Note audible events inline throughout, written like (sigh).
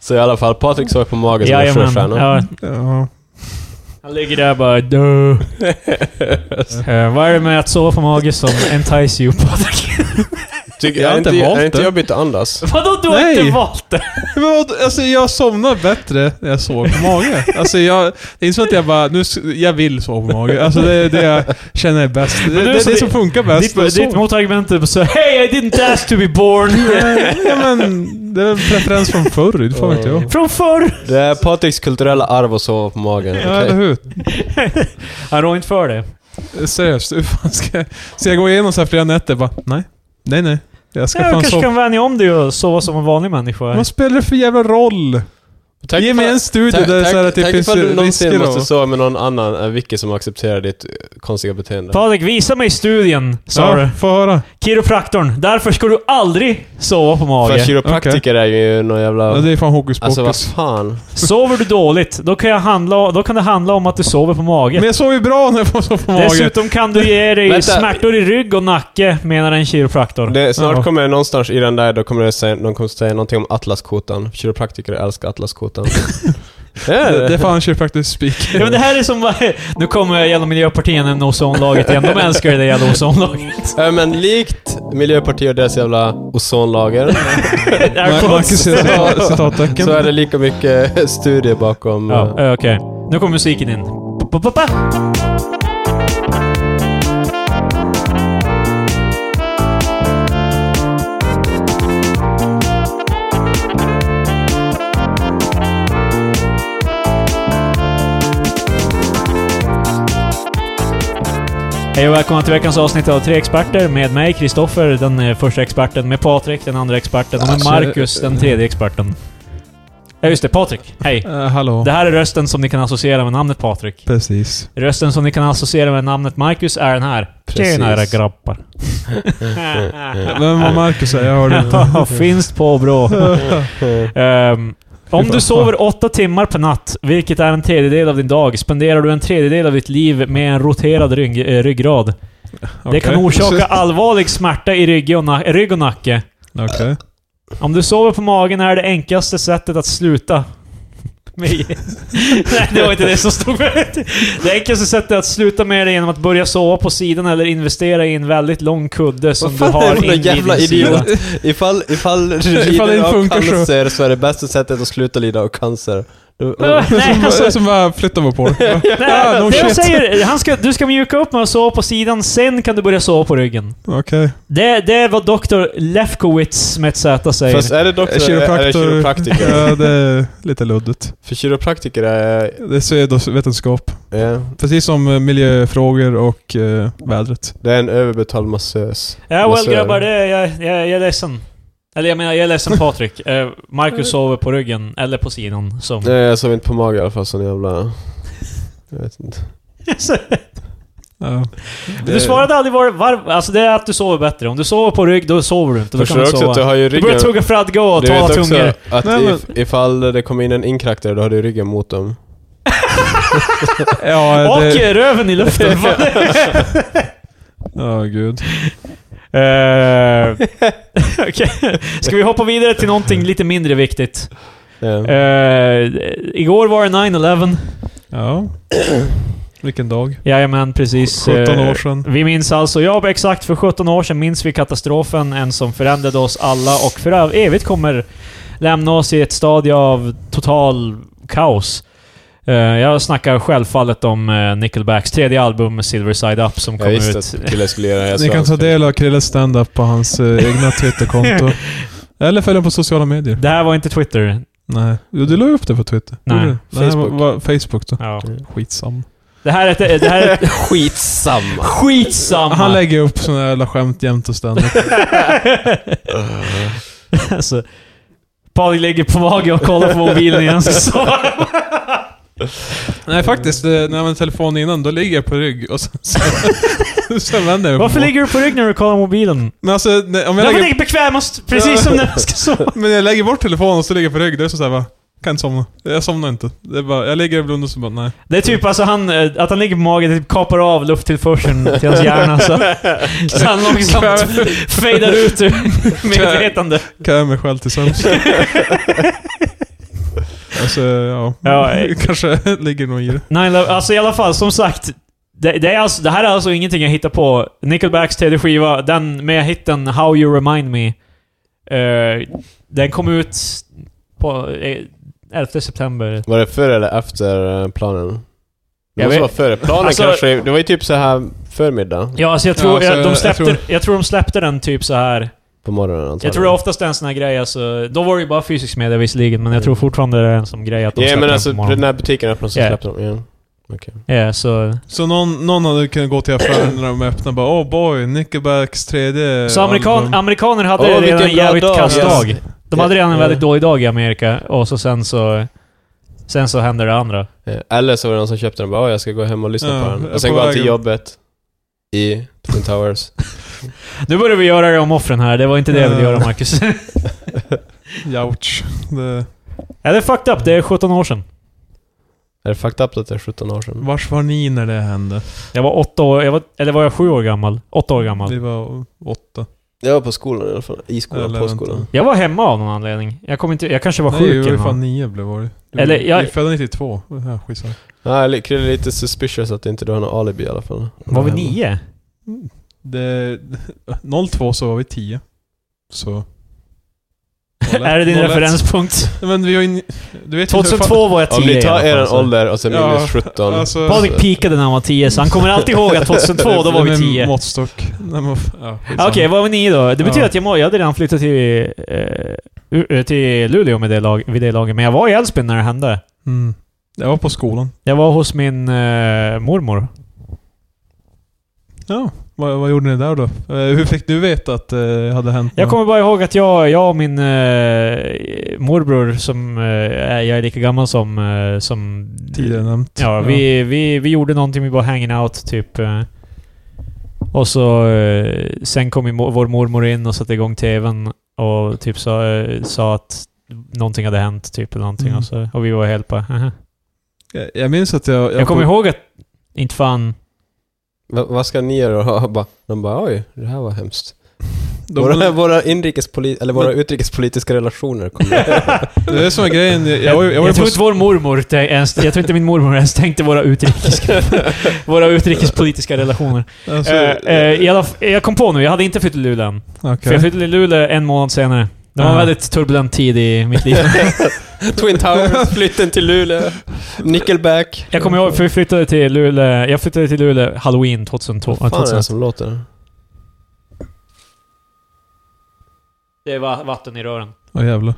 Så i alla fall, Patrik såg på magen som en Jajamän. sjöstjärna. Ja, Ja. han ligger där bara Duh. Eh, Vad är det med att sova på mage som entice you (laughs) Patrik? Tycker, Jag har är, inte inte, valt är inte det. jobbigt att andas? Vadå du har Nej. inte valt det? Men vad, alltså jag somnade bättre när jag sov på mage. Alltså jag, det är inte så att jag bara, nu, s- jag vill sova på mage. Alltså det är det jag känner är bäst. Det, nu det, så är det det- som funkar bäst. Ditt, ditt motargument är så Hey I didn't ask to be born! (laughs) ja, men det är en preferens från förr, det får inte jag. Från förr! Det är Patriks kulturella arv att sova på magen. Ja, eller okej? hur? Han rår inte för det. Seriöst, hur fan ska jag... Ska jag gå igenom så här flera nätter bara, nej, nej, nej. Jag ska Nej, du fan kanske sova. kan vänja om dig och sova som en vanlig människa. Vad spelar det för jävla roll? Tänk Ge mig ifall- en studie tänk- där det är så här tänk- att det tänk finns ifall du någonsin risker måste då. sova med någon annan än Vicky som accepterar ditt eh, konstiga beteende. Patrik, visa mig studien, sa du. Ja, få höra. Kiropraktorn. Därför ska du aldrig sova på För mage. kiropraktiker är ju någon Ja, jävla... det är fan hokus pokus. Alltså vad fan. Sover du dåligt, då kan, jag handla, då kan det handla om att du sover på mage. men jag sov ju bra när jag sov på mage. Dessutom kan du ge dig Vänta. smärtor i rygg och nacke, menar en kiropraktor. Det, snart Ja. kommer det någonstans i den där, då kommer det säga, någon kommer säga någonting om atlaskotan. Kiropraktiker älskar (laughs) atlaskotan. det är Det, det är det. fan kiropraktiskt spik. (laughs) (laughs) Ja, men det här är som... bara- Nu kommer jävla Miljöpartiet nämna ozonlaget igen. De älskar ju det (laughs) jävla ozonlaget. Ja, men likt Miljöpartiet och deras jävla ozonlager, Det är Marcus konstigt. citat- citattecken. så är det lika mycket (laughs) studier bakom... Ja, eh, eh, okej. Nu kommer musiken in. Pa, pa, pa. Hej och välkomna till veckans avsnitt av Tre Experter med mig, Kristoffer, den eh, första experten, med Patrik, den andra experten, och med Alltså, Marcus, den tredje experten. Ja, just det. Patrik. Hej. Eh, hallå. Det här är rösten som ni kan associera med namnet Patrik. Precis. Rösten som ni kan associera med namnet Marcus är den här. Precis. Tjena era grabbar. Vem var Marcus? Jag hörde inte. Finns på bra. Ehm, om du sover åtta timmar per natt, vilket är en tredjedel av din dag, spenderar du en tredjedel av ditt liv med en roterad rygg, eh, ryggrad. Det kan Okej. (laughs) orsaka allvarlig smärta i rygg och, na- rygg och nacke. Okej. Om du sover på magen är det enklaste sättet att sluta. med- (laughs) Nej, det var inte det som stod med. Det enklaste sättet är att sluta med det genom att börja sova på sidan eller investera i en väldigt lång kudde (laughs) som du fan är har det för invid jävla din sida. idiot? Ifall, ifall (laughs) du Ifall det lider inte av funkar så. cancer så är det bästa sättet att sluta lida av cancer. Du, Nej, Som- alltså, Som bara flyttar mig på det. nej, Ah, no det jag shit. säger, han ska, du ska mjuka upp med att sova på sidan, sen kan du börja sova på ryggen. Okej. Det, det är vad Dr. Lefkowitz med ett Z säger. Fast äh, är det doktor eller är det Kiropraktor. kiropraktiker? Ja, det är lite luddigt. För kiropraktiker är... Det är pseudovetenskap. Ja, Precis som eh, miljöfrågor och eh, vädret. det är en överbetald massös. Ja, Vad well så är det? grabbar, det är, jag, jag, jag är ledsen. Eller jag menar, jag är ledsen Patrik. Eh, Marcus sover på ryggen, eller på sidan. Som. Nej, jag sov alltså inte på mage i alla fall, sån jävla... Jag vet inte. (laughs) Ja. du svarade aldrig var, var, Alltså det är att du sover bättre. Om du sover på rygg, då sover du inte. Då kan Förstår du du inte också sova. att du har ju Du ryggen... börjar tugga fradga och Du vet tala också tungor. att Nej, men- if, ifall det kommer in en inkräktare, då har du ryggen mot dem. Ja, Och det... röven i (laughs) luften. (laughs) Ja, gud. Eh, okej. Ska vi hoppa vidare till någonting lite mindre viktigt? Ja. Eh, igår var det 9-11. Ja. Vilken dag. Jajamän, precis. 17 Eh, år sedan. Vi minns alltså, ja exakt för 17 år sedan minns vi katastrofen, en som förändrade oss alla och för ev- evigt kommer lämna oss i ett stadie av total kaos. Eh, jag snackar självfallet om eh, Nickelbacks tredje album Silver Side Up som Jag kom visste ut. att killen skulle göra det. Jag Ni sa kan att- ta del av Krilles stand-up på hans eh, egna Twitterkonto. Eller följ honom på sociala medier. Det här var inte Twitter. Nej. Jo, du la ju upp det på Twitter. Nej. Gjorde du? Nej, Facebook. vad- vad- Facebook då. Ja. Skitsam. Det här är ett... Det här är ett Skitsamma! skitsamma! Han lägger upp såna här jävla skämt jämt och ständigt. (laughs) Ah. alltså, Patrik ligger på mage och kollar på mobilen igen. (laughs) Så. Nej faktiskt, eh, när jag använder telefonen innan, då ligger jag på rygg och sen, (laughs) sen, sen vänder jag mig Varför på. ligger du på rygg när du kollar mobilen? Men alltså, när- om jag Därför lägger, ligger bekvämast, precis som när man ska sova. men jag lägger bort telefonen och så ligger jag på rygg, då är det som såhär bara... Kan inte somna. Jag somnar inte. Det är bara, jag ligger och blundar och så bara nej. (laughs) Det är typ alltså han, eh, att han ligger på magen, det typ kapar av lufttillförseln till hans hjärna (laughs) så, så han långsamt (laughs) fejdar ut ur medvetande. (laughs) Kan jag mig själv till sömns. Alltså, ja. Ja, (laughs) eh. det kanske ligger något i det. Nej, la- alltså i alla fall, som sagt. Det, det, är alltså, det här är alltså ingenting jag hittar på. Nickelbacks tredje skiva, den med hitten How You Remind Me. eh, den kom ut på eh, 11 september. Var det före eller efter eh, planen? Det Jag måste vet- vara före planen Alltså- kanske. Det var ju typ så här förmiddag Ja, alltså jag tror, Ja, alltså, jag, de jag släppte, jag, tror- tror... de släppte den typ så här. på morgonen antagligen. Jag tror det är oftast är en sån här grej alltså. Då var det ju bara fysisk media visserligen, men jag Mm. tror fortfarande det är en sån grej att de Ja släppte men den alltså på morgonen. när butiken öppnade så Ja. släppte de igen. Okej. Ja, så... Så någon, någon hade kunnat gå till affären när de öppnade och bara oh boy, Nickelbacks tredje Så amerikan, album. amerikaner hade Åh, vilken redan en bra jävligt dag. kass Yes. dag. De hade redan en Ja. väldigt dålig dag i Amerika, och så sen så... Sen så händer det andra. Eh, Eller så var det någon som köpte den och bara "Åh, jag ska gå hem och lyssna Ja, på den. jag är Och sen på går han till vägen. jobbet i Twin Towers. Nu börjar vi göra det om offren här, det var inte det jag ville Ja. göra Marcus. (laughs) Ouch. Det, ja, det är fucked up. Det är 17 år sedan. är det fucked up att det är 17 år sedan? vars var ni när det hände? Jag var åtta år... Jag var, eller var jag sju år gammal? Åtta år gammal. Vi var åtta. Jag var på skolan i alla fall. I skolan, Eller på vänta. skolan. Jag var hemma av någon anledning. Jag kommer inte... Jag kanske var Nej, sjuk vi eller var fan något. nio blev var det. Du, Eller jag- Vi är födda 92. Ja, skitsamma. Nej, li- Krille är lite suspicious att inte du har något alibi i alla fall. Var vi nio? Det, (laughs) 02 så var vi 10. Så... Noll (laughs) ett- är det din noll ett. (laughs) referenspunkt? Nej, Men vi har ju... ni- Du vet ju hur fan- 2002 var jag 10 Om ni i alla tar fall, er så. ålder och sen minus 17. alltså- Patrik pikade när han var 10, så han kommer alltid ihåg att 2002, då var Det är vi en 10. måttstock. Nej, men, ja, Ja, skitsamma. Okej, vad var ni då? Det betyder Ja. att jag, må, jag hade redan flyttat till, eh, ur- eh, till Luleå med det lag, vid det laget, men jag var i Älvsbyn när det hände. Mm. Jag var på skolan. Jag var hos min eh, mormor. Ja, vad, vad gjorde ni där då? Eh, hur fick du veta att det hade hänt Jag något? kommer bara ihåg att jag, jag och min eh, morbror, som eh, är- jag är lika gammal som... Eh, som tidigare nämnt? Ja, vi, vi, vi gjorde någonting, vi var hanging out typ. eh. Och så... eh, Sen kom ju mo- vår mormor in och satte igång TVn och typ sa, eh, sa att någonting hade hänt typ eller någonting. Mm. Och, så, och vi var helt bara "Haha." Jag, jag minns att jag... Jag kommer ihåg att... Inte fan... Va- vad ska ni göra (laughs) då? Bara- De bara oj, det här var hemskt. våra, De, våra, inrikespoli- eller våra utrikespolitiska relationer kommer. (laughs) det är som är grejen. Jag, jag, var ju- jag, Jag, var ju tror på inte vår mormor tän- ens... Jag tror inte min mormor ens tänkte våra, utrikes, (laughs) våra utrikespolitiska relationer. Alltså, Eh, eh, i alla, f- jag kom på nu, jag hade inte flyttat till Luleå än. För okej. jag flyttade till Luleå en månad senare. Det var en Ah. väldigt turbulent tid i (laughs) mitt liv. (laughs) Twin (laughs) Towers, flytten till Luleå, Nickelback. Jag kommer ihåg, för vi flyttade till Luleå... Jag flyttade till Luleå Halloween 2002. Vad fan är 2000. det som låter? Det var vatten i rören. Åh jävlar. Eh,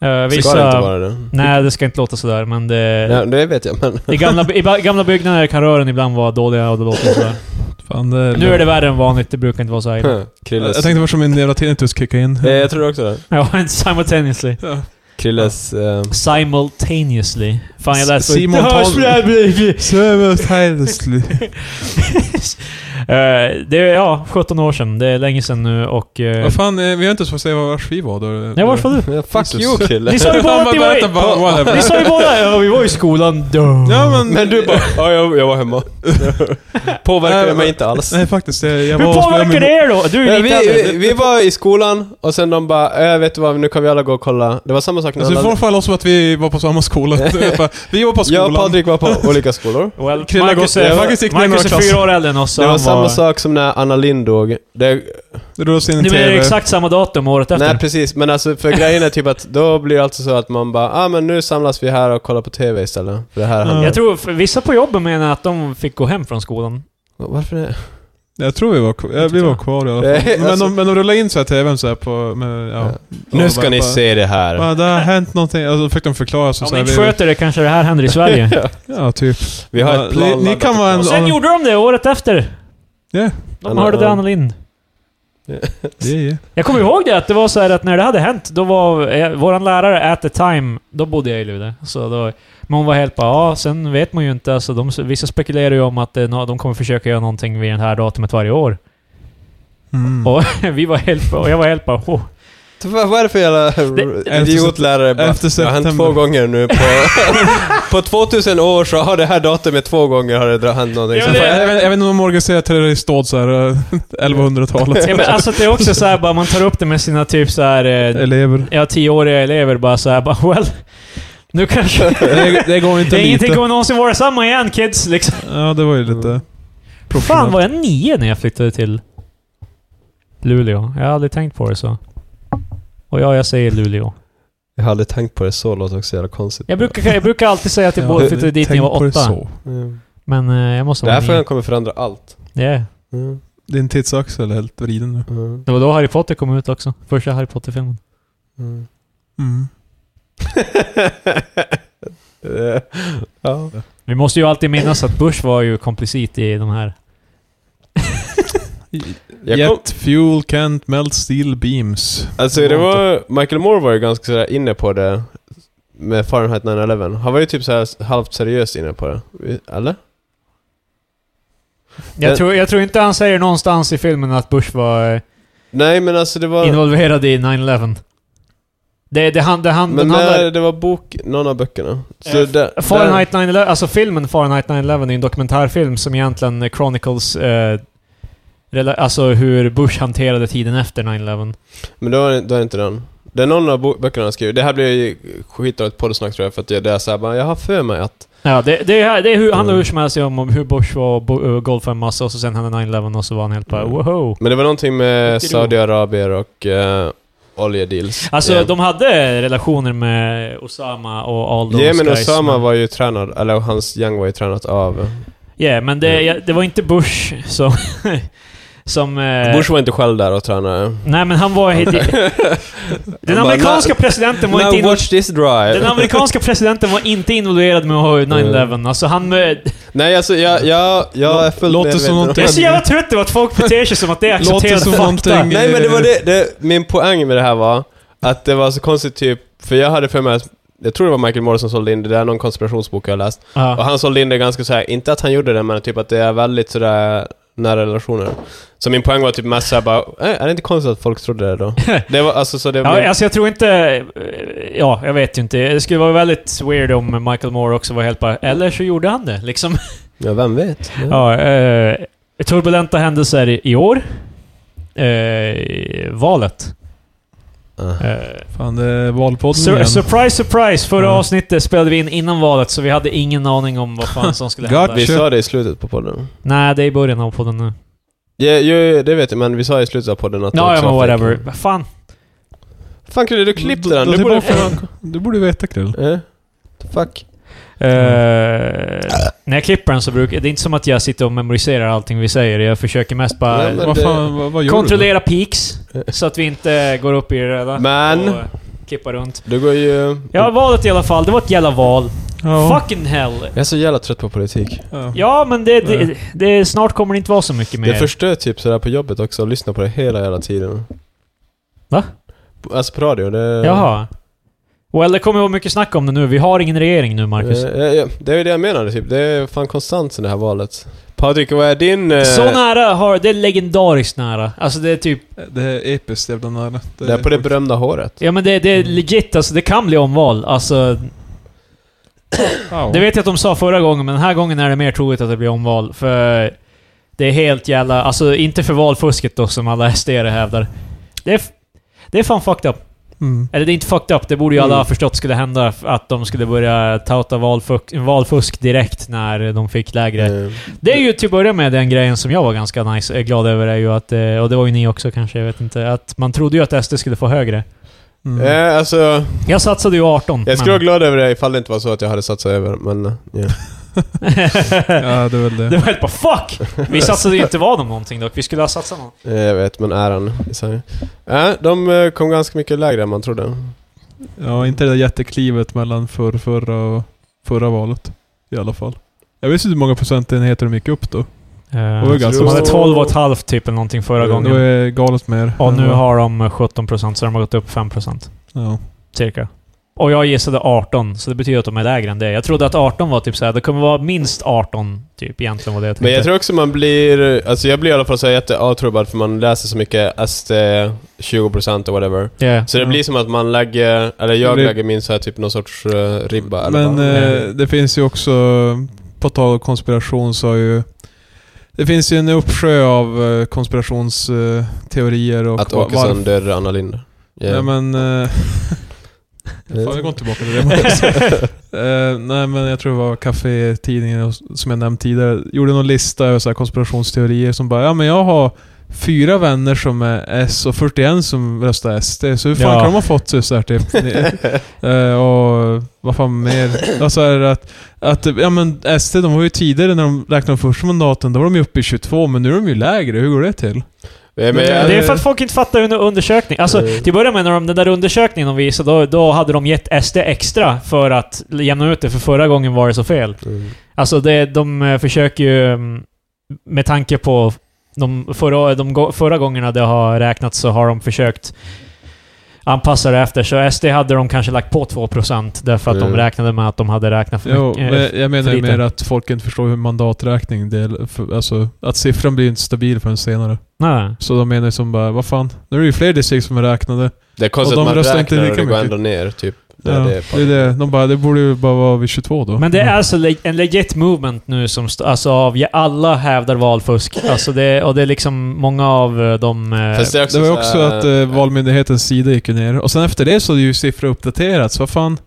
Ska det inte vissa... vara det? Nej, det ska inte låta sådär, men det... Ja, det vet jag, men... I gamla, I ba- gamla byggnader kan rören ibland vara dåliga och det låter sådär. (laughs) Fan, det, Nu är det värre än vanligt, det brukar inte vara så här illa. (laughs) Krilles... Jag tänkte först om min jävla tinnitus kickade in. Eh, jag tror också det. Ja, simultaneously. Ja. Krilles... Eh, Simultaneously. Fan, jag lät Det Simon hörs Tal- bra. Simultaneously. Eh, Det är, ja, 17 år sedan. Det är länge sedan nu och... eh, Vad fan, eh, vi har inte fått säga vars vi var då. Nej, varför du? fuck you Krille. Ni sa ju bara att ni var Vänta, bara, Ni whatever. sa ju båda ja, vi var i skolan. Duh. Ja, men... Men du bara, ja jag, jag var hemma. Påverkade Nej, mig inte (laughs) alls. Nej, faktiskt. Jag, jag Hur var och spelade påverkar med- det er då? Du är Nej, vi, ju lite äldre. vi, vi var i skolan och sen de bara, "Eh, vet du vad, nu kan vi alla gå och kolla. Det var samma sak när Alltså, vi får alla... fan låtsas som att vi var på (laughs) samma skola. Bara, vi var på Jag skolan. och Patrik var (laughs) på olika skolor. Well, Krilla Marcus gått- är, jag faktiskt gick ner Marcus är några fyra klasser. år äldre än oss. så Det var han samma sak som när Anna Lind dog. Det, Det rullades in en Nu är det TV. exakt samma datum året efter. nej precis, men alltså för grejen är typ att då blir det alltså så att man bara, ah men nu samlas vi här och kollar på TV istället. För det här Ja. handlar Jag tror för vissa på jobbet menar att de fick gå hem från skolan. Varför det? Jag tror vi var, k- ja, vi var kvar i alla (laughs) fall. Eh, Men, alltså- de, men de rullade in så här TVn så här på... Med, ja. Nu ska ni se det här. Bara, det har hänt någonting. Alltså, då fick de förklara. Så, Om så ni här, inte vi- sköter det kanske det här händer i (laughs) Sverige. (laughs) Ja, typ. Vi har Ja, ett plan ni- ni kan vara en- Och sen Anna- gjorde de det året efter. Ja. De Anna- hörde det Anna- Anna Lind. Yeah, yeah. Jag kommer ihåg det, att det var så här att när det hade hänt, då var eh, våran lärare at the time, då bodde jag i Luleå. Så då, men hon var helt bara, ja, sen vet man ju inte. Alltså, de, vissa spekulerar ju om att det, är nå- de kommer försöka göra någonting vid det här datumet varje år. Mm. Och, (laughs) vi var helt, och jag var helt bara, oh. Vad vad är det för jävla Efter- idiotlärare? Bara, efter Det har hänt september." två gånger nu (laughs) på... på 2000 år så har det här datumet två gånger har det dra- hänt någonting. Ja, Så men Jag, det- fan, vet- jag vet inte om Morgan säger terroristdåd såhär, (laughs) 1100-talet. ja, men, alltså att det är också så här, bara, man tar upp det med sina typ så här eh, Elever. Ja, tioåriga elever bara såhär bara well... Nu kanske... (laughs) Det, det går (laughs) inte det är ingenting lite. kommer någonsin vara samma igen kids, liksom. Ja, det var ju lite... Fan var jag nio när jag flyttade till Luleå. Jag har aldrig tänkt på det så. Och ja, jag säger Luleå. Jag har aldrig tänkt på det så, låter också jävla konstigt. Jag brukar, jag brukar alltid säga att jag både flyttade dit när jag var Tänk på det åtta. så. Mm. Men eh, jag måste Den vara här nio. frågan kommer förändra (laughs) allt. Yeah. Mm. Din tidsaxel är helt vriden nu. Mm. Det var då Harry Potter kom ut också. Första Harry Potter-filmen. Mm. Mm. Eh, ja. Vi måste ju alltid minnas att Bush var ju komplicit i de här. Jag kom, Yet fuel can't melt steel beams. alltså det var, Michael Moore var ju ganska sådär inne på det med Fahrenheit 9-11. Han var ju typ såhär halvt seriöst inne på det. Eller? Jag, Det- tror, jag tror inte han säger någonstans i filmen att Bush var eh, Nej men alltså det var... involverad i 9-11. Det, det, han, det, han, Men den handlar... när det var bok, någon av böckerna. Så Eh, där, Fahrenheit 9-11, alltså filmen Fahrenheit 9-11 är en dokumentärfilm som egentligen chronicles eh, rela- alltså hur Bush hanterade tiden efter 9-11. Där, men då är, det- då är det inte den. Det är någon av bo- böckerna han skriver. Det här blir ju skitdåligt poddesnack tror jag, för att det är såhär bara, jag har för mig att... Ja, det, det, är- det är hur, handlar Mm. hur som helst om om hur Bush var och bo- eh, golfade en massa och så sen hände 9-11 och så var han helt bara Mm. wow. Men det var någonting med Tycker du? Saudiarabier och eh, oljedeals. Alltså igen. de hade relationer med Osama och Aldo Ja och men Skies, Osama men- var ju tränad, eller hans gäng var ju tränat av... Ja, men det, Mm. ja, det var inte Bush som... (laughs) som eh, Bush var inte själv där och tränade. Nej men han var... (laughs) den amerikanska presidenten var inte Now involverad... watch this drive! Eh, Den amerikanska presidenten var inte involverad med 9-11. Alltså han... (laughs) eh, Nej alltså jag, jag, jag är fullt Låter som medveten. någonting- Jag är så jävla trött på att folk beter sig som att det är Låter som accepterad fakta. någonting- Nej men det var det, det, min poäng med det här var att det var så konstigt typ, för jag hade för mig att jag tror det var Michael Moore som sålde in det, det är någon konspirationsbok jag har läst. Och Ja. han sålde in det ganska så här, inte att han gjorde det, men typ att det är väldigt sådär nära relationer. Så min poäng var typ mest såhär bara, "Eh, är det inte konstigt att folk trodde det då? Det var alltså så det var... (laughs) Ja, alltså jag tror inte... eh, Ja, jag vet ju inte. Det skulle vara väldigt weird om Michael Moore också var helt bara... Eller så gjorde han det, liksom. ja, vem vet? Ja, eh, turbulenta händelser i- i år. Eh, valet. Ah. Eh, Fan, det är valpodden Sur igen. surprise, surprise! Förra Ja. avsnittet spelade vi in innan valet, så vi hade ingen aning om vad fan som skulle hända. God. Vi Kör. sa det i slutet på podden. Nej, det är i början av podden nu. Ja, jo, jo, det vet jag, men vi sa i slutet av podden att... det Ja, ja, också men var fake. whatever. Vad Fan. Fan Krille, du klippte Då- den. då Du borde... tillbaka- (laughs) Du borde veta Krill. Eh? Fuck. Eh, Mm. när jag klipper den så brukar... Det är inte som att jag sitter och memoriserar allting vi säger. Jag försöker mest bara Nej, Men Vad det- fan, vad, vad gör kontrollera (laughs) peaks, så att vi inte går upp i det röda. Men- Och eh, kippar runt. Du går ju... Ja, valet i alla fall. Det var ett jävla val. du? Ja. Fucking hell! Jag är så jävla trött på politik. Ja. Ja, men det, det, det... Snart kommer det inte vara så mycket mer. Det förstör typ sådär på jobbet också, att lyssna på det hela jävla tiden. Va? Alltså på radio, det... Jaha. Well, det kommer vara mycket snack om det nu. Vi har ingen regering nu, Marcus. Eh, eh, Det är ju det jag menade typ, det är fan konstant sen det här valet. Patrik, vad är din... eh, Så nära har... Det är legendariskt nära. Alltså det är typ... Det är episkt jävla nära. Det är på det berömda håret. Ja men det, det är legit alltså. Det kan bli omval. Alltså... Wow. Det vet jag att de sa förra gången, men den här gången är det mer troligt att det blir omval. För... Det är helt jävla... Alltså inte för valfusket då, som alla (laughs) sd hävdar. Det är... f- Det är fan fucked up. Mm. Eller det är inte fucked up, det borde ju alla Mm. ha förstått skulle hända. f- Att de skulle börja touta valfusk, valfusk direkt när de fick lägre Eh, Det är ju till att börja med den grejen som jag var ganska nice, eh, glad över är ju att, eh, och det var ju ni också kanske, jag vet inte, att man trodde ju att SD skulle få högre. Mm. Eh, alltså, Jag satsade ju 18. jag skulle (laughs) vara glad över det ifall det inte var så att jag hade satsat över, men... eh, ja. Ja, det är väl det det. var helt bara fuck! Vi satsade ju inte vad om någonting dock, vi skulle ha satsat någon. Eh, Jag vet, men äran i sig. Eh, de eh, kom ganska mycket lägre än man trodde. Ja, inte det där jätteklivet mellan förr, förra och förra valet. I alla fall. Jag visste inte hur många procentenheter de gick upp då. var ju Uh, ganska de hade stort. 12 och ett halvt typ eller någonting förra Mm, Det gången. var Mm. galet mer. Och nu har de eh, 17% så de har gått upp 5% Ja. cirka. Och jag gissade 18, så det betyder att de är lägre än det. Jag trodde att 18 var typ såhär, det kommer vara minst 18, typ egentligen var det jag tänkte. Men jag tror också man blir... Alltså jag blir i alla fall så här jätteavtrubbad för man läser så mycket SD 20% och whatever. Yeah. Så det Ja. blir som att man lägger, eller Det jag blir- lägger min så här typ någon sorts eh, ribba eller Men vad. Nej. eh, det finns ju också, på tal om konspiration så har ju... Det finns ju en uppsjö av eh, konspirationsteorier och... Att va- Åkesson dödade Anna Lindh. Ja, men... eh, Fan, (laughs) vi går inte tillbaka till det. (laughs) Eh, nej, men jag tror det var Café-tidningen som jag nämnt tidigare. Gjorde någon lista över så här konspirationsteorier som bara, ja men jag har fyra vänner som är S och 41 som röstar SD. Så hur fan Ja. kan de ha fått sig så här (laughs) typ? Eh, och vad fan (clears throat) mer? Alltså är det att, att, ja men SD de var ju tidigare när de räknade de första mandaten, då var de ju uppe i 22, men nu är de ju lägre. Hur går det till? Ja, men Ja, jag, Det är för att folk inte fattar under undersökning. Alltså, Mm. till att börja med, när de, den där undersökningen de visade, då, då hade de gett SD extra för att jämna ut det, för förra gången var det så fel. Mm. Alltså, det, de eh, försöker ju... mm, Med tanke på de förra, de gå- förra gångerna det har räknats så har de försökt anpassa det efter. Så SD hade de kanske lagt på 2% därför att de Mm. räknade med att de hade räknat för Eh. Jo, mycket. Eh, men jag menar för ju lite. mer att folk inte förstår hur mandaträkning det är, för, alltså att siffran blir inte stabil förrän senare. Nej. Så de menar ju som bara, vad fan, nu är det ju fler distrikt som är räknade. det är konstigt Och att de man röstar räknar inte och lika det går mycket. ändå ner, typ. Ja, när det, är det. De bara, det borde ju bara vara vid 22 då. Men det är alltså le- en legit movement nu som st- alltså av ja, alla hävdar valfusk. Alltså det, och det är liksom många av eh, de... eh, Fast det, är det var ju också så här- att eh, valmyndighetens sida gick ju ner. Och sen efter det så har ju siffror uppdaterats. Vad fan?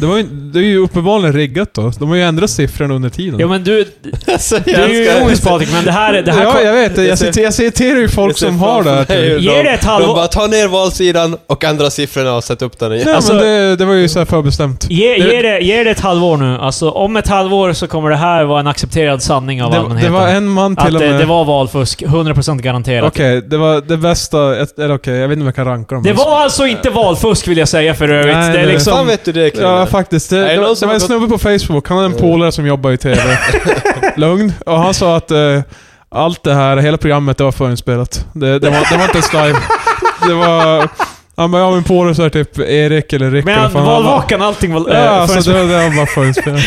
Det, var ju, det är ju uppenbarligen riggat då. De har ju ändrat siffrorna under tiden. Ja men du... Alltså, Det är ju älskar- ironiskt Patrik, men det här... Det här ja, kom- jag vet. det Jag, ser- citer, jag citerar ju folk Jag ser som har det framför här. mig hur Ge de- det ett De halvår. bara ta ner valsidan och andra siffrorna och sätt upp den igen. Nej, Alltså- men det, det var ju så här förbestämt. Ge, ge, det, ge det ett halvår nu. Alltså, om ett halvår så kommer det här vara en accepterad sanning av Det, det allmänheten. var en man till att och det, med... det var valfusk, 100% garanterat. Okej, det var det bästa... ett- Eller okej, jag vet inte om jag kan ranka dem. Det var alltså inte valfusk vill jag säga för övrigt. Nej, det är Liksom, nej. liksom... Fan vet du det killen? Ja, faktiskt. Det, Är det det, någon var- det som var en har snubbe på Facebook, han hade en Mm. polare som jobbar (laughs) i TV. Lugn. Och han sa att eh, allt det här, hela programmet, det var förinspelat. Det, det, var, det var inte ens live. Det var... Han bara, ja min polare så här typ Erik eller Rick eller Men fan, han bara- valvakan, allting var... Ja, eh, alltså förutspå- det, det var (laughs) bara förinspelat.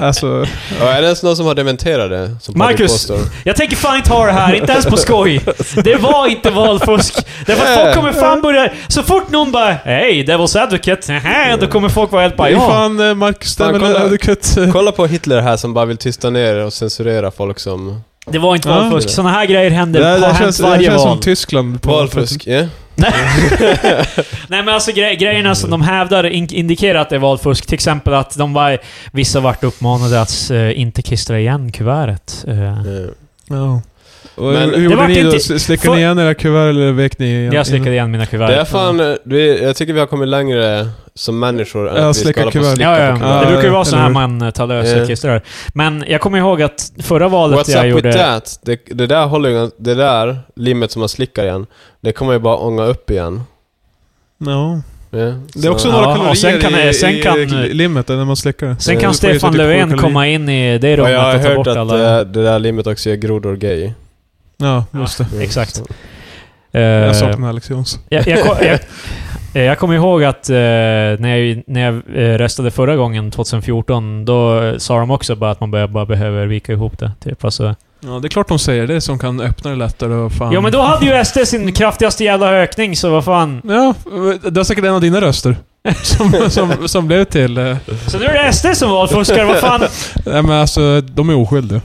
alltså... Ja, är det ens någon som har dementerat det? Som Marcus, Patrik påstår? Jag tänker fan inte ha det här, inte ens på skoj. Det var inte valfusk. Därför att folk kommer fan börja... Så fort någon bara “Hej, Devil's Advocate”, (laughs) Nähä, då kommer folk vara helt bara Det är “Ja”. fan eh, Marcus Fan, Stemmel kolla. Advocate. Kolla på Hitler här som bara vill tysta ner och censurera folk som... Det var inte Ja. valfusk. Såna här grejer Det, händer, det, har det hänt känns, det varje känns val. som Tyskland. på- Valfusk, ja. Nej. (laughs) Nej men alltså gre grejerna som de hävdar in- indikerar att det är valfusk. Till exempel att de var, vissa vart uppmanade att eh, inte klistra igen kuvertet. Eh, Ja. Ja. Och Men- hur Det hur gjorde vart ni då? inte- Slickade för- ni igen era kuvert eller vek ni igen? jag slickade igen mina kuvert. Det är fan... eh, Vi, jag tycker vi har kommit längre som människor än att Ja, vi ska slicka hålla på kuvert. och slicka Ja, ja. på Ja, Det kuvert. brukar ju eller vara så här hur? man eh, tar lösa Eh. klistrar. Men jag kommer ihåg att förra valet What's jag up gjorde... with that? Det, det där håller ju... Det där limmet som man slickar igen, det kommer ju bara ånga upp igen. Ja. Ja, Det är så- också Ja, några och kalorier sen kan- eh, i, sen kan- i limmet när man slickar det. Sen Eh, kan du får ju typ Stefan 32 Löfven kalorier. komma in i det Och rummet jag har och ta hört bort att eh, alla... det, det där limmet också ger grodor gay. Mm. Ja, Ja, just det. Exakt. Så. Eh, Jag saknar Alex Jonsson. jag, jag, ko- jag, (laughs) eh, jag kommer ihåg att eh, när jag, när jag eh, röstade förra gången, 2014, då eh, sa de också bara att man bara, bara behöver vika ihop det. Typ. Alltså, Ja, det är klart de säger det som kan öppna det lättare och fan... Ja men då hade ju SD sin kraftigaste jävla ökning, så vad fan. Ja, det var säkert en av (laughs) dina röster. Som, som, som blev till... eh, Så nu är det SD som valfuskar, vad fan. Nej men alltså, de är oskyldiga.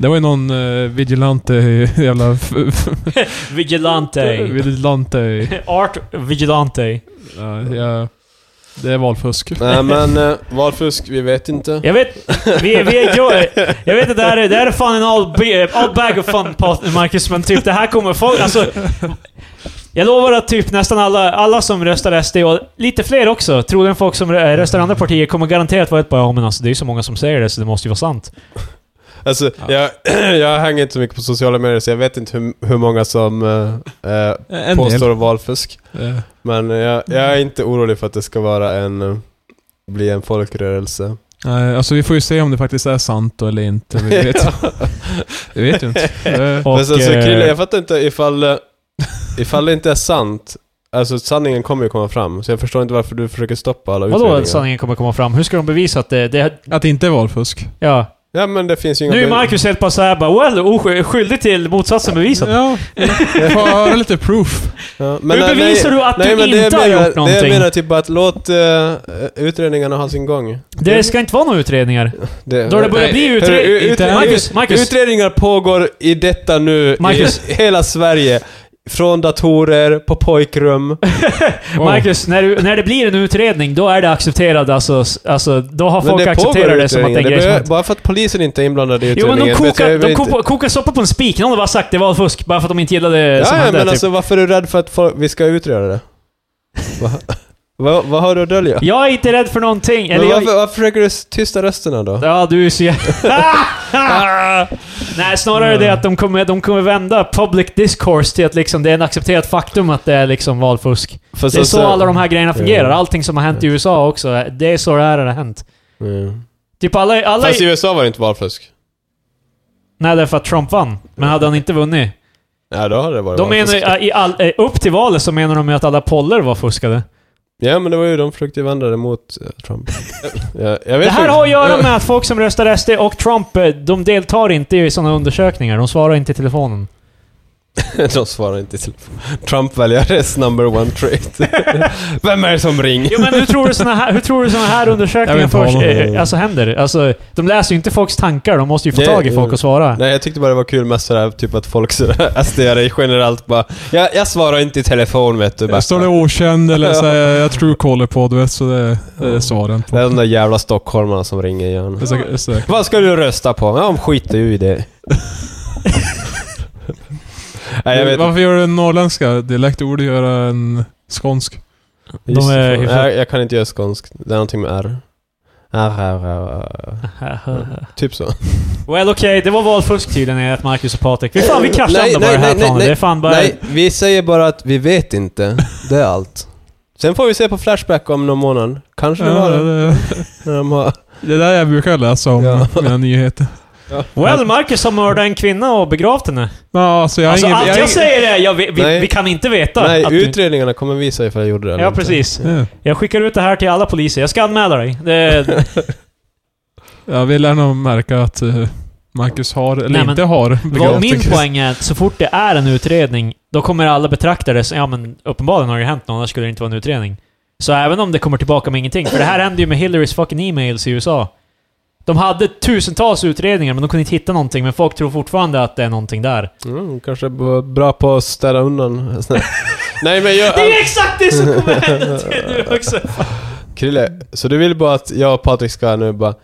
Det var ju någon eh, vigilante i jävla... f- f- (laughs) Vigilante. vigilante i... Art Vigilante. Ja, ja, det är valfusk. Nej men, eh, valfusk, vi vet inte. Jag vet, vi, vi är, jag, jag vet att det här är, det här är fan en all, be- all bag of fun Pat- Marcus, men typ det här kommer folk, alltså. Jag lovar att typ nästan alla, alla som röstar SD, och lite fler också, troligen folk som rö- röstar andra partier, kommer garanterat vara ett bara ja, men alltså det är ju så många som säger det så det måste ju vara sant. Alltså, jag, (clears throat) jag hänger inte så mycket på sociala medier så jag vet inte hur, hur många som eh, eh, En påstår valfusk. del. Eh, Men eh, jag, jag är inte orolig för att det ska vara en, eh, bli en folkrörelse. Nej, alltså vi får ju se om det faktiskt är sant eller inte. Vi vet, vi vet ju inte. Det- Och, Men sen så, eh, Krille, Alltså, jag fattar inte ifall, eh, ifall det inte är sant. Alltså sanningen kommer ju komma fram, så jag förstår inte varför du försöker stoppa alla Vadå utredningar. att sanningen kommer komma fram? Hur ska de bevisa att det... det Att det inte är valfusk. ja. Ja men det finns ju inga... Nu är be- Marcus helt bara såhär bara well, osk- skyldig till motsatsen bevisad. Ja, vi får höra lite proof. Ja, Hur bevisar du att du men det inte jag har menar- gjort Det någonting? jag menar typ bara att låt eh, utredningarna ha sin gång. Det ska inte vara några utredningar. Då har det börjat Eh, Nej, bli hörru, utred- ut- inte- ut- Marcus, (laughs) Marcus. Utredningar pågår i detta nu Marcus. i hela Sverige. Från datorer, på pojkrum. Wow. Marcus, när, du, när det blir en utredning, då är det accepterad. Alltså, s- alltså, då har Men folk det accepterat pågår det som att det är utredningar. en grej som behöver- hänt. Bara för att polisen inte är inblandad i Jo men utredningen. de betyder kokar, väl de inte- kokar, kokar soppa på en spik. Någon har bara sagt det var fusk, bara för att de inte gillade det som Ja, ja hände. men typ. alltså varför är du rädd för att folk, vi ska utreda det? Va? (laughs) Vad vad har du att dölja? Jag är inte rädd för någonting. Eller Men jag... varför, varför försöker du s- tysta rösterna då? Ja, du är så (laughs) jä- Nej, snarare det att de kommer, de kommer vända public discourse till att liksom, det är en accepterat faktum att det är liksom valfusk. För Det är så alla de här grejerna fungerar. Ja. Allting som har hänt i USA också, det är så det här har hänt. Mm. Typ alla... alla Fast i USA var det inte valfusk. Nej, därför att Trump vann. Men hade han inte vunnit? Ja, då hade det varit De valfusk. menar, i all, eh, upp till valet så menar de ju att alla poller var fuskade. Ja, men det var ju de försökte vända det mot eh, (laughs) Trump. ja, jag vet Det här inte. har att göra med att folk som röstar SD och Trump, eh, de deltar inte i sådana undersökningar. De svarar inte i telefonen. (laughs) De svarar inte till Trump-väljares number one (laughs) trait. Vem är det som ringer? Jo, men hur tror du såna här, hur tror du såna här Jag undersökningar vet inte först, vad de- eh, eh, alltså, händer? Alltså, de läser ju inte folks tankar. De måste ju få eh, Nej, tag i folk nej. och svara. Nej, jag tyckte bara det var kul med sådär, typ att folk sådär, sd generellt bara jag, jag svarar inte i telefon vet du. Bara, Där står det okänd eller så här, jag tror kollar på, du vet. Så det, det är svaren det är på. de där jävla stockholmarna som ringer igen. (laughs) Det är säkert- säkert. Vad ska du rösta på? Ja, de skiter ju i det. Nej, jag vet Varför gör du en norrländska dialekt? Du borde göra en skånsk. Just är det. hyfsat- jag, jag kan inte göra skånsk. Det är någonting med R. R, R, R, R. Typ så. (laughs) Well, okej. det var valfusk tydligen, enligt Marcus och Patrik. Fy fan, vi kraschar Nej, ändå bara nej, det nej, här nej, planet. nej. Det är fan bara... Nej, vi säger bara att vi vet inte. Det är allt. Sen får vi se på Flashback om någon månad. Kanske det var Ja, det. det, När de har... det där jag brukar läsa om, Ja. mina nyheter. Well, Marcus har mördat en kvinna och begravt henne. Ja, alltså jag har Alltså, ingen... allt har jag, ingen- säger är jag, vi, vi, Nej. vi kan inte veta. Nej, att du, utredningarna kommer visa ifall jag gjorde det eller ja, inte. precis. Ja. Jag skickar ut det här till alla poliser. Jag ska anmäla dig. (laughs) Det, Ja, vi lär nog märka att eh, Marcus har, eller Nej, men- inte har, vad begravt en min kristen. poäng är att så fort det är en utredning, då kommer alla betrakta det som ja, men uppenbarligen har det ju hänt något, annars skulle det inte vara en utredning. Så även om det kommer tillbaka med ingenting, för det här hände ju med Hillarys fucking e-mails i USA. De hade tusentals utredningar, men de kunde inte hitta någonting, men folk tror fortfarande att det är någonting där. Mm, kanske var bra på att städa undan. (laughs) Nej men jag... Det är ju exakt det som kommer hända till nu också! Krille, så du vill bara att jag och Patrik ska nu bara...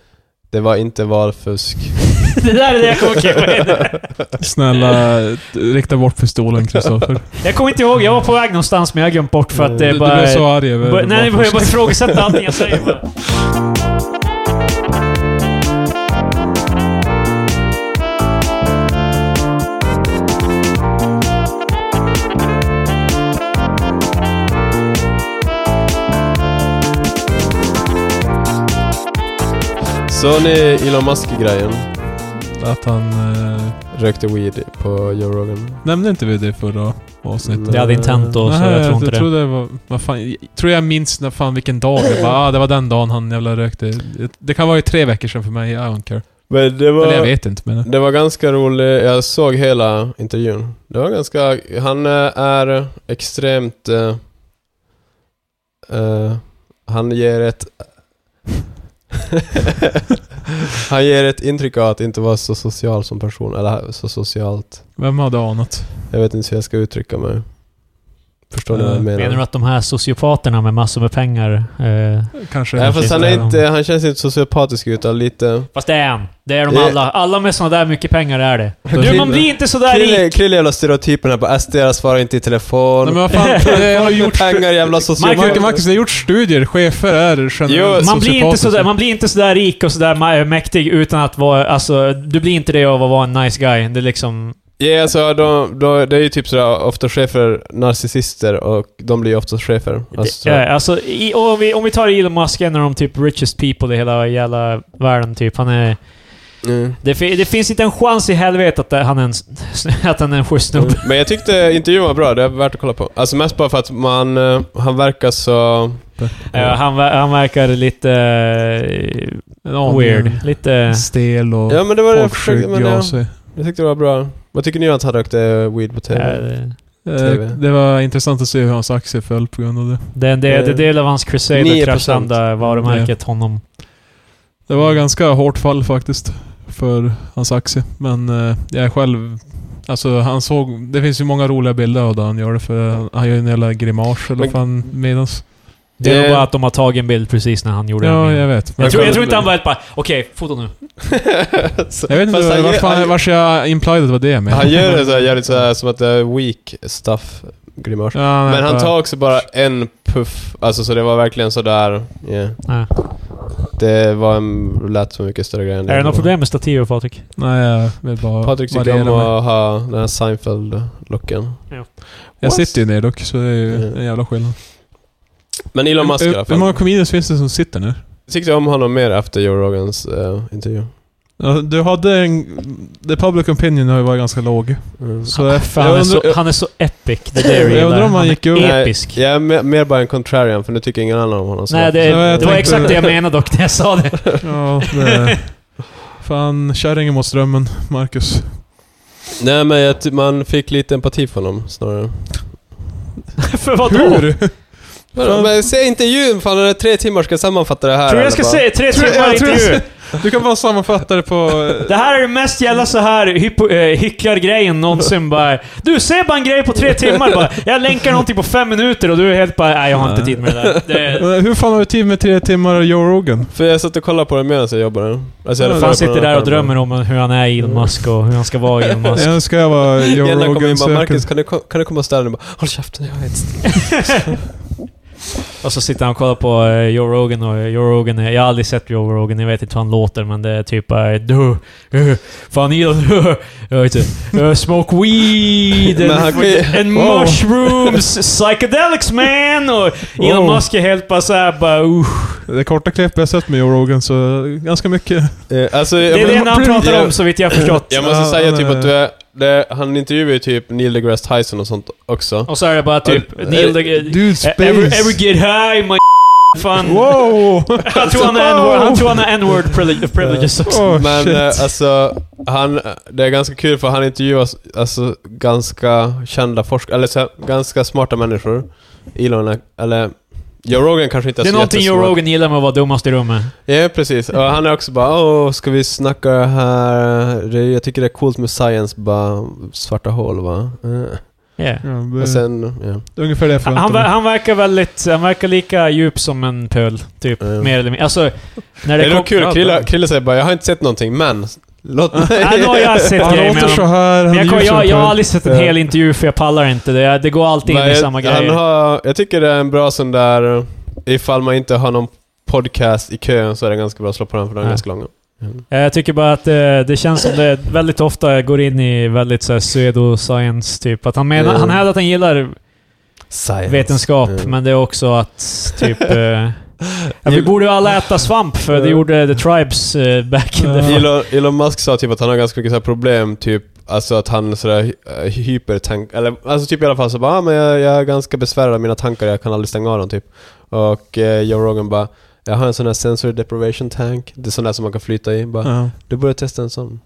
Det var inte valfusk. Det där är det jag kommer klippa in. Snälla, eh, rikta bort (laughs) pistolen Kristoffer. Jag kommer inte ihåg, jag var på väg någonstans men jag har glömt bort för att det Du, är du bara... blev så arg över... bara- nej, jag varför- börjar bara ifrågasätta allting jag säger (laughs) bara. Så ni Elon Musk-grejen? Att han... Eh, Rökte weed på Joe Rogan. nämnde inte vi det i förra avsnittet? Det hade intent och så, Nej, jag tror inte jag det. trodde det var... Vad fan, jag tror jag minns när fan vilken dag det var. Ah, det var den dagen han jävla rökte. Det kan vara ju tre veckor sedan för mig, I don't care. Men det Eller jag var... vet inte men... Det var ganska roligt. Jag såg hela intervjun. Det var ganska... Han eh, är extremt... eh, eh, han ger ett... (laughs) han ger ett intryck av att inte vara så social som person. Eller så socialt. Vem hade anat? Jag vet inte hur jag ska uttrycka mig. Förstår ni vad jag Eh, menar? Menar du att de här sociopaterna med massor med pengar... Eh, Kanske... Nej, fast han, Precis, är inte, han känns inte sociopatisk utan lite... fast det är han. Det är de Det- alla. Alla med såna där mycket pengar är det. Du, Krille- man blir inte sådär Krille rik. Krille är jävla stereotyperna på SD, svarar inte i telefon. Nej men vad fan, det (laughs) har ju gjort... pengar, jävla Marcus, sociopater. Marcus, det har gjort studier. Chefer är generellt Man blir, inte sociopatiska. sådär, man blir inte sådär rik och sådär ma- mäktig utan att vara... Alltså, du blir inte det av att vara en nice guy. Det är liksom... Ja, alltså de, de, det är ju typ sådär, ofta chefer narcissister och de blir ju ofta chefer. Alltså, ja, alltså i, och om, vi, om vi tar Elon Musk, en av de typ richest people i hela jävla världen typ. Han är... mm. Det, fi- det finns inte en chans i helvete att det- han är en, s- (laughs) att han är en schysst snubbe. Men jag tyckte intervjun var bra, det är värt att kolla på. Alltså mest bara för att man, eh, han verkar så... Ja, han, ver- han verkar lite En eh, aning weird. Lite... Stel och Ja men det var det jag folkskygg försökte, av men ja, sig. jag tyckte det var bra. Vad tycker ni om att han rökte weed på TV? eh, TV. Eh, Det var intressant att se hur hans aktie föll på grund av det. Det är en del, det är en del av hans crusade 9%. att kraschlanda varumärket honom. Det var ganska hårt fall faktiskt för hans aktie. Men eh, jag är själv Alltså han såg... Det finns ju många roliga bilder av där han gör det, för han, han gör ju en jävla grimas eller Men- vad fan medans... Det är Det- nog bara att de har tagit en bild precis när han gjorde Ja, den. jag vet. Men Jag jag, tror, jag tror inte han var helt bara okej, fota nu. (laughs) vet inte Fast han vars gör- fan- han- vars jag implied det var det med. Han gör det så här jävligt så här som att det är weak stuff grimas. (laughs) Ja, nej, Men han bara- tar också bara en puff, alltså så det var verkligen sådär... Yeah. Nej. Det var en, lät som mycket större grej än Är det var. något problem med stativet Patrik? Nej, jag vill bara Patrik tycker variera om mig. att ha den här Seinfeld-looken. Jag sitter ju ner dock, så det är ju Mm. en jävla skillnad. Men Elon Musk i Hur- alla Hur många fall. comedians finns det som sitter nu? Tyckte jag om honom mer efter Joe Rogans eh, intervju. Ja, Du hade en... The public opinion har ju varit ganska låg. Mm. Så jag, Ah, Fan, jag, han, är så, undrar, jag, han är så epic, det där jag gillar. undrar om han är gick upp- Episk. Jag är mer, mer bara en contrarian, för nu tycker ingen annan om honom. så- Nej, det, Ja, jag det var tänkte- exakt det jag menade dock när jag sa (laughs) det. ja, det, fan, kärringen mot strömmen, Marcus. Nej men jag ty- man fick lite empati för honom snarare. För vadå? Hur? Vadå, Men se intervjun, fan det är tre timmar ska jag sammanfatta det här. Tror eller du jag ska bara- säga tre Tror- timmar jag tror- intervju? Du kan bara sammanfatta det på... eh, Det här är det mest jävla så här hypo, eh, hycklargrejen någonsin bara. Du, ser bara en grej på tre timmar bara. Jag länkar någonting på fem minuter och du är helt bara nej jag har inte tid med det där. Det, Hur fan har du tid med tre timmar och Joe Rogan? För jag satt och kollade på det medan jag jobbade. Alltså, jag hade Ja, kollat på han sitter den här där och skärmen. drömmer om hur han är Elon Musk och hur han ska vara Elon Musk. Jag ska jag vara Joe Gärna kommer in Rogan bara, Marcus circus. kan du, ko- kan du komma och ställa dig? Bara, Håll käften, jag vet. Och så sitter han och kollar på eh, Joe Rogan och eh, Joe Rogan är, Jag har aldrig sett Joe Rogan, jag vet inte hur han låter men det är typ eh, du, eh, Fan Elon, eh, (laughs) jag vet inte. eh, Smoke weed Men and, han kan ju- and Wow. mushrooms, psychedelics man! Och Elon Wow. Musk är helt bara såhär bara uh. usch. Det korta klippet jag sett med Joe Rogan, så ganska mycket. Eh, alltså, Det är jag, det enda han pratar jag- om så vitt jag har förstått. Jag måste Ja, säga han typ är- att du är, det, han intervjuar ju typ Neil deGrasse Tyson och sånt också. Och så är det bara typ Neil the, Dude, space! every, every get high my (laughs) fan. Wow! (laughs) Han tror han är N-word- han tror han har N-word privile- privileges också. Oh, Men shit. eh, alltså, han, det är ganska kul för han intervjuar alltså, ganska kända forskare, eller så, här, ganska smarta människor. Elon, är- eller Joe Rogan kanske inte är Det är så någonting Joe jättesmart. Rogan gillar med att vara dummast i rummet. Ja, precis. Och han är också bara åh, ska vi snacka det här? Det, jag tycker det är coolt med science, bara svarta hål va? Eh. Yeah. Ja, det, Och sen, ja. det Mm. är ungefär det jag Han, förväntar ver- mig. han verkar väldigt... Han verkar lika djup som en pöl, typ. Ja. Mer eller mindre. Alltså, när Det det är nog kul, kopplat, Krille, eller? Krille säger bara jag har inte sett någonting, men låt mig... Ja, nu har (laughs) jag sett Han grejer med låter så honom. här, han Men jag, kom, ljuger jag, jag har på- aldrig sett en Ja. hel intervju för jag pallar inte det. Jag- Det går alltid in Nej, i samma han grejer. har, jag tycker det är en bra sån där, eh, ifall man inte har någon podcast i kön så är det ganska bra att slå på den för den är Ja. ganska lång. Eh, Jag tycker bara att eh, det känns som det väldigt ofta går in i väldigt så här pseudoscience, typ. Att han menar... Mm. Han hävdar att han gillar Science. vetenskap, Mm. men det är också att typ... (laughs) eh, ja, vi Gil- borde alla äta svamp, för det gjorde The Tribes eh, back in the... (laughs) Ja. Elon, Elon Musk sa typ att han har ganska mycket så här problem, typ Alltså att han sådär hy- eh, hypertank... Eller alltså typ i alla fall så bara ah, men jag, jag är ganska besvärad av mina tankar, jag kan aldrig stänga av dem typ. Och eh, Joe Rogan bara Jag har en sån här sensory deprivation tank. Det är sån där som man kan flyta i. Bara, Mm. Ja. Du borde testa en sån.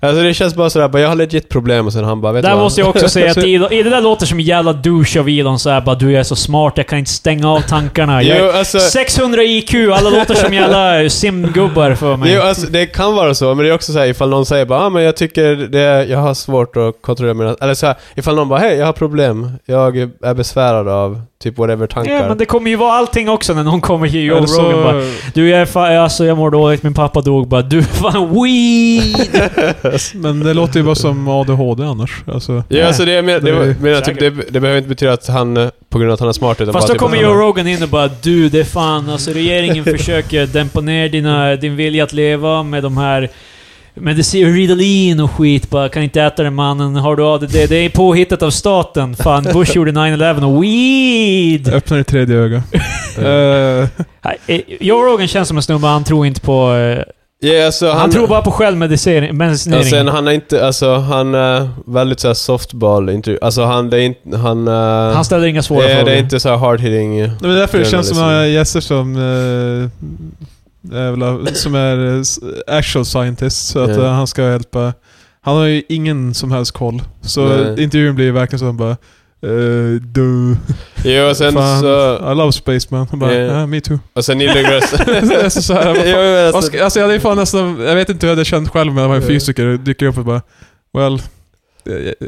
Alltså det känns bara sådär, bara, jag har legit problem och sen han bara vet du Där vad? måste jag (laughs) också säga att Elon, det där låter som en jävla douche av Elon såhär bara du jag är så smart, jag kan inte stänga av tankarna. Ah, Jag (laughs) Jo, är alltså, 600 IQ, alla låter som jävla simgubbar för mig. jo, alltså, det kan vara så, men det är också såhär ifall någon säger bara ah, men jag tycker det, jag har svårt att kontrollera mina... Eller såhär, ifall någon bara hej, jag har problem. Jag är besvärad av typ whatever tankar. Ja, men det kommer ju vara allting också när någon kommer till Joe Eller så- Rogan bara Du jag är fa- alltså jag mår dåligt, min pappa dog bara du fan weed! Men det låter ju bara som ADHD annars. Alltså, Ja, alltså det, jag menar- det, var- Det- menar typ, det, det behöver inte betyda att han, eh, på grund av att han är smart, utan Fast bara då typ kommer att han Joe har- Rogan in och bara du det är fan alltså (laughs) regeringen försöker dämpa ner dina, din vilja att leva med de här medicin, Ritalin och skit bara, kan inte äta den mannen, har du ADD? Det är påhittat av (laughs) staten. Fan, Bush gjorde 9-11 och weed! öppnar i (laughs) tredje öga. Eh, Nej, eh, Joe Rogan känns som en snubbe, han tror inte på... eh, Ja, alltså, Han, han, tror bara på självmedicinering. Ja, sen medicinering. han är inte, alltså han är väldigt såhär softball intervju. Alltså han, det är inte, han... eh, Han ställer inga svåra det, är- frågor. det är inte så här hard hitting. eh. det är därför det känns som Journalism. några gäster som... eh, är väl- som är eh, s- actual scientist. Så att Ja. eh, han ska hjälpa... Han har ju ingen som helst koll. Så Nej. intervjun blir ju verkligen som bara... Uh, du. Jo, och sen Fan, så... I love space man. Han bara, Ja. yeah. me too. Och sen Neil (laughs) deGrasse... Det är så här, vad fan- (laughs) Jo, men Vad alltså, ska- Alltså jag hade ju fan nästan, jag vet inte hur jag hade känt själv men när man är Ja. fysiker dyker upp och bara Well,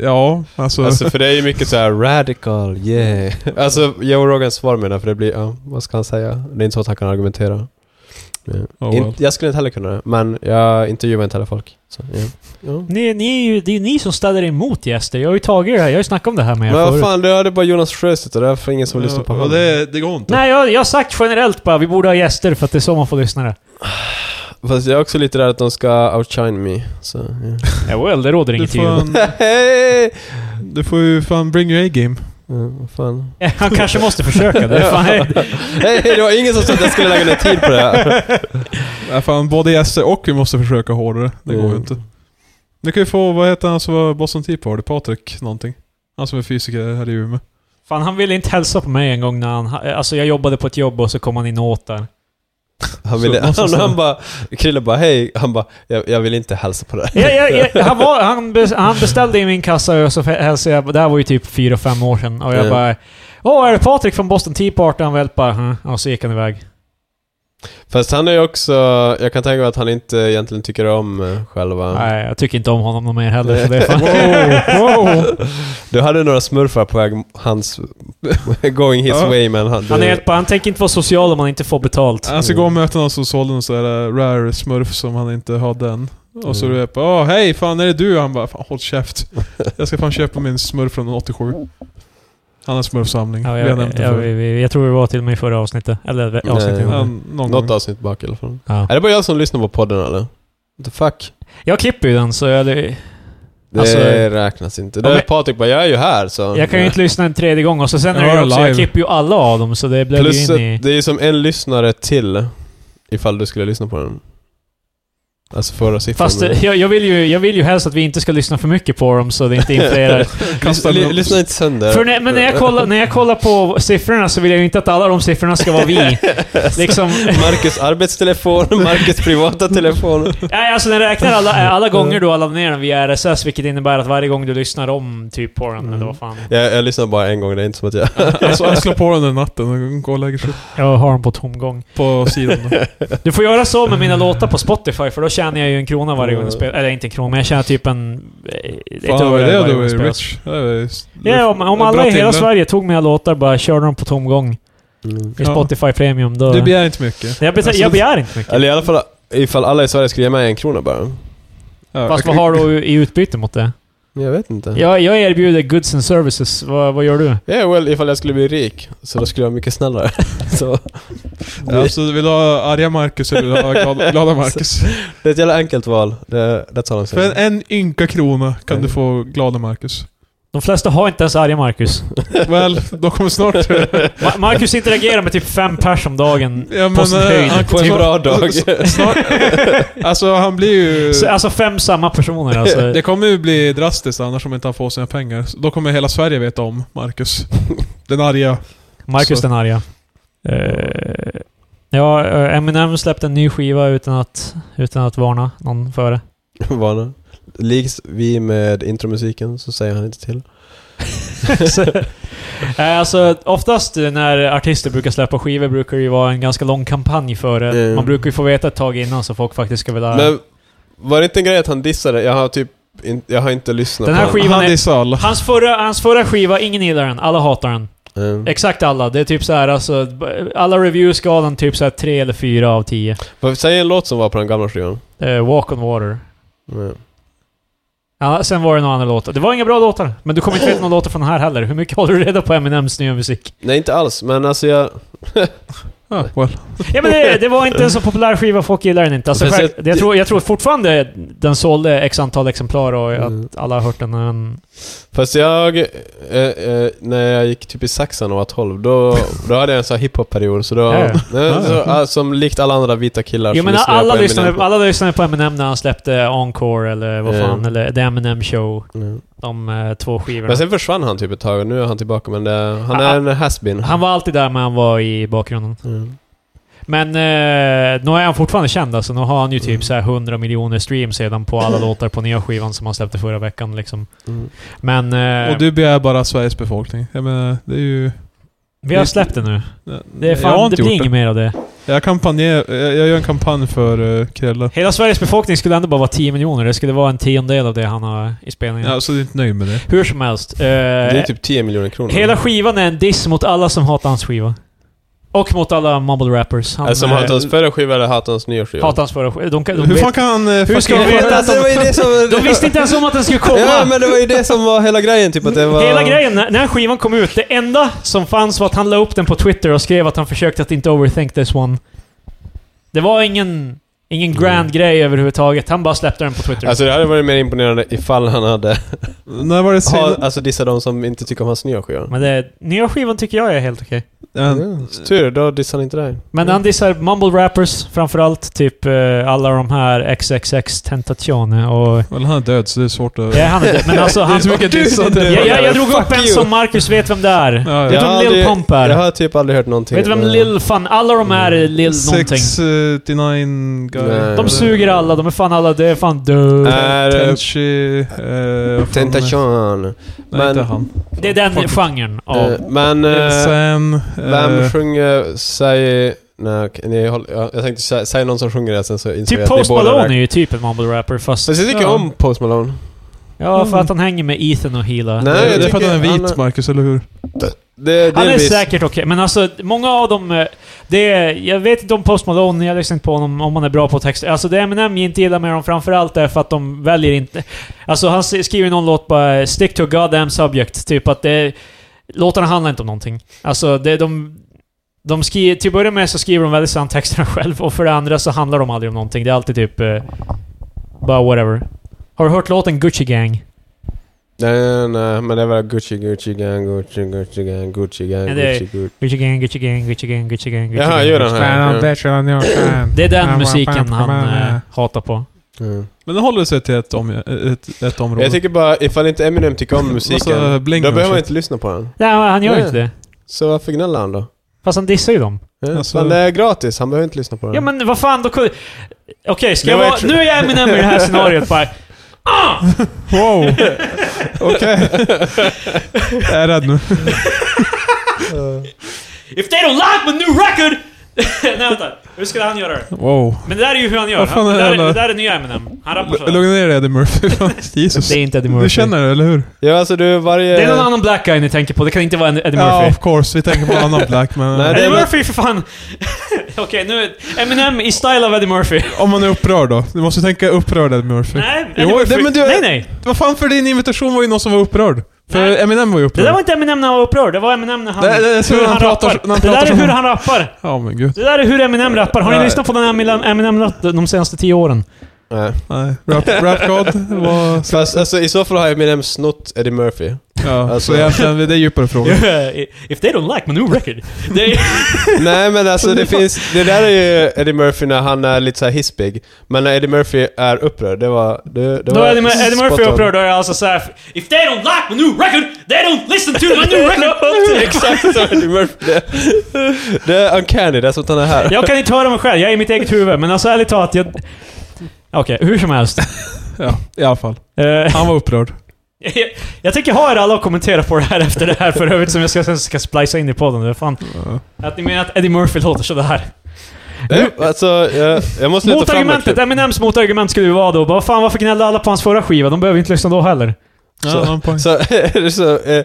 Ja, alltså... (laughs) Alltså för det är ju mycket så här radical, yeah. Alltså Joe Rogans svar menar jag, för det blir, ja, vad ska han säga? Det är inte så att han kan argumentera. Ja. oh In, well. jag skulle inte heller kunna det, men jag intervjuar inte heller folk. Så, ja. Ja. Ni, ni är ju, det är ju ni som ställer emot gäster. Jag har ju tagit det här. Jag har ju snackat om det här med er Men vad förut. fan, det är bara Jonas Sjöstedt och det är för ingen som lyssnar på Ja, honom. det, det går inte. Nej, jag, jag har sagt generellt bara vi borde ha gäster för att det är så man får lyssnare. Fast jag är också lite rädd att de ska outshine me. Så, ja. Mm. (laughs) Ja, well, det råder Du inget får, tvivel. en, du får ju fan bring your A-game. ja, vad fan. Han kanske måste försöka. (laughs) Det är fan, Hej, det var (laughs) ingen som sa att jag skulle lägga ner tid på det här. Ja, Äh, fan, både gäster och vi måste försöka hårdare. Det går ju Mm. inte. Du kan ju få, vad heter han som var Boston Tea Party? Patrik någonting? Han som är fysiker här i Umeå. (laughs) fan, han ville inte hälsa på mig en gång när han... Alltså jag jobbade på ett jobb och så kom han in och åt där. Han, ville, Så, någon som (laughs) han, sa- han bara, Krille bara hej, han bara, jag, jag vill inte hälsa på det här. Ja, ja, ja, han, var, han, bes- han beställde i min kassa och så hälsade jag... Det här var ju typ fyra fem år sedan. Och jag Ja. bara... Åh, är det Patrik från Boston Tea Party? Han väl bara... "Hm." Och så gick han iväg. Fast han är ju också, jag kan tänka mig att han inte egentligen tycker om eh, själva... Nej, jag tycker inte om honom någon mer heller. (laughs) Så det är fan... (laughs) Du hade några smurfar på väg, hans... (laughs) going his Ja. way men han... Han är du- helt bara... Han tänker inte vara social om han inte får betalt. Han ska gå och möta någon som sålde någon sån här äh, rare smurf som han inte hade än. Och så är Mm. det bara Åh, hej fan är det du? Han bara fan håll (laughs) käft. Jag ska fan köpa min smurf från 87. Han har en smurfsamling. Ja, vi har jag, nämnt jag, det jag, förut. jag, tror vi var till och med i förra avsnittet. Eller avsnittet Nej. innan. Ja, någon Något gång. avsnitt bak i alla fall. Ja. Är det bara jag som lyssnar på podden eller? What The fuck? Jag klipper ju den så jag, Det Alltså- räknas inte. Det Ja, är men- Patrik bara, jag är ju här så... jag kan ju inte lyssna en tredje gång och så sen är det Ja, ju också, jag live. klipper ju alla av dem så det blir ju Plus in att i... det är ju som en lyssnare till ifall du skulle lyssna på den. Alltså förra siffran. Fast eh, jag, jag, vill ju, jag vill ju helst att vi inte ska lyssna för mycket på dem så det inte (laughs) influerar. Kasta Ly- någon- lyssna inte sönder. för när, men när jag, kollar, när jag kollar på siffrorna så vill jag ju inte att alla de siffrorna ska (laughs) vara (laughs) vi. liksom, Marcus arbetstelefon, Marcus privata telefon. nej, alltså den räknar alla, alla gånger du har laddat ner den via RSS vilket innebär att varje gång du lyssnar om typ på den eller vad fan. Mm. Jag, jag lyssnar bara en gång, det är inte som att jag... Alltså, han slår på den den natten och går och lägger sig Jag har den på tomgång. på sidan. Du får göra så med mina Mm. låtar på Spotify, för då tjänar jag ju en krona varje gång jag spelar. Eller inte en krona, men jag tjänar typ en... eh, Ett Fan vad öre är det varje gång du jag är spelar. rich. Det är ju- Ja, om, om bra alla i hela tillgång. Sverige tog mina låtar bara körde dem på tomgång Mm. i Ja. Spotify Premium, då... Du begär inte mycket. jag, beta- Alltså, jag begär inte mycket. Eller i alla fall ifall alla i Sverige skulle ge mig en krona bara. ja, Fast vad har du i utbyte mot det? Jag vet inte. Ja, Jag, jag erbjuder goods and services. Vad, vad gör du? yeah, well, ifall jag skulle bli rik, så då skulle jag vara mycket snällare. (laughs) så, Ja, så vill du ha arga Marcus eller vill du (laughs) ha glada, glada Marcus? det är ett jävla enkelt val. Det, that's all I'm För en, saying. en ynka krona kan du få glada Marcus. De flesta har inte ens arga Marcus. Väl, de (laughs) kommer snart... Ma- Marcus interagerar med typ fem pers om dagen. Ja, På sin eh, höjd. han- På en snart- bra (laughs) dag. Snart, (laughs) alltså han blir ju... Så, alltså fem samma personer alltså. Det kommer ju bli drastiskt annars om inte han får sina pengar. Så Då kommer hela Sverige veta om Marcus. Den arga. Marcus Så- den arga. Eh, ja, eh, Eminem släppte en ny skiva utan att, utan att varna någon för det. (laughs) Vana. Liks vi med intromusiken så säger han inte till. Så, eh, alltså, oftast när artister brukar släppa skivor brukar det ju vara en ganska lång kampanj för det. Mm. Man brukar ju få veta ett tag innan så folk faktiskt ska vilja... Men var det inte en grej att han dissade? Jag har typ in, jag har inte lyssnat Den här på Skivan Han är- dissar alla. Hans förra, hans förra skiva, ingen gillar den. Alla hatar den. Mm. Exakt alla. Det är typ så här, alltså... Alla reviews gav den typ så här 3 eller 4 av 10. Vad- Säg en låt som var på den gamla skivan. Eh, Walk on water. Mm. Ja, sen var det några andra låtar. Det var inga bra låtar. Men du kommer inte veta några låtar från den här heller. Hur mycket håller du reda på Eminems nya musik? Nej, inte alls, men alltså jag... Ah, well. Ja, men det, det var inte en så populär skiva. Folk gillar den inte. Alltså, Fast själv, jag- jag, tror, jag tror fortfarande den sålde x antal exemplar och Mm. att alla har hört den. Men Fast jag, eh, eh, när jag gick typ i sexan och var 12, då, då hade jag en sån här hiphop-period. Så då, Ja, eh, ja. så, ah, som likt alla andra vita killar jo, så men lyssnade jag alla på lyssnade, Eminem. alla lyssnade på Eminem när han släppte Encore eller vad fan, Mm. eller The Eminem Show. Mm. De eh, två skivorna. Men sen försvann han typ ett tag och nu är han tillbaka men det, han Ah, är en has-been. Han var alltid där, men han var i bakgrunden. Mm. Men eh, nu är han fortfarande känd alltså. Nu har han ju typ Mm. så här 100 miljoner streams redan på alla låtar på nya skivan som han släppte förra veckan liksom. Mm. Men eh, Och du begär bara Sveriges befolkning. Jag menar, det är ju... vi har släppt det nu. Det, är jag har fan, det inte blir gjort inget mer av det. Jag, kampanjer, jag, jag gör en kampanj för uh, Krella. Hela Sveriges befolkning skulle ändå bara vara 10 miljoner. Det skulle vara en tiondel av det han har i spelningen. Ja, så du är inte nöjd med det? Hur som helst. eh, Det är typ 10 miljoner kronor. hela skivan är en diss mot alla som hatar hans skiva. Och mot alla mumble rappers. Han, Eller som eh, hatar hans förra skiva eller hatar hans nya skiva? hatar hans förra skiva. De, kan- de, Hur vet- fan kan han... eh, Hur ska fucking- vi veta? Alltså, det var ju det som... de visste inte ens om att den (laughs) skulle komma! Ja, men det var ju det som var hela grejen, typ att det var... Hela grejen, när när skivan kom ut, det enda som fanns var att han la upp den på Twitter och skrev att han försökte att inte overthink this one. Det var ingen, ingen grand grej överhuvudtaget. Han bara släppte den på Twitter. Alltså det hade varit mer imponerande ifall han hade... När var det sen... Ha, alltså dissa de som inte tycker om hans nya skiva. men det, nya skivan tycker jag är helt okej. en- Ja, Tur, då dissar han inte dig. Men han dissar mumble rappers framförallt. Typ eh, alla de här XXX Tentacione och... Well, han är död, så det är svårt att... Ja, han är det. Men alltså det är han... så mycket dissande. Jag, jag, jag drog Fuck upp en you. som Marcus vet vem det är. Ja, Vet ja. du vem Lil det- Pump är? Jag har typ aldrig hört någonting. Vet du vem men- Lil Fan... Alla de här är Lil någonting. 689 eh, guy. Nej. De suger alla, de är fan alla, det är fan du. Är- Tenchi... eh, vad fan är- Tentation. Nej, inte men- han. Det är den Fuck. genren av... Eh, Men... eh, Sen... eh, Vem sjunger... Säg... Nej, okej, nej, jag håller- jag jag tänkte sä- säg någon som sjunger det sen så insåg jag typ att Post ni båda Malone är räknar. ju typ en mumble rapper fast... Fast jag tycker Ja. om Post Malone. Ja, för att han hänger med Ethan och Hila. Nej, jag det är för att tycker han är vit, han- Marcus, eller hur? Det, Han är delvis. säkert okej, men alltså många av dem... eh, Det är, jag vet inte om Post Malone, jag lyssnar inte på honom, om han är bra på texter. Alltså det Eminem jag inte gillar med dem framförallt är för att de väljer inte... Alltså han s- skriver någon låt bara 'Stick to a goddamn subject' typ att det... Låtarna handlar inte om någonting. Alltså det de... De skriver, till att börja med så skriver de väldigt sällan texterna (laughs) själv och för det andra så handlar de aldrig om någonting. Det är alltid typ... eh, Bara whatever. Har du hört låten Gucci Gang? Nej, nej, nej, men det var Gucci, Gucci gang, Gucci, Gucci gang, Gucci gang, Ja, det är- Gucci, Gucci. Gucci Gang, Gucci Gang, Gucci Gang, Gucci Gang, Gucci Jaha, Gang. gör den här. Ja. Det är den musiken han eh, hatar på. Mm. Men det håller sig till ett, om, ett, ett område. Jag tycker bara, ifall inte Eminem tycker om musiken, (laughs) Massa då bling behöver och man shit. inte lyssna på den. Nej, men han gör ju Nej. inte det. Så varför gnäller han då? Fast han dissar ju dem. Ja, Alltså- Men det är gratis, han behöver inte lyssna på den. Ja men vad fan, då... kunde- Okej, ska Det jag var vara... ett- Nu är jag Eminem i det här scenariot bara. Ah! (laughs) Wow! Okej. Jag är rädd nu. If they don't like my new record! (laughs) Nej vänta, hur skulle han göra det? Wow. Men det där är ju hur han gör. Vad fan Han, det, är där, det det där? där är nya Eminem. Han rappar L- såhär. Lugna ner dig (laughs) Eddie Murphy. Jesus. inte Eddie Du känner det, eller hur? Ja, alltså du, varje... Det är någon annan black guy ni tänker på, det kan inte vara Eddie Ja, Murphy. of course. Vi tänker på annan Black, men... Nej, det- Eddie är- Murphy för fan! (laughs) Okej, nu... är- Eminem i style av Eddie Murphy. Om man är upprörd då? Du måste tänka upprörd Eddie Murphy. Nej, Eddie Jo, Murphy. nej, men du- nej, nej. Vad fan för din invitation var ju någon som var upprörd. För Nej. Eminem var ju Det upprörd. där var inte Eminem när han var upprörd, det var Eminem när han... Det- det är så hur han pratar- rappar. när han det pratar där är som hur han- han rappar. Ja men gud. Det där är hur Eminem rappar. Har ni Ja. lyssnat på den här Eminem-rapp de senaste tio åren? Nej. Nej. Rap, (laughs) rap God var... Fast alltså, i så fall har Eminem snott Eddie (laughs) Murphy. Ja, Alltså- så egentligen, det är djupare frågor. If they don't like my new record. Det är, Nej men alltså det finns, det där är ju Eddie Murphy när han är lite så här hispig. Men när Eddie Murphy är upprörd, det var... Det, det då var är Eddie, Mur- Eddie Murphy spot on. (laughs) upprörd och är alltså såhär If they don't like my new record, they don't listen to my (laughs) new record. Exakt som Eddie Murphy. Det, det är uncanny, det är som att han är här. jag kan inte höra mig själv, jag är i mitt eget huvud. Men alltså ärligt talat, jag... Okej, hur som helst. Ja, i alla fall. Eh, (laughs) Han var upprörd. Jag- Jag tänker ha er alla att kommentera på det här efter det här för övrigt som jag ska, sen ska splicea in i podden. Det är fan. Att ni menar att Eddie Murphy låter sådär. Det, alltså, jag, jag måste leta fram ett Motargumentet, klipp. Eminems motargument skulle ju vara då bara fan varför gnällde alla på hans förra skiva? De behöver inte lyssna då heller. Ja, Så- han har poäng. Så, (laughs) så eh,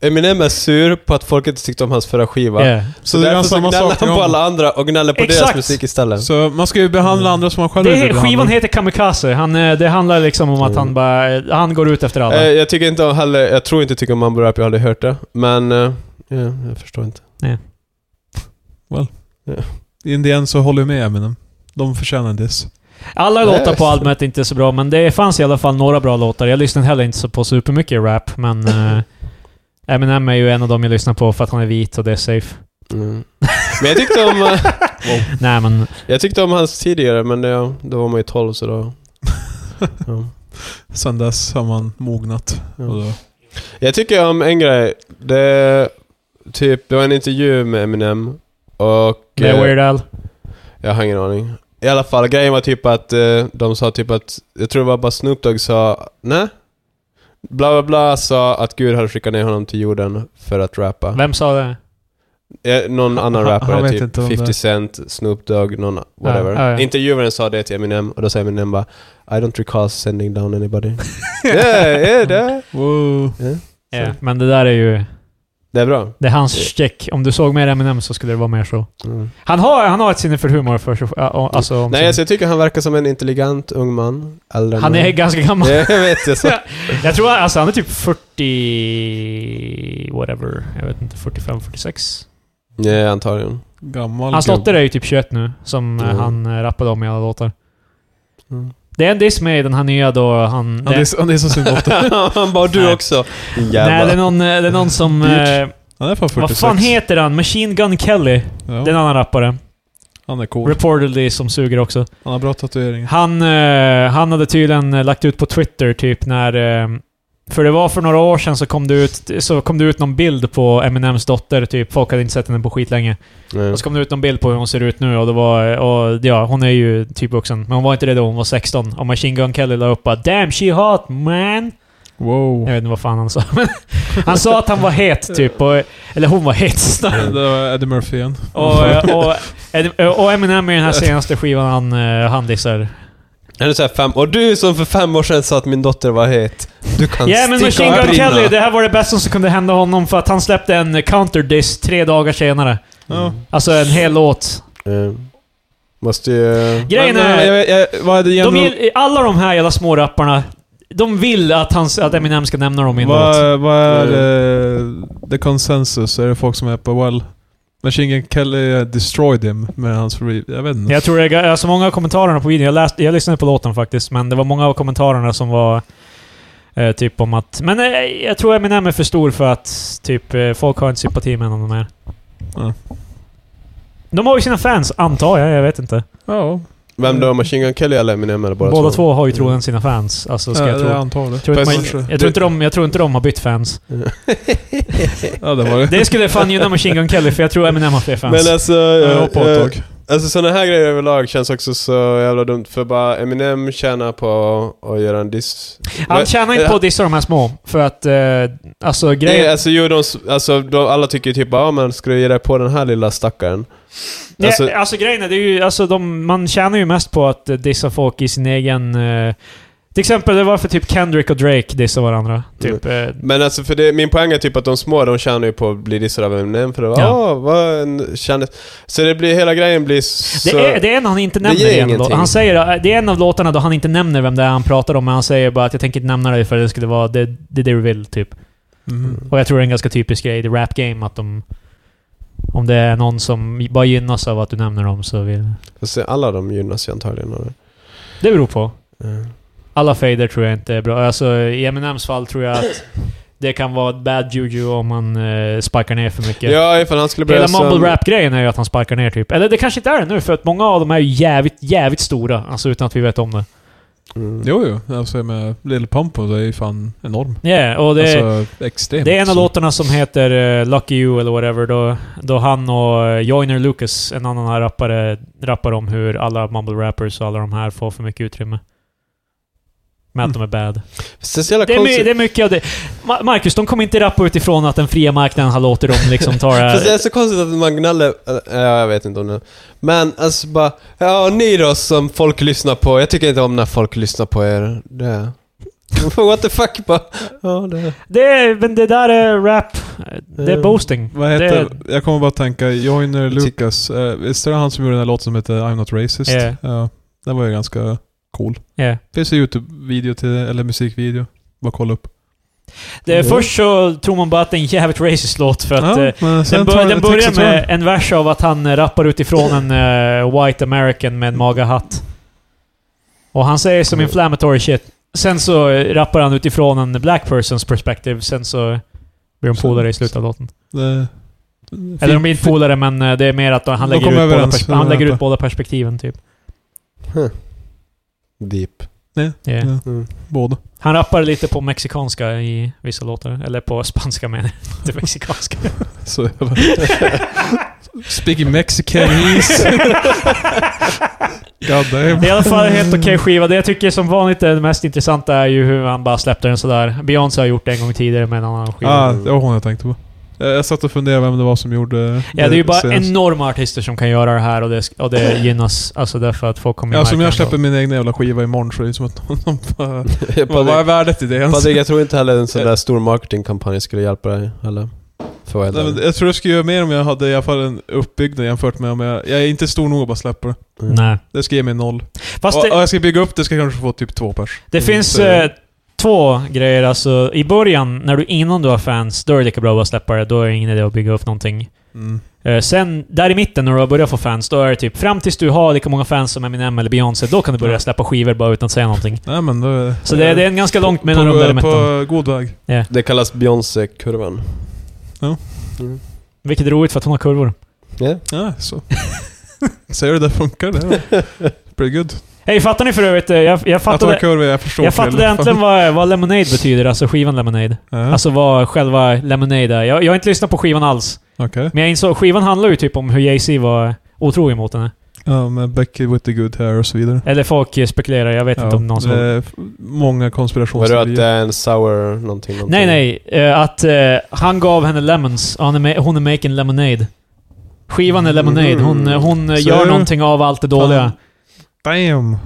Eminem är sur på att folk inte tyckte om hans förra skiva. Yeah. Så, Så det är därför han så samma gnäller sak han om. på alla andra och gnäller på Exakt. deras musik istället. Så man ska ju behandla andra som man själv Det, vill bli skivan behandlad. heter Kamikaze. Han, eh, det handlar liksom om att han bara... Han går ut efter alla. Eh, jag tycker inte om heller, jag tror inte tycker om Mumble Rap, jag har aldrig hört det. Men, eh, ja, jag förstår inte. I Indien så håller jag med Eminem. De förtjänar en diss. Alla nej, låtar visst. på albumet är inte så bra, men det fanns i alla fall några bra låtar. Jag lyssnade heller inte så på supermycket rap, (laughs) men... eh, Eminem är ju en av dem jag lyssnar på för att han är vit och det är safe. Mm. Men jag tyckte om, (laughs) eh, Nej men... jag tyckte om hans tidigare, men det, då var man ju 12 så då... Ja. Sen dess har man mognat. Ja. Och då, Jag tycker om en grej. Det, typ, det var en intervju med Eminem och... Med eh, Weird Al. Jag har ingen aning. I alla fall, grejen var typ att eh, de sa typ att, jag tror det var bara Snoop Dogg sa, nej? Bla bla bla sa att Gud hade skickat ner honom till jorden för att rappa. Vem sa det? Eh, Någon Han- annan han- rappare, han vet typ inte om det. 50 Cent, Snoop Dogg, någon whatever. ja, ja. Intervjuaren sa det till Eminem och då sa Eminem bara I don't recall sending down anybody. yeah, yeah, det. Wow. Ja, Eh, men det där är ju... det är bra. Det är hans check. Om du såg mer Eminem så skulle det vara mer så. Mm. Han har, han har ett sinne för humor för sig ja, och- alltså, om Nej, sin- alltså, jag tycker han verkar som en intelligent ung man. Äldre än Han är mig. ganska (laughs) gammal. Det vet jag så. Jag tror alltså han är typ 40... Whatever. Jag vet inte. 45, 46. Nej, antagligen. Gammal Hans gubbe. dotter är ju typ 21 nu, som eh, Mm. han eh, rappade om i alla låtar. Mm. Det är en diss med i den här nya då han... (laughs) Han det, är, han är som sin dotter. han bara du Nej. också. nej, Jävlar. det är någon, eh, det är någon som... Bitch. Eh, Han är fan 46. vad fan heter han? Machine Gun Kelly. ja, Det är en annan rappare. Han är cool. Reportedly som suger också. Han har bra tatueringar. Han, eh, han hade tydligen eh, lagt ut på Twitter typ när... Eh, för det var för några år sedan så kom, det ut, så kom det ut någon bild på Eminems dotter, typ. Folk hade inte sett henne på skitlänge. Nej. Och så kom det ut någon bild på hur hon ser ut nu och det var... eh, Och, ja, hon är ju typ vuxen. Men hon var inte det då, hon var 16. Och Machine Gun Kelly la upp bara, “Damn, she hot man!” Jag Wow. vet inte vad fan han sa, (laughs) men... Han sa att han var het, typ. Och, eller hon var het, snarare. (laughs) Det var Eddie Murphy igen. Och, eh, och, Ed- och Eminem i den här senaste skivan han, eh, han dissar. Han är så här fem, och du som för fem år sedan sa att min dotter var het. Du kan Ja, men sticka Machine och Gun brinna. Kelly, det här var det bästa som kunde hända honom för att han släppte en counter-diss tre dagar senare. Ja. Alltså en hel låt. Eh, Måste ju... Grejen Men, eh, är- jag- jag- vad är det De, genom- gill- alla de här jävla smårapparna, de vill att, han, att Eminem ska nämna dem i en låt. Vad, vad är eh, the consensus? Är det folk som är på well? Machine Gun Kelly eh, destroyed him med hans re- Jag vet inte. Jag tror det är alltså många av kommentarerna på videon, jag, läste, jag lyssnade på låten faktiskt, men det var många av kommentarerna som var eh, typ om att... Men eh, jag tror Eminem är för stor för att typ eh, folk har inte sympati med honom mer. Ja. De har ju sina fans, antar jag. Jag vet inte. Ja, Vem då? Machine Gun Kelly eller Eminem eller båda, Båda, två. Mm. har ju troligen sina fans. Alltså, ska ja, jag, tro. jag antar det. tror inte Fast- man, jag, tror inte de, jag tror inte de har (laughs) bytt fans. Mm. Ja, det var det. Det skulle fan gynna Machine Gun Kelly, för jag tror Eminem har fler fans. Men alltså... Jag eh, hoppar ett eh, tag. Alltså sådana här grejer överlag känns också så jävla dumt för bara Eminem tjänar på att göra en diss. Eh, Han tjänar inte på att dissa de här små, för att... Eh, alltså grejen... Nej, alltså, jo, de, alltså de, alla tycker ju typ bara ah, men ska du ge dig på den här lilla stackaren? Nej, alltså- alltså, grejen är, det är ju, alltså, de, man tjänar ju mest på att eh, dissa folk i sin egen... Eh, till exempel, det var för typ Kendrick och Drake dissar varandra. Typ, eh, Men alltså för det, min poäng är typ att de små de tjänar ju på att bli dissade av Eminem för det var Ja. ah vad en kändis. Så det blir, hela grejen blir så... det, är, det är en han inte nämner ger i en låt. ingenting. Han säger, eh, det är en av låtarna då han inte nämner vem det är han pratar om, men han säger bara att jag tänker inte nämna dig för det skulle vara det, det, är det du vill, typ. Mhm. Och jag tror det är en ganska typisk grej i the rap game att de... Om det är någon som bara gynnas av att du nämner dem så vill... Fast alla de gynnas ju antagligen av det. Det beror på. Mm. Alla fader tror jag inte är bra. Alltså i Eminems fall tror jag att det kan vara ett bad juju om man eh, sparkar ner för mycket. Ja, ifall han skulle börja Hela som- mumble rap-grejen är ju att han sparkar ner typ. Eller det kanske inte är det nu, för att många av dem är ju jävligt, jävligt stora. Alltså utan att vi vet om det. Mm. Jo, jo. Alltså jag menar, Lil Pump och det är ju fan enorm. Ja, och det... alltså extremt. Det är en av Så- låtarna som heter eh, Lucky You eller whatever, då, då han och eh, Joyner Lucas, en annan här rappare, rappar om hur alla mumble rappers och alla de här får för mycket utrymme. Med att de är bad. Fast Det är så jävla Det är, konstigt. my, det är mycket av det. Ma- Marcus, de kommer inte rappa utifrån att den fria marknaden har låtit dem liksom ta det (laughs) Fast det här. är så konstigt att man gnäller, äh, ja, jag vet inte om det. Men alltså bara, ja ni då som folk lyssnar på, jag tycker inte om när folk lyssnar på er. Det. (laughs) What the fuck bara, ja det. Det är, men det där är rap. Det är Mm. boasting. Vad Det- heter... Jag kommer bara att tänka, Joyner Jag tyck- Lucas. Eh, visst är det han som gjorde den där låten som heter I'm Not Racist? Ja. Ja. Den var ju ganska cool. ja. Finns det YouTube-video till det, eller musikvideo? Bara kolla upp. det är, Mm. först så tror man bara att det är en jävligt racist låt för att... eh, men sen Den, tar- bör, den texten börjar tar- med en vers av att han eh, rappar utifrån en eh, white American med en magahatt. Och han säger som inflammatory shit. Sen så eh, rappar han utifrån en black persons perspective. Sen så blir de Sen- polare i slutet av låten. Det- Eller de blir inte polare, men eh, det är mer att han De lägger, kommer ut båda, överens, pers- han jag lägger vet ut båda perspektiven typ. Deep. Yeah. Ja. Mm. Båda. Han rappar lite på mexikanska i vissa låtar. Eller på spanska menar jag. (laughs) Inte mexikanska. (laughs) Så jävla... (laughs) Speaking Mexicanese. God damn. I alla fall helt okej skiva. Det jag tycker som vanligt är det mest intressanta är ju hur han bara släppte den sådär. Beyoncé har gjort det en gång tidigare med en annan skiva. Ah, det var hon jag tänkte på. Eh, Jag satt och funderade vem det var som gjorde Ja, det är ju bara senast. enorma artister som kan göra det här och det, och det gynnas. Alltså därför att folk kommer Ja, märka som jag ändå. släpper min egna jävla skiva imorgon så är det som att någon någon bara... (laughs) Vad vad är Patrik, värdet i det ens? Eh. Patrik, jag tror inte heller en sån där stor marketingkampanj skulle hjälpa dig heller. För vad jag Nej, men tror. jag tror jag skulle göra mer om jag hade i alla fall en uppbyggnad jämfört med om jag... Jag är inte stor nog att bara släppa det. Mm. Nej. Det ska ge mig noll. Fast och, Mm, och det, jag ska bygga upp det, ska jag kanske få typ två pers. det finns så- eh, två grejer. Alltså, i början, när du innan du har fans, då är det lika bra att bara släppa det. Då är det ingen idé att bygga upp någonting. Mm. Eh, Sen, där i mitten, när du har börjat få fans, då är det typ fram tills du har lika många fans som Eminem eller Beyoncé, då kan du börja Ja. släppa skivor bara utan att säga någonting. Nej men då... Så det, det är en ganska långt mellanrum där i på, mitten. på god väg. Det kallas Beyoncé-kurvan. Mm. Vilket är roligt för att hon har kurvor. Ja. Ja, (laughs) så. Säger du det funkar det? ja. Pretty good. Hej, fattar ni för övrigt? eh, Jag, jag Att man fattade, kurva, jag förstår jag fattade fel. (laughs) äntligen vad, vad Lemonade betyder, alltså skivan Lemonade. Ja, Alltså vad själva Lemonade är. Jag, jag har inte lyssnat på skivan alls. Okej. Men jag insåg, skivan handlar ju typ om hur Jay-Z var otrogen mot henne. Ja, med Becky with the good hair och så vidare. Eller folk eh, spekulerar, jag vet inte om någon som... det är f- många Var det att det konspirationsteorier. är en sour någonting? någonting? Nej, nej. eh, att eh, han gav henne lemons. och Han är ma- hon är making lemonade. Skivan är lemonade. Hon, eh, hon eh, Mm. Så- gör någonting av allt det dåliga. Damn!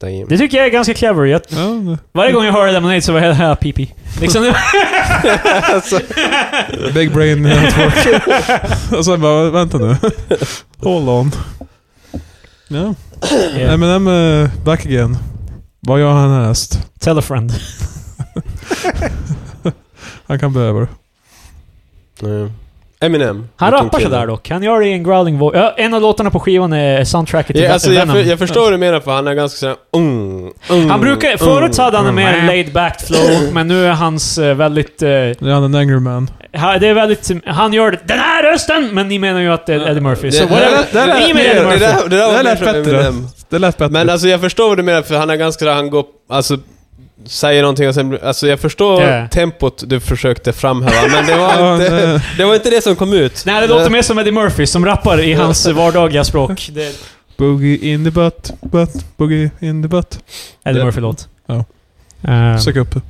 Damn. Det tycker jag är ganska clever. Jag, Ja, det- (laughs) varje gång jag hör lemonade så var jag (laughs) här pipi. (laughs) Liksom, Alltså. (laughs) big brain network. och sen bara, (laughs) vänta nu. Hold on. Ja. Yeah. Nej men den med back again. Vad gör han härnäst? tell a friend. Han kan behöva det. Nej. Eminem. Han Vilken rappar kille. sådär dock. Han gör det i en growling voice. Ja, en av låtarna på skivan är soundtracket till Ja, alltså, jag, Venom. för, jag förstår hur du menar för han är ganska såhär... Mm, mm, han brukar, förut så hade han en mm. mer laid back flow, men nu är hans eh, väldigt... eh, Det är han en angry man. ha- det är väldigt... Han gör det, den här rösten! Men ni menar ju att det är Eddie Murphy. Så Det- whatever. det- det- Ni är med Eddie det- Murphy. det- det- det där var Det lät mer från bättre. Eminem. Det lät bättre. Men alltså jag förstår vad du menar för han är ganska... Han går... Alltså... Säger någonting och sen... Alltså jag förstår Ja. tempot du försökte (laughs) framhäva men det var Ja, inte... nej. det var inte det som kom ut. Nej, det låter mer som Eddie Murphy som rappar i hans (laughs) vardagliga språk. Det, Boogie in the butt, butt, boogie in the butt. Eddie Det- Murphy-låt. Ja. Ehm, Sök upp det.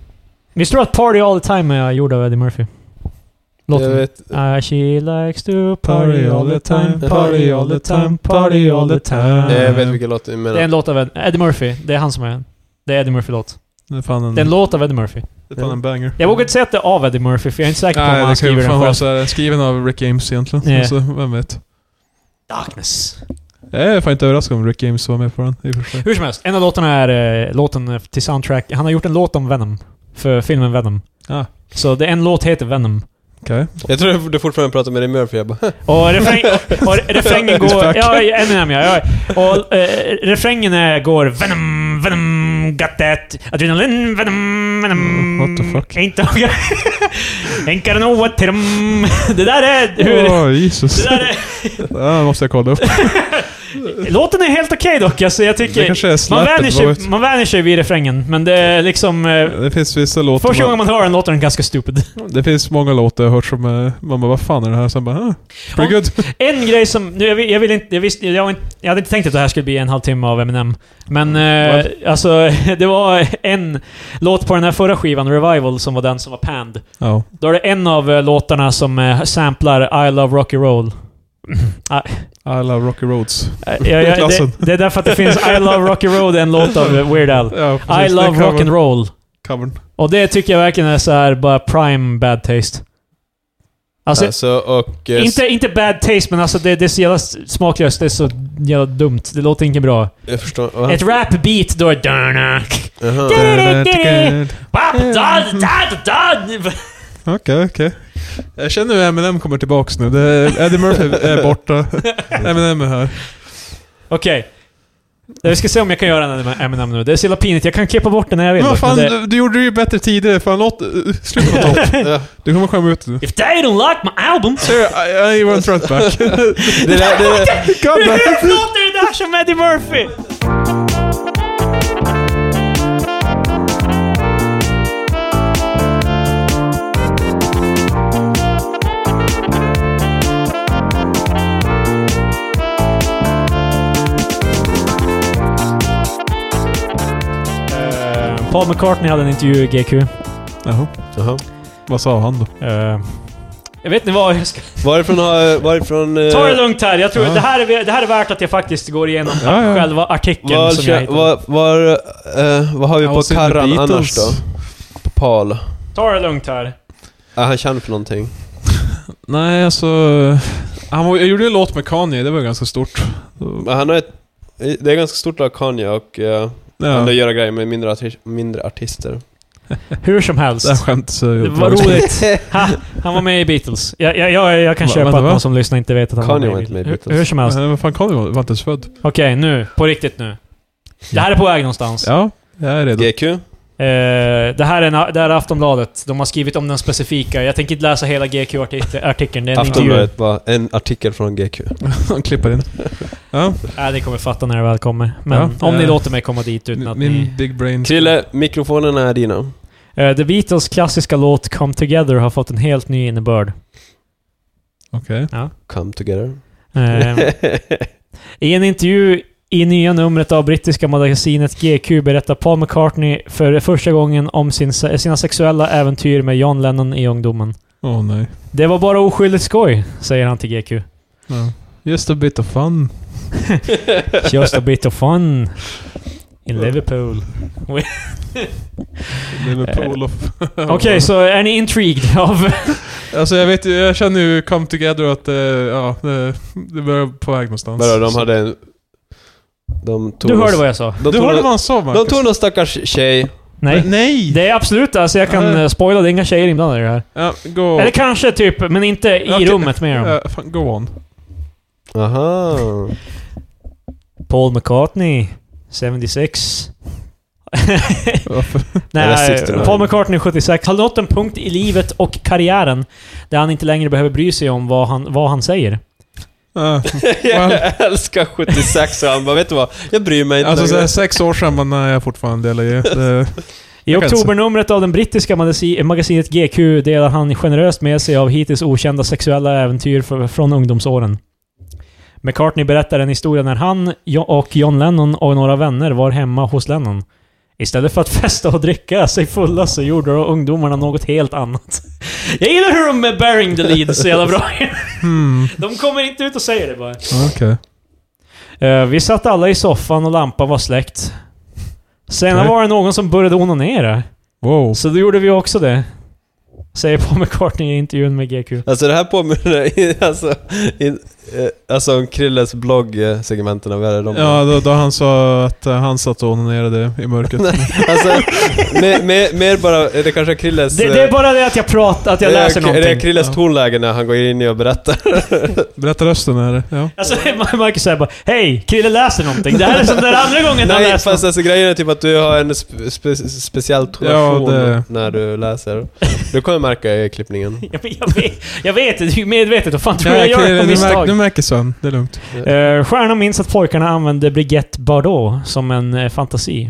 Visst tror du att Party All The Time är gjord av Eddie Murphy? Jag Låten. vet... Uh, she likes to party all the time, party all the time, party all the time. Jag vet vilken låt du Det är en menar. låt av Ed- Eddie Murphy. Det är han som är den. Det är Eddie Murphy-låt. Det är fan en, Det är en låt av Eddie Murphy. det är fan en banger. Jag vågar inte säga att det är av Eddie Murphy, för jag är inte säker på om Nej, han det kan skriver ju den fan vara själv. så här, skriven av Rick James egentligen. Ja. Alltså, vem vet. Darkness. Jag är fan inte överraskad om Rick James var med på den i och för sig. Hur som helst, en av låtarna är eh, låten till soundtrack. Han har gjort en låt om Venom. För filmen Venom. Ah. Så det, en låt heter Venom. Okej. Jag tror du fortfarande pratar med Eddie Murphy. Jag bara... Och, refräng, (laughs) och refrängen går... Ja, Eminem ja. ja. Och eh, refrängen är, går Venom, Venom, got that. Adrenalin, Venom, Venom. Mm, what the fuck? Ain't, (laughs) ain't gotta know what hit 'em. Det där är... Hur, Åh, Jesus. det där är Det här måste jag kolla upp. låten är helt okej dock. Alltså, jag Det tycker... kanske är Man släppet, vänjer, vad vet sig, man vänjer sig vid refrängen, men det är liksom... Eh, jag. Det finns vissa låtar... första gången man, man hör den låter den ganska stupid. Det finns många låtar jag har hört som... eh, Man bara, vad fan är det här? Sen bara, ah, pretty Ja. good. En grej som... Nu, jag, vill, jag, vill inte, jag, visste, jag, har inte, jag hade inte tänkt att det här skulle bli en halvtimme av Eminem. Men eh, Mm. Vad? alltså, (laughs) det var en låt på den här förra skivan, Revival, som var den som var panned. Ja. Då är det en av eh, låtarna som eh, samplar I Love Rocky Roll. I love Rocky Roads. Eh, jag, jag, det, Klassen. det är därför att det finns I Love Rocky Road, en låt av eh, Weird Al. Ja, I precis. Love Den Rock and covern- Roll. Covern. Och det tycker jag verkligen är så här bara prime bad taste. Alltså, (laughs) Alltså och... eh, inte, inte bad taste, men alltså det, det är så jävla smaklöst. Det är så jävla dumt. Det låter inte bra. Jag förstår. Va? Ett rap-beat, då är det... Jaha. Mm. Okej, okej. Jag känner hur Eminem kommer tillbaks nu. Det är, Eddie Murphy är (laughs) borta. Eminem är här. Okej. Jag ska se om jag kan göra den här Eminem nu. Det är så jävla pinigt. Jag kan klippa bort den när jag vill. Men vad dock, men fan, det- du, du gjorde det ju bättre tidigare. Fan, låt... Slut på topp. (laughs) Ja. Du kommer skämma ut nu. If they don't like my album... Sir, I, I want (laughs) front back. Det där, det där. Come Hur back. låter det där som Eddie Murphy? Eh, Paul McCartney hade en intervju i GQ. Jaha. Jaha. Vad sa han då? Eh, Jag vet inte vad jag ska... Varifrån har... Varifrån... eh, Ta det lugnt här. Jag tror Ja. det, här är, det här är värt att jag faktiskt går igenom Ja, ja. själva artikeln Var, som jag kö- hittade. var, var, eh, vad har vi på Austin karran Beatles. annars då? På Paul? Är Ta det lugnt här. han känd för någonting? Nej, alltså... Han var, jag gjorde ju en låt med Kanye, det var ju ganska stort. Men Han har ett, det är ganska stort av Kanye och eh, han Ja, vill göra grejer med mindre, arti- mindre artister. Hur som helst. det här skämtet så... Det var roligt. (laughs) ha, han var med i Beatles. Jag, jag, jag, jag kan Va- köpa vänta, att va? någon som lyssnar inte vet att han Kanye var var med i inte med i Beatles. Hur, Beatles. hur som helst. Men vad fan, Kanye var var inte ens född. Okej, nu. På riktigt nu. Det här är på väg någonstans. Ja, jag är redo. GQ? Eh, det, här är en, det här är Aftonbladet. De har skrivit om den specifika. Jag tänker inte läsa hela GQ-artikeln. Det är en intervju. Aftonbladet var en artikel från GQ. Han klipper (laughs) in. Ja, Nej, det kommer fatta när det väl kommer. Men Ja, om ni eh, låter mig komma dit utan att min ni... big brain... Krille, mikrofonerna är dina. Eh, The Beatles klassiska låt Come Together har fått en helt ny (laughs) innebörd. Okej. Come together. Eh, (laughs) I en intervju i nya numret av brittiska magasinet GQ berättar Paul McCartney för första gången om sin, sina sexuella äventyr med John Lennon i ungdomen. Åh nej. Det var bara oskyldigt skoj, säger han till GQ. Ja. Just a bit of fun. Just a bit of fun. In Liverpool. Eh. Liverpool of... (laughs) Okej, så är ni intrigued av... Alltså jag vet ju, jag känner ju Come Together att eh, ja, det, det börjar på väg någonstans. Bara, de hade en... De tog... Du hörde vad jag sa? de Du tog hörde någon- vad han sa Marcus? De tog någon stackars tjej. Nej. Nej! Det är absolut, alltså jag kan Nej. eh, spoila, det är inga tjejer inblandade i det här. Ja, go... Eller kanske typ, men inte i Okej. rummet med dem. Ja, fan, go (laughs) on. Aha. Paul McCartney, 76. Varför? Eller Nej, 69. Paul McCartney 76 har nått en punkt i livet och karriären där han inte längre behöver bry sig om vad han, vad han säger. Ja. jag älskar 76 och han bara, vet du vad? Jag bryr mig inte Alltså så här, längre. sex år sedan, men nej jag är fortfarande delar i. Det, I Jag kan inte oktobernumret av den brittiska magasi- magasinet GQ delar han generöst med sig av hittills okända sexuella äventyr för, från ungdomsåren. McCartney berättar en historia när han Jo- och John Lennon och några vänner var hemma hos Lennon. Istället för att (laughs) festa och dricka sig fulla så gjorde då ungdomarna något helt annat. (laughs) Jag gillar hur de är bearing the lead så jävla bra. (laughs) hmm, De kommer inte ut och säger det bara. okej. Eh, vi satt alla i soffan och lampan var släckt. Sen Okej. var det någon som började onanera. Wow. Så då gjorde vi också det. Säger Paul McCartney i intervjun med GQ. Alltså det här påminner (laughs) alltså, in, eh, alltså om Krilles bloggsegmenten av de Ja, då, då han sa att eh, han satt och onanerade (laughs) i mörkret. Alltså, mer, mer, mer bara, det kanske är Krilles... eh, Det, det är bara det att jag pratar, att jag det är- läser Det Eh, är någonting. Krilles Ja. tonläge när han går in i och berättar. Berätta rösten är det. Ja. Alltså, (laughs) Marcus säger bara Hej, Krille läser någonting. Det här är som den andra gången han Nej, läser fast någonting. alltså grejen är typ att du har en spe, spe, speciell tonation Ja, det- när du läser. Du kommer märka i klippningen. Jag, vet- jag, vet, jag vet det, det är ju medvetet. Vad fan tror Ja, jag jag okej, gör på du, märk, misstag? du märker sömn, det är lugnt. Uh, stjärnan minns att pojkarna använde Brigitte Bardot som en eh, fantasi.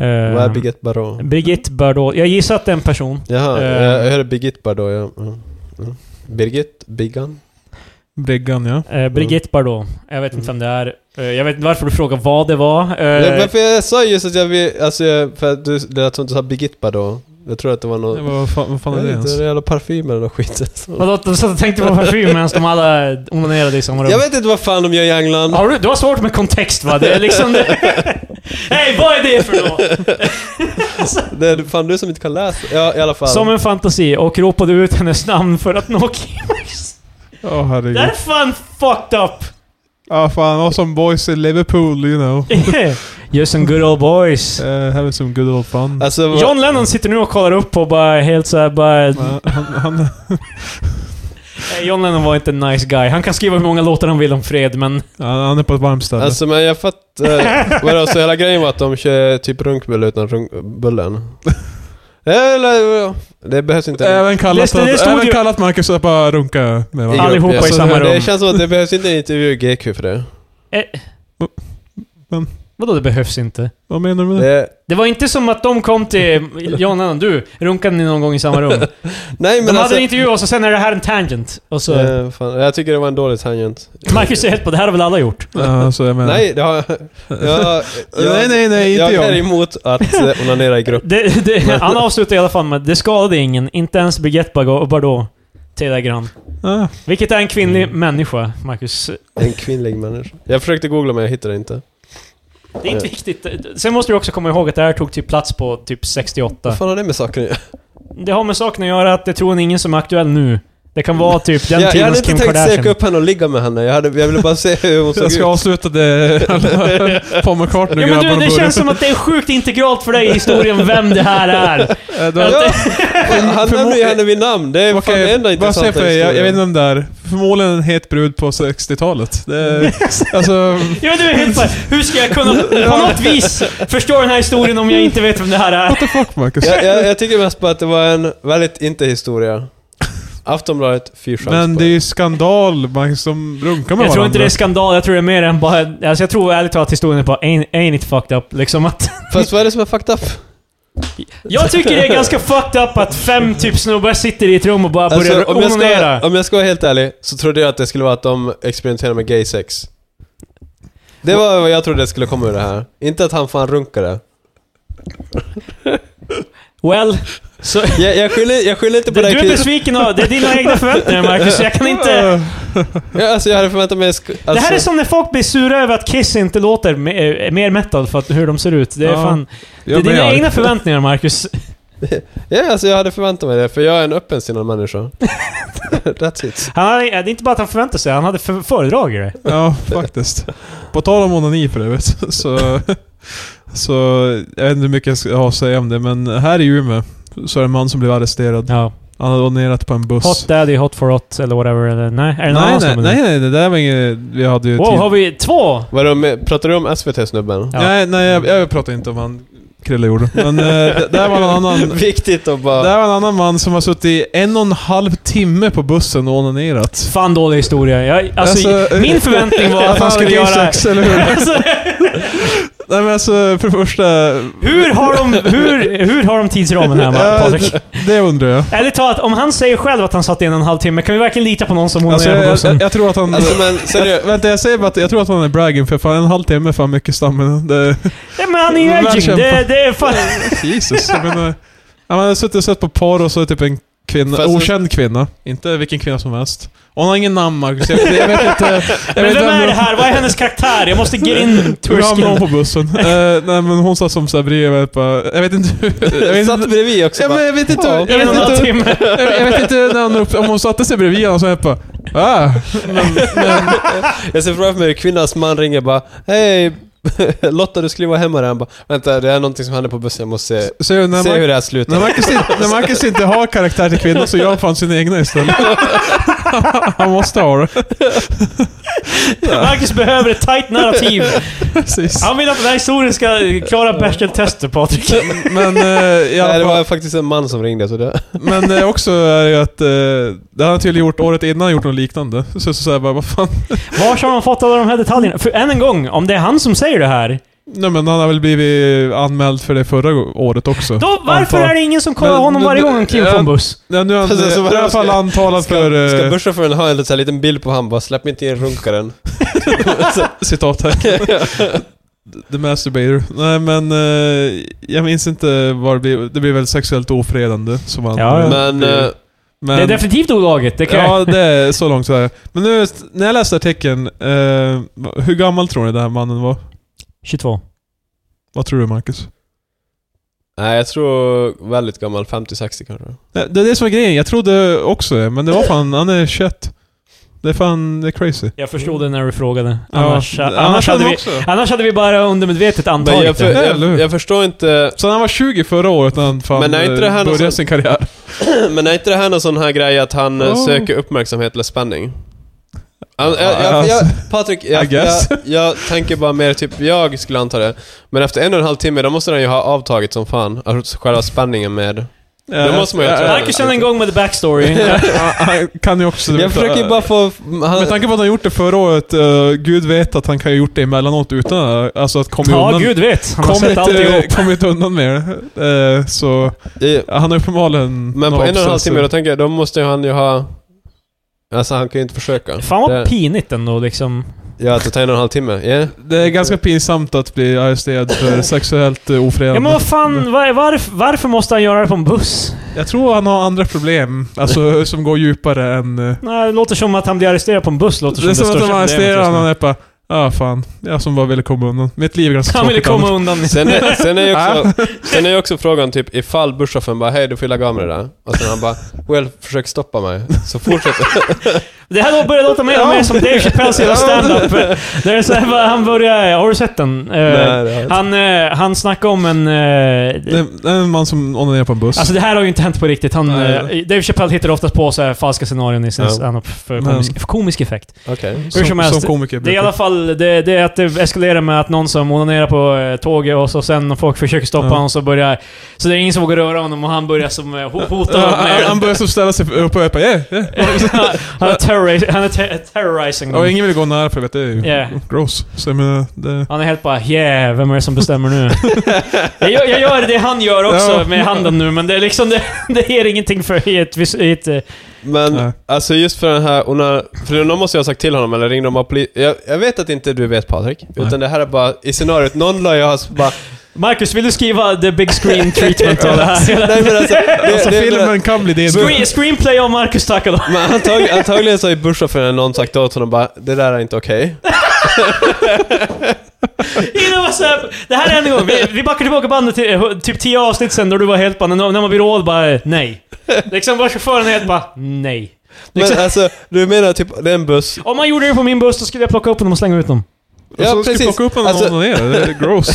Eh, Vad är Birgit Bardot? Brigitte Bardot. Jag gissar att det är en person. Jaha, Eh. jag jag hörde Birgit Bardot, ja. ja. ja. Birgit? Biggan? Briggan ja. Eh, Brigitte Bardot. Jag vet inte vem det är. Eh, jag vet inte varför du frågar vad det var. Eh, Nej, men för jag sa just att jag vill, alltså jag- för att du, det lät som att du sa Birgit Bardot. Jag tror att det var någon... Ja, vad, vad fan, vad fan är det Jag vet inte, ens? det är jävla parfym eller något skit. Så. Vadå, de satt och tänkte på parfym medan de alla onanerade i samma rum. Jag vet inte vad fan de gör i England. Har du, du har svårt med kontext va? Det (laughs) är liksom... Hej, vad är det för något? Det är fan du som inte kan läsa. Ja, i alla fall. Som en fantasi och ropade ut hennes namn för att nå Åh herregud. Det här är fan fucked (laughs) up! Ja fan, och som boys in Liverpool you know. You're some good old boys. Uh, having some good old fun. Alltså, vad- John Lennon sitter nu och kollar upp och bara helt såhär bara... Ja, han, han, "Eh, John Lennon var inte en nice guy. Han kan skriva hur många låtar han vill om fred, men... han, han är på ett varmt ställe. Alltså men jag (laughs) fattar... Vadå, så hela grejen var att de kör typ runkbulle utan runkbullen? Eller, det behövs inte... även kallat, Det- det att, stod även ju- kallat Marcus att bara runka med grupp, varandra. Allihopa ja. i Så samma Alltså, Det rum. känns som att det behövs inte en intervju i GQ för det. Vadå, det behövs inte? Vad menar Mm. du med det? det Det var inte som att de (laughs) kom till John Lennon. Du, runkade ni någon gång i samma rum? nej De men hade alltså... en intervju och så sen är det här en tangent. Och så... eh, fan, jag tycker det var en dålig tangent. Marcus är helt på, det här har väl alla gjort? Ja, alltså, jag menar. Nej, det har jag... jag nej, nej, nej, inte jag. Jag är jag. emot att (laughs) eh, onanera i grupp. (laughs) Det, det, han avslutar i alla fall med det skadade ingen, inte ens Birgit Bardot. Teda Gran. Ah, Vilket är en kvinnlig Mm. människa, Marcus. En kvinnlig människa. Jag försökte googla men jag hittade inte. Det är Eh. inte viktigt. Sen måste du också komma ihåg att det här tog typ plats på typ 68. Vad fan har det med saken att göra? Det har med saken att göra att det tror ingen som är aktuell nu. Det kan vara typ Jag, den jag hade tidens inte Kim tänkt söka Kardashian. upp henne och ligga med henne. Jag, hade, jag ville bara se hur (laughs) hon såg jag ut. ska avsluta det... (laughs) Paul McCartney Ja, men grabbarna du, det börjar. känns som att det är sjukt integralt för dig i historien vem det (laughs) här är. Eh, då- Ja, han nämner ju henne vid namn. Det är Okej, fan det enda bara säga intressanta för dig, jag, jag vet inte historien. om det är. Förmodligen en het brud på 60-talet. Det (laughs) är, alltså... Ja, men du är helt bara, Hur ska jag kunna på något vis förstå den här historien om jag inte vet vem det här är? What the fuck Marcus? Jag, jag, jag tycker mest bara att det var en väldigt inte historia. Aftonbladet, fy chans Men på det är ju skandal Marcus, de runkar med Jag tror inte varandra. det är skandal, jag tror det är mer än bara... Alltså jag tror ärligt talat att historien är bara ain't, ain't it fucked up liksom att... Fast vad är det som är fucked up? Jag tycker det är ganska fucked up att fem typ snubbar sitter i ett rum och bara börjar Alltså, om, jag onanera. ska, om jag ska vara helt ärlig så trodde jag att det skulle vara att de experimenterade med gay sex. Det var vad jag trodde det skulle komma ur det här. Inte att han fan runkade. Well, så... Jag, jag, skyller, jag skyller inte på Du, dig du är killen. besviken av... Det är dina egna förväntningar Marcus, jag kan inte... Ja, alltså jag hade förväntat mig... sk- Alltså, Det här är som när folk blir sura över att Kiss inte låter me- eh, mer metal för att hur de ser ut. Det är Ja, fan... Det är Jag blir dina arg. egna förväntningar Marcus. Ja, alltså jag hade förväntat mig det, för jag är en öppensinnad människa. (laughs) That's it. Han hade, det är inte bara att han förväntade sig, han hade för, föredragit det. Ja, faktiskt. På tal om onani för övrigt, (laughs) så... Så jag vet inte hur mycket jag ska ha att säga om det, men här i Umeå så är det en man som blev arresterad. Ja. Han hade onanerat på en buss. Hot Daddy, Hot for Hot eller whatever. Eller, nej, är det någon nej, annan nej, snubbe nu? nej, nej, det där var inget... Vi hade ju... typ- Wow, tid- har vi två? Vadå, med- pratar du om SVT-snubben? Ja. Nej, nej jag, jag pratar inte om han Krille gjorde. Men eh, det, där var (laughs) en annan... Viktigt att Det bara... här var en annan man som har suttit i en och en halv timme på bussen och onanerat. Fan dålig historia. Jag, alltså, Alltså, (laughs) min förväntning var att han skulle ge göra... sex, eller hur? Alltså, Nej men alltså, för det första... hur, har de, hur, hur har de tidsramen här Mar- Ja, Patrik? Det undrar jag. Ärligt talat, om han säger själv att han satt in en halvtimme, kan vi verkligen lita på någon som hon Alltså, på jag, bussen? jag, jag tror att han... Alltså men jag, seriöst. vänta, jag säger bara att jag tror att han är bragging för fan en halvtimme är fan mycket stammen. Det, Nej, men han är ju Väl edging. Det, kämpat. det är fan... Jesus. Jag menar, han har suttit och sett på par och så är typ en kvinna, Fast- okänd kvinna. Inte vilken kvinna som helst. Och Hon har ingen namn Marcus. Jag, jag vet inte... Jag Men vet vem inte är det här? Vad är hennes karaktär? Jag måste get in Hur hamnade hon tursken. på bussen? Eh, nej men hon satt som såhär bredvid och bara, jag vet inte hur... Jag vet satt inte, bredvid också ja, men bara. jag vet inte, jag En och en halv vet inte, timme. jag vet inte när hon upp, om hon satte sig bredvid honom så jag bara, ah. Men, men, Jag ser framför mig hur kvinnans man ringer bara Hej (laughs) Lotta du skulle vara hemma där. Han bara Vänta det är någonting som händer på bussen, jag måste se, så när, se hur man, det här slutar. när, Marcus inte, när Marcus inte har karaktär till kvinnor så gör han fan sina egna istället. Han måste ha det. Marcus behöver ett tight narrativ. Precis. Han vill att den här historien ska klara Bechdel-testet, Patrik. Men, eh, i alla Nej, det fall- var faktiskt en man som ringde så det... men eh, också är det ju att, eh, det har han tydligen gjort året innan gjort något liknande. Så så så här bara, vad fan. Var har han fått alla de här detaljerna? För än en gång, om det är han som säger det här, Nej men han har väl blivit anmäld för det förra året också. då varför Antar- är det ingen som kollar Men- honom varje men- gång han kliver på en buss? Ja, nu är han eh, Alltså, så i alla varför fall ska- antalad Ska, för... ska eh, busschauffören ha en sån här liten bild på han bara släpp inte in runkaren. citat här. (laughs) The masturbator. Nej men, eh, jag minns inte vad det blev. Det blev väl sexuellt ofredande som han... Ja, ja. Men eh, men- Det är definitivt olagligt, det kan jag... Ja, det är så långt så här. Men nu, när jag läste artikeln, eh, hur gammal tror ni den här mannen var? 22. Vad tror du Marcus? nej jag tror väldigt gammal, 50-60 kanske. Nej, Det är det som är grejen, jag trodde också det, men det var fan, han är 21. Det är fan, det är crazy. Jag förstod det när du frågade. Annars, Ja, annars, hade, vi, också. annars hade vi bara undermedvetet Men jag, antagit för, (laughs) det. Eller hur? jag, jag förstår inte Så han var 20 förra året när han fan Men är inte det här någon eh, började sån- sin karriär. Men är inte det här någon sån här grej att han eh, Oh. söker uppmärksamhet eller spänning? Han- jag, Ja, jag, jag, alltså. Patrik, jag, I guess. jag, jag tänker bara mer typ, jag skulle anta det. Men efter en och en halv timme, då måste den ju ha avtagit som fan. Alltså själva spänningen med... Eh, Det måste man ju träna. Marcus än en gång med the (laughs) backstory. (laughs) Ja, Han kan ju också... Jag försöker ju bara få... Han, Med tanke på att han gjort det förra året, eh, gud vet att han kan ha gjort det emellanåt utan alltså att komma Ja, undan. gud vet. Han har sett Kommit, alltihop. eh, (laughs) kommit undan med det. Eh, Så i, han har uppenbarligen... men på några en och en halv timme, abscesser. då tänker jag, då måste ju han ju ha... Alltså han kan ju inte försöka. Fan vad Det- pinigt ändå liksom. Ja, det tar en och en halv timme. Yeah. Det är ganska pinsamt att bli arresterad för sexuellt eh, ofredande. Ja men vad fan, var, varf, varför måste han göra det på en buss? Jag tror han har andra problem, alltså som går djupare än... eh, Nej, det låter som att han blir arresterad på en buss. Låter Det är som att största de problemet arresterar just nu. honom och är bara ah fan, jag som bara ville komma undan. Mitt liv är (laughs) ganska Han ville tråkigt komma undan. (laughs) Sen är, sen är ju Ah. också, sen är ju också frågan typ ifall busschauffören bara hej du får ju lägga av med det där. Och sen han bara well försök stoppa mig. Så fortsätter Det här börjar låta mer och mer som Dave Chappelles hela standup. Det är så här, bara, han börjar... Har du sett den? Eh, Nej, det har jag inte. han, eh, han snackade om en... eh, Det det är en man som onanerar på en buss. Alltså det här har ju inte hänt på riktigt. Han, Nej. eh, Dave Chappelle hittar oftast på så här falska scenarion i sin Ja. standup för Men- komisk, för komisk effekt. Okej. hur som helst, som komiker Det är i brukar. alla fall det, det är att det eskalerar med att någon som onanerar på eh, tåget och så sen när folk försöker stoppa Ja. honom så börjar... Så det är ingen som vågar röra honom och han börjar som eh, ho- hota Ja, honom (laughs) han, han med... börjar så ställa sig upp och bara yeah, yeah. (laughs) han är, terrori- han är ter- terrorizing Och dem. ingen vill gå nära för vet, det är ju Mm. Yeah. gross. Så jag menar, det... Han är helt bara yeah, vem är det som (laughs) bestämmer nu? jag, gör- jag gör det han gör också Ja. med handen nu, men det är liksom... Det, det ger ingenting för i ett... vis- I ett eh, Men Nej. alltså just för den här, och när, för någon måste jag ha sagt till honom eller ringde de bara poli- jag, jag vet att inte du vet Patrik. Nej. Utan det här är bara i scenariot, någon la jag har bara Marcus, vill du skriva the big (laughs) screen treatment av det här? Nej men (laughs) alltså, det, alltså det, filmen det, kan bli det. Screen, screenplay av Marcus Takalo. men antag, antagligen så har ju busschauffören någon sagt åt honom bara det där är inte okej. Innan var såhär, (laughs) det här är en gång. Vi, vi backar tillbaka bandet till eh, typ 10 avsnitt sen då du var helt bara, när när man blir råd bara eh, nej. Liksom var chauffören helt bara nej. Men Liksom. alltså, du menar typ det är en buss? Om man gjorde det på min buss, då skulle jag plocka upp dem och slänga ut dem. Ja, Ja, precis. precis. Plocka upp honom Alltså- och onanera, det är (laughs) gross.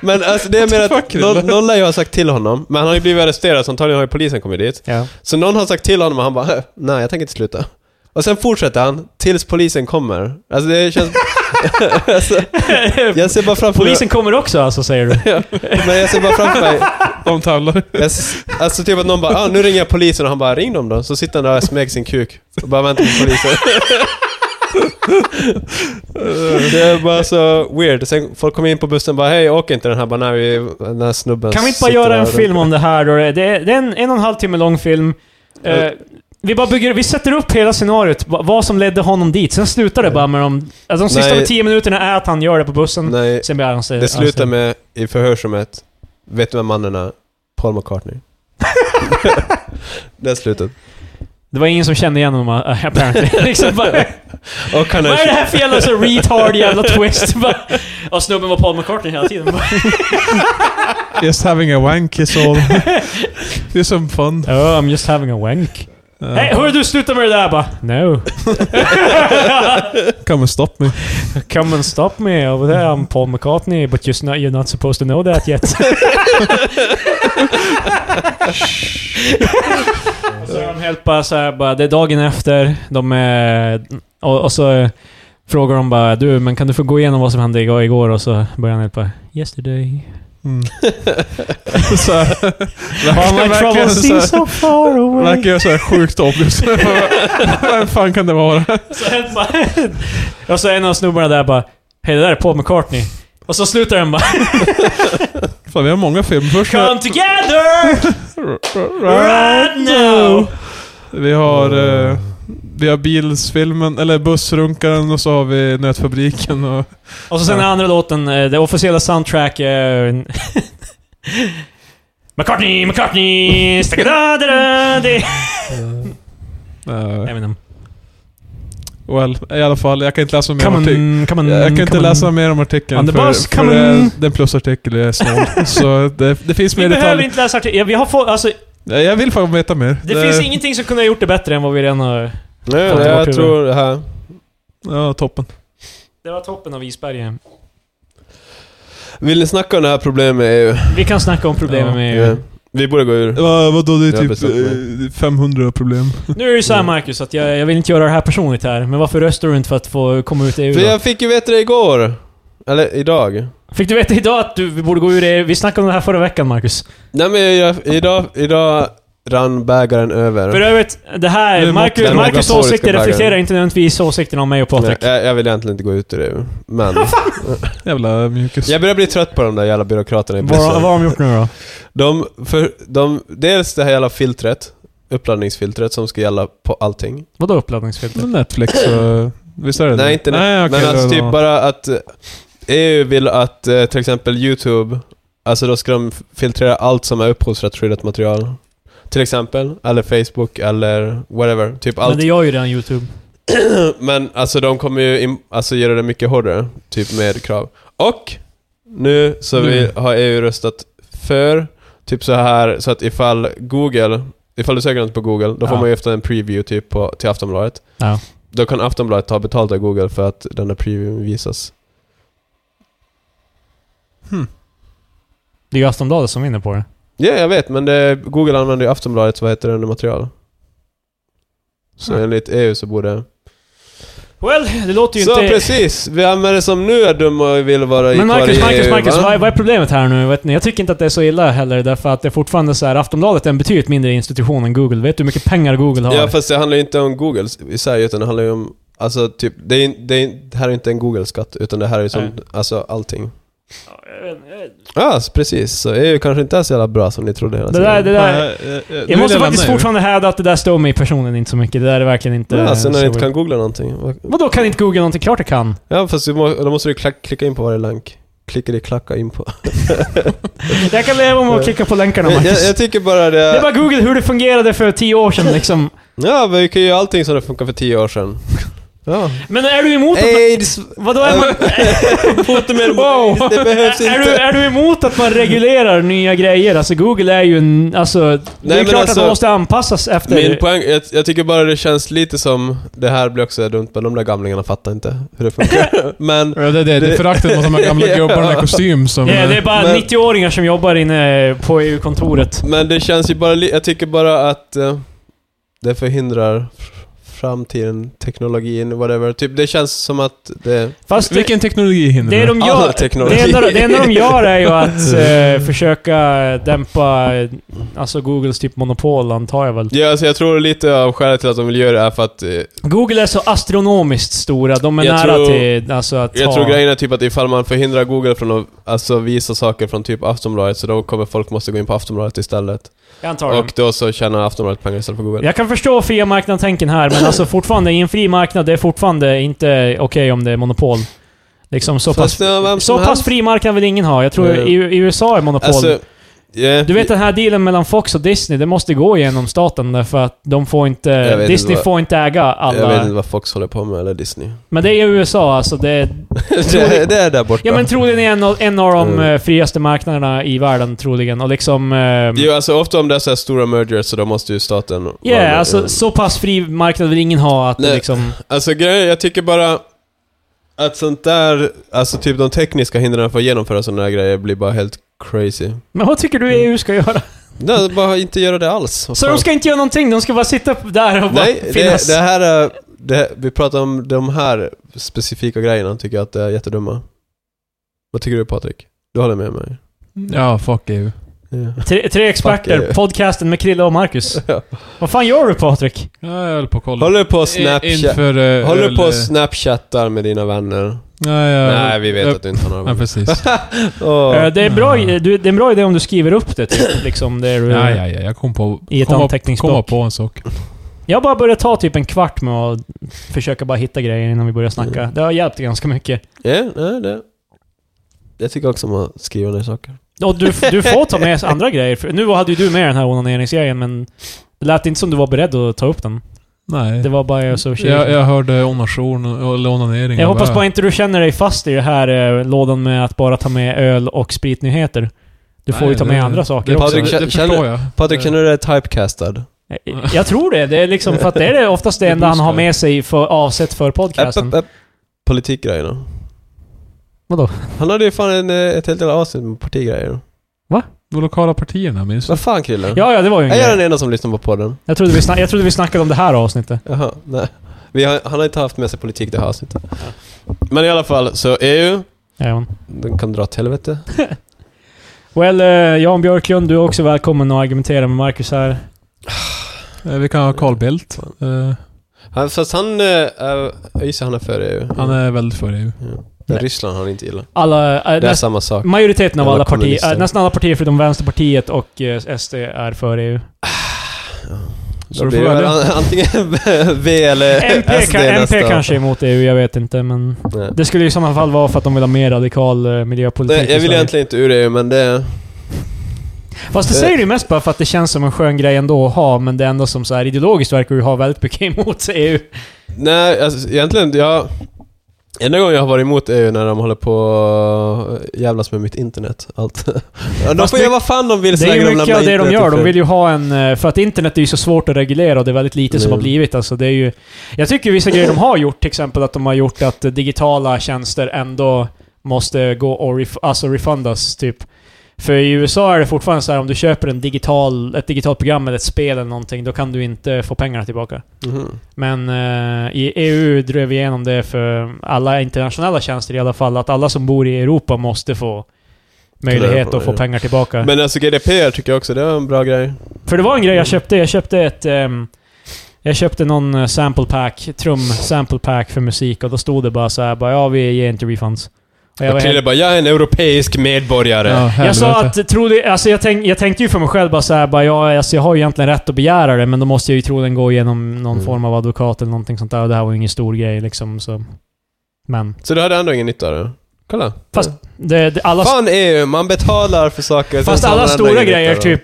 Men alltså det jag menar What att the fuck, Rille? någon, någon lär ju ha sagt till honom, men han har ju blivit arresterad så antagligen har ju polisen kommit dit. (laughs) Ja. Så någon har sagt till honom och han bara nej jag tänker inte sluta. Och sen fortsätter han tills polisen kommer. Alltså det (laughs) känns... (laughs) alltså, jag ser bara framför Polisen kommer också alltså, säger du? mig... Men jag ser bara framför mig... De tavlar. Jag, s- alltså typ att någon bara ah, nu ringer jag polisen och han bara ring dem då. Så sitter han där och smäger sin kuk och bara väntar på polisen. (laughs) det är bara så weird. Sen folk kommer in på bussen och bara hej åk inte den här bara när vi... Den här snubben Kan vi inte bara sitter göra en där." film om det här då? Det är, det är en en och en halv timme lång film. Eh, vi bara bygger, vi sätter upp hela scenariot, va- vad som ledde honom dit. Sen slutar det bara med de... Alltså de sista Nej. tio minuterna är att han gör det på bussen. Nej, Sen blir han alltså, sig... det slutar med i förhörsrummet. Vet du vem mannen är? Paul (laughs) McCartney. det är slutet. Det var ingen som kände igen honom (laughs) uh, apparently. liksom bara, Och han vad är är... det här för jävla så retard (laughs) jävla twist? Bara, och snubben var Paul McCartney hela tiden. Bara, Just having a wank (laughs) is all. det är som fun. oh, I'm just having a wank. Uh, Hej, hörru du, sluta med det där bara. (laughs) (laughs) No. Come and stop me. Come and stop me over there, I'm Paul McCartney, but just not, you're not supposed to know that yet. (laughs) så är de helt bara så här, bara, det är dagen efter, de är, och, och så eh, frågar de bara du, men kan du få gå igenom vad som hände igår, igår? och så börjar han helt bara yesterday. Mm. (laughs) så, här, All my verkligen- troubles så, seem här- so far away. verkar ju så här sjukt obvious. (laughs) Vem fan kan det vara? Så helt bara, (laughs) och så en av snubbarna där bara, hej det där är Paul McCartney. Och så slutar (laughs) den bara Fan, vi har många filmer. Först Come together! Right now! Vi har, eh, vi har bilsfilmen, eller bussrunkaren och så har vi nötfabriken och... Och så sen den andra låten, eh, det officiella soundtrack... eh, (laughs) McCartney, McCartney, stakadadadadi. eh, Eminem. well, i alla fall, jag kan inte läsa mer Come om artikeln. on, come on, Jag kan inte come on. läsa mer om artikeln On the för, bus, för come det on. är- det är en plusartikel, jag (laughs) är snål. så det, det finns Vi mer behöver detaljer. inte läsa artikeln. Vi har fått, alltså, Nej, Jag vill fan veta mer. det finns ingenting som kunde ha gjort det bättre än vad vi redan har... Nej, Fan, det var jag kul. tror det här... Ja, toppen. Det var toppen av isbergen. Vill ni snacka om det här problemet med EU? Vi kan snacka om problemen Ja, med EU. Vi borde gå ur. Va, vadå, det Jag har är typ bestämt mig. eh, 500 problem. Nu är det ju såhär Marcus, att jag, jag vill inte göra det här personligt här, men varför röstar du inte för att få komma ut i EU För då? jag fick ju veta det igår. Eller idag. Fick du veta idag att du, vi borde gå ur EU? Vi snackade om det här förra veckan Marcus. Nej men jag, idag, idag rann bägaren över. För övrigt, det Det här, är Marcus, den Marcus obligatoriska åsikter bagaren. reflekterar inte nödvändigtvis åsikterna om mig och Nej, Patrik. jag, jag vill egentligen inte gå ut ur EU. (laughs) Men Jävla mjukis. jag börjar bli trött på de där jävla byråkraterna i Vad vad Bryssel. har de gjort nu då? De, för, de, dels det här jävla filtret, uppladdningsfiltret som ska gälla på allting. Vadå uppladdningsfilter? Netflix och Visst är det Nej, det? inte Nej, det. okej, Men det alltså var typ någon- bara att eh, EU vill att eh, till exempel YouTube, alltså då ska de f- filtrera allt som är upphovsrättsskyddat material. Till exempel, eller Facebook, eller whatever. Typ allt. Men det gör ju redan YouTube. Men alltså de kommer ju in, alltså, göra det mycket hårdare, typ med krav. Och nu så Nu. vi har EU röstat för, typ så här så att ifall Google, ifall du söker något på Google, då får Ja. man ju efter en preview typ på, till Aftonbladet. Ja. Då kan Aftonbladet ta betalt av Google för att den där previewn visas. Det är ju Aftonbladet som vinner på det. Ja, jag vet, men det, Google använder ju Aftonbladets, vad heter det, under material. Så Hmm. enligt EU så borde... Well, det låter ju Så inte... E precis! Vem är det som nu är dum och vill vara i Men kvar Marcus, i Marcus, EU, Marcus, va? vad, är- vad är problemet här nu? Vet ni? Jag tycker inte att det är så illa heller, därför att det är fortfarande så här, Aftonbladet är en betydligt mindre institution än Google. Vet du hur mycket pengar Google har? Ja fast det handlar ju inte om Google i sig utan det handlar ju om Alltså typ, det, är, det, är, det här är inte en Google-skatt utan det här är ju som, Nej. alltså allting. Ja, s- precis. Så EU kanske inte är så jävla bra som ni trodde hela det där, det där, Nej, eh, eh, nu vill jag måste lämna faktiskt EU. fortfarande hävda att det där står mig personligen inte så mycket. Det där är verkligen inte... ja, sen när ni så- inte kan googla någonting. Va- Vadå kan inte Google någonting? Klart det kan. Ja, fast du må, då måste du klack, klicka in på varje länk. Klicka dig klacka in på. Jag kan leva med att klicka på länkarna Jag, Marcus. (laughs) jag, jag tycker bara det... Det är bara Google hur det fungerade för tio år sedan liksom. Ja, men vi kan ju göra allting som det funkar för tio år sedan. Ja. Men är du emot (laughs) att... Aids! Vadå är man... Botemedel mot Wow. aids, det behövs Är du, inte! är du emot att man reglerar nya grejer? Alltså Google är ju en... Alltså, det är men klart att alltså, man måste anpassas efter... Min poäng, jag, jag tycker bara det känns lite som, det här blir också dumt men de där gamlingarna fattar inte hur det (laughs) funkar. men, Ja, det, är det, det är föraktet mot de här (laughs) gamla Ja. gubbarna i kostym som... Ja, det är bara Men- 90-åringar som jobbar inne på EU-kontoret. men det känns ju bara, li- jag tycker bara att eh, det förhindrar f- framtiden, teknologin, whatever. Typ det känns som att det... Fast det, Vilken teknologi hinner det, med? de All gör, teknologi. det, enda, det enda de gör är ju (laughs) att eh, försöka dämpa eh, alltså Googles typ monopol, antar jag väl. Ja, alltså jag tror lite av skälet till att de vill göra det är för att eh, Google är så astronomiskt stora. De är Jag nära tror- till alltså, att Jag ha... tror grejen är typ att ifall man förhindrar Google från att alltså, visa saker från typ Aftonbladet så då kommer folk måste gå in på Aftonbladet istället. jag antar det. Och då så tjänar Aftonbladet pengar istället för Google. Jag kan förstå fria marknadstänken här, men alltså fortfarande i en fri marknad, det är fortfarande inte okej om det är monopol. Liksom så Fast pass, det är vem som så pass helst. fri marknad vill ingen ha. Jag tror Eh, i, i USA är monopol. Alltså, eh, yeah. du vet den här dealen mellan Fox och Disney, det måste gå genom staten därför att de får Jag inte... vet Disney inte vad- får inte äga Jag vet inte alla... vad Fox håller på med, eller Disney. (laughs) Men det är i USA alltså. Det, det, det är där borta. ja men troligen är en, av- en av de Mm. eh, friaste marknaderna i världen troligen. Och liksom... ehm, Jo, alltså ofta om det är så här stora mergers så då måste ju staten... Ja, vara med. alltså Mm. så pass fri marknad vill ingen ha att det Nej. liksom... Alltså grejen, jag tycker bara att sånt där, alltså typ de tekniska hindren för att genomföra sådana här grejer blir bara helt crazy. Men vad tycker Mm. du EU ska göra? Nej, bara inte göra det alls. Vad Så fan. de ska inte göra någonting? De ska bara sitta där och bara Nej, det, finnas? det här är... Det, vi pratar om de här specifika grejerna, tycker jag att det är jättedumma. Vad tycker du Patrik? Du håller med mig? Ja, fuck EU. Ja. tre, tre Fuck experter, EU. podcasten med Krille och Marcus. Ja. Vad fan gör du Patrik? Ja, jag höll på att kolla. Håller du på och snapchat? Inför... (laughs) eh, Håller du öl- på och snapchattar med dina vänner? Nej, jag, Nej, vi vet jag, att du inte har några Ja, vänner. precis. (laughs) Åh. Eh, Det är, bra, du, det är en bra idé om du skriver upp det typ, liksom. Det är, Ja, ja, ja, jag kom på... I ett kom på- anteckningsblock. komma på en sak. Jag har bara börjat ta typ en kvart med att försöka bara hitta grejer innan vi börjar snacka. Mm. Det har hjälpt ganska mycket. Ja, nej, det... Jag tycker också om att skriva ner saker. Och du, du får ta med andra grejer. För Nu hade ju du med den här onaneringsgrejen, men det lät inte som du var beredd att ta upp den. Nej. Det var bara jag så jag, jag hörde onation och eller onanering. Jag och hoppas bara- bara inte du känner dig fast i det här eh, lådan med att bara ta med öl och spritnyheter. Du får Nej, ju ta med det- andra saker det- också. Patrik, det, det känner- förstår jag. Patrik, Eh, känner du dig typecastad? (laughs) Jag- Jag tror det. Det är liksom, för att det är det oftast det Det enda han har boostar. med sig för, avsett för Äpp, podcasten. äpp, äpp. Politikgrejerna. Vadå? Han hade ju fan en, eh, ett helt jävla avsnitt med partigrejer. De lokala partierna, minns du? Vad fan Krille? Ja, ja, det var ju en Är jag grej. den enda som lyssnar på podden? Jag trodde, vi snack, jag trodde vi snackade om det här avsnittet. Jaha, nej. Vi har, han har inte haft med sig politik det här avsnittet. Men i alla fall, så EU, Jajamän. den kan dra åt helvete. Well, eh, Jan Björklund, du är också välkommen att argumentera med Marcus här. Eh, Vi kan ha Carl Bildt. Eh, Han, fast han, eh, är- jag gissar han är för EU. Han är väldigt för EU. Ja. Nej. Ryssland har han inte gillat. Alla, eh, Det är näst, samma sak. majoriteten av Alla alla partier, kommunister. E eh, nästan alla partier förutom Vänsterpartiet och eh, SD är för EU. Så Då du får blir Ah. det väl välja. an- antingen (laughs) V eller (laughs) MP, SD ka, MP alltså, nästa. kanske är emot EU, jag vet inte. Men Nej. det skulle ju i sådana fall vara för att de vill ha mer radikal eh, miljöpolitik Nej, i jag vill Sverige. egentligen inte ur EU, men det... Fast det Eh. säger du mest bara för att det känns som en skön grej ändå att ha, men det är ändå som så här ideologiskt verkar du ha väldigt mycket (laughs) emot E EU. Nej, alltså, egentligen, jag... Enda gången jag har varit emot E är ju när de håller på och jävlas med mitt internet. Allt. (laughs) Ja, de Fast får det- göra vad fan de vill så Det är länge ju de mycket lämnar av det de internet gör. i De fred. vill ju ha en... eh, För att internet är ju så svårt att reglera och det är väldigt lite som Mm. har blivit. Alltså det är ju, jag tycker vissa grejer de har gjort, till exempel att de har gjort att eh, digitala tjänster ändå måste gå och ref, alltså refundas, typ. För i USA är det fortfarande så här om du köper en digital, ett digitalt program eller ett spel eller någonting, då kan du inte få pengarna tillbaka. Mhm. Men eh, i EU drev vi igenom det för alla internationella tjänster i alla fall, att alla som bor i Europa måste få möjlighet att få Ja. pengar tillbaka. Men alltså GDPR tycker jag också, det är en bra grej. För det var en grej jag köpte. Jag köpte ett... ehm, jag köpte någon eh, sample pack, trum sample pack för musik och då stod det bara så här, bara ja vi ger inte refunds. Och jag, Jag var Krille helt, bara, jag är en europeisk medborgare. jag sa helvete. att, trodde, alltså jag, tänk, jag tänkte ju för mig själv bara så här, bara ja alltså, jag har ju egentligen rätt att begära det men då måste jag ju troligen gå igenom någon Mm. form av advokat eller någonting sånt där och det här var ju ingen stor grej liksom så. Men. Så du hade ändå ingen nytta av det? Kolla. Fast det, det, alla Fan EU, man betalar för saker. sen Fast så har alla man ändå stora ingen grejer, nytta av det.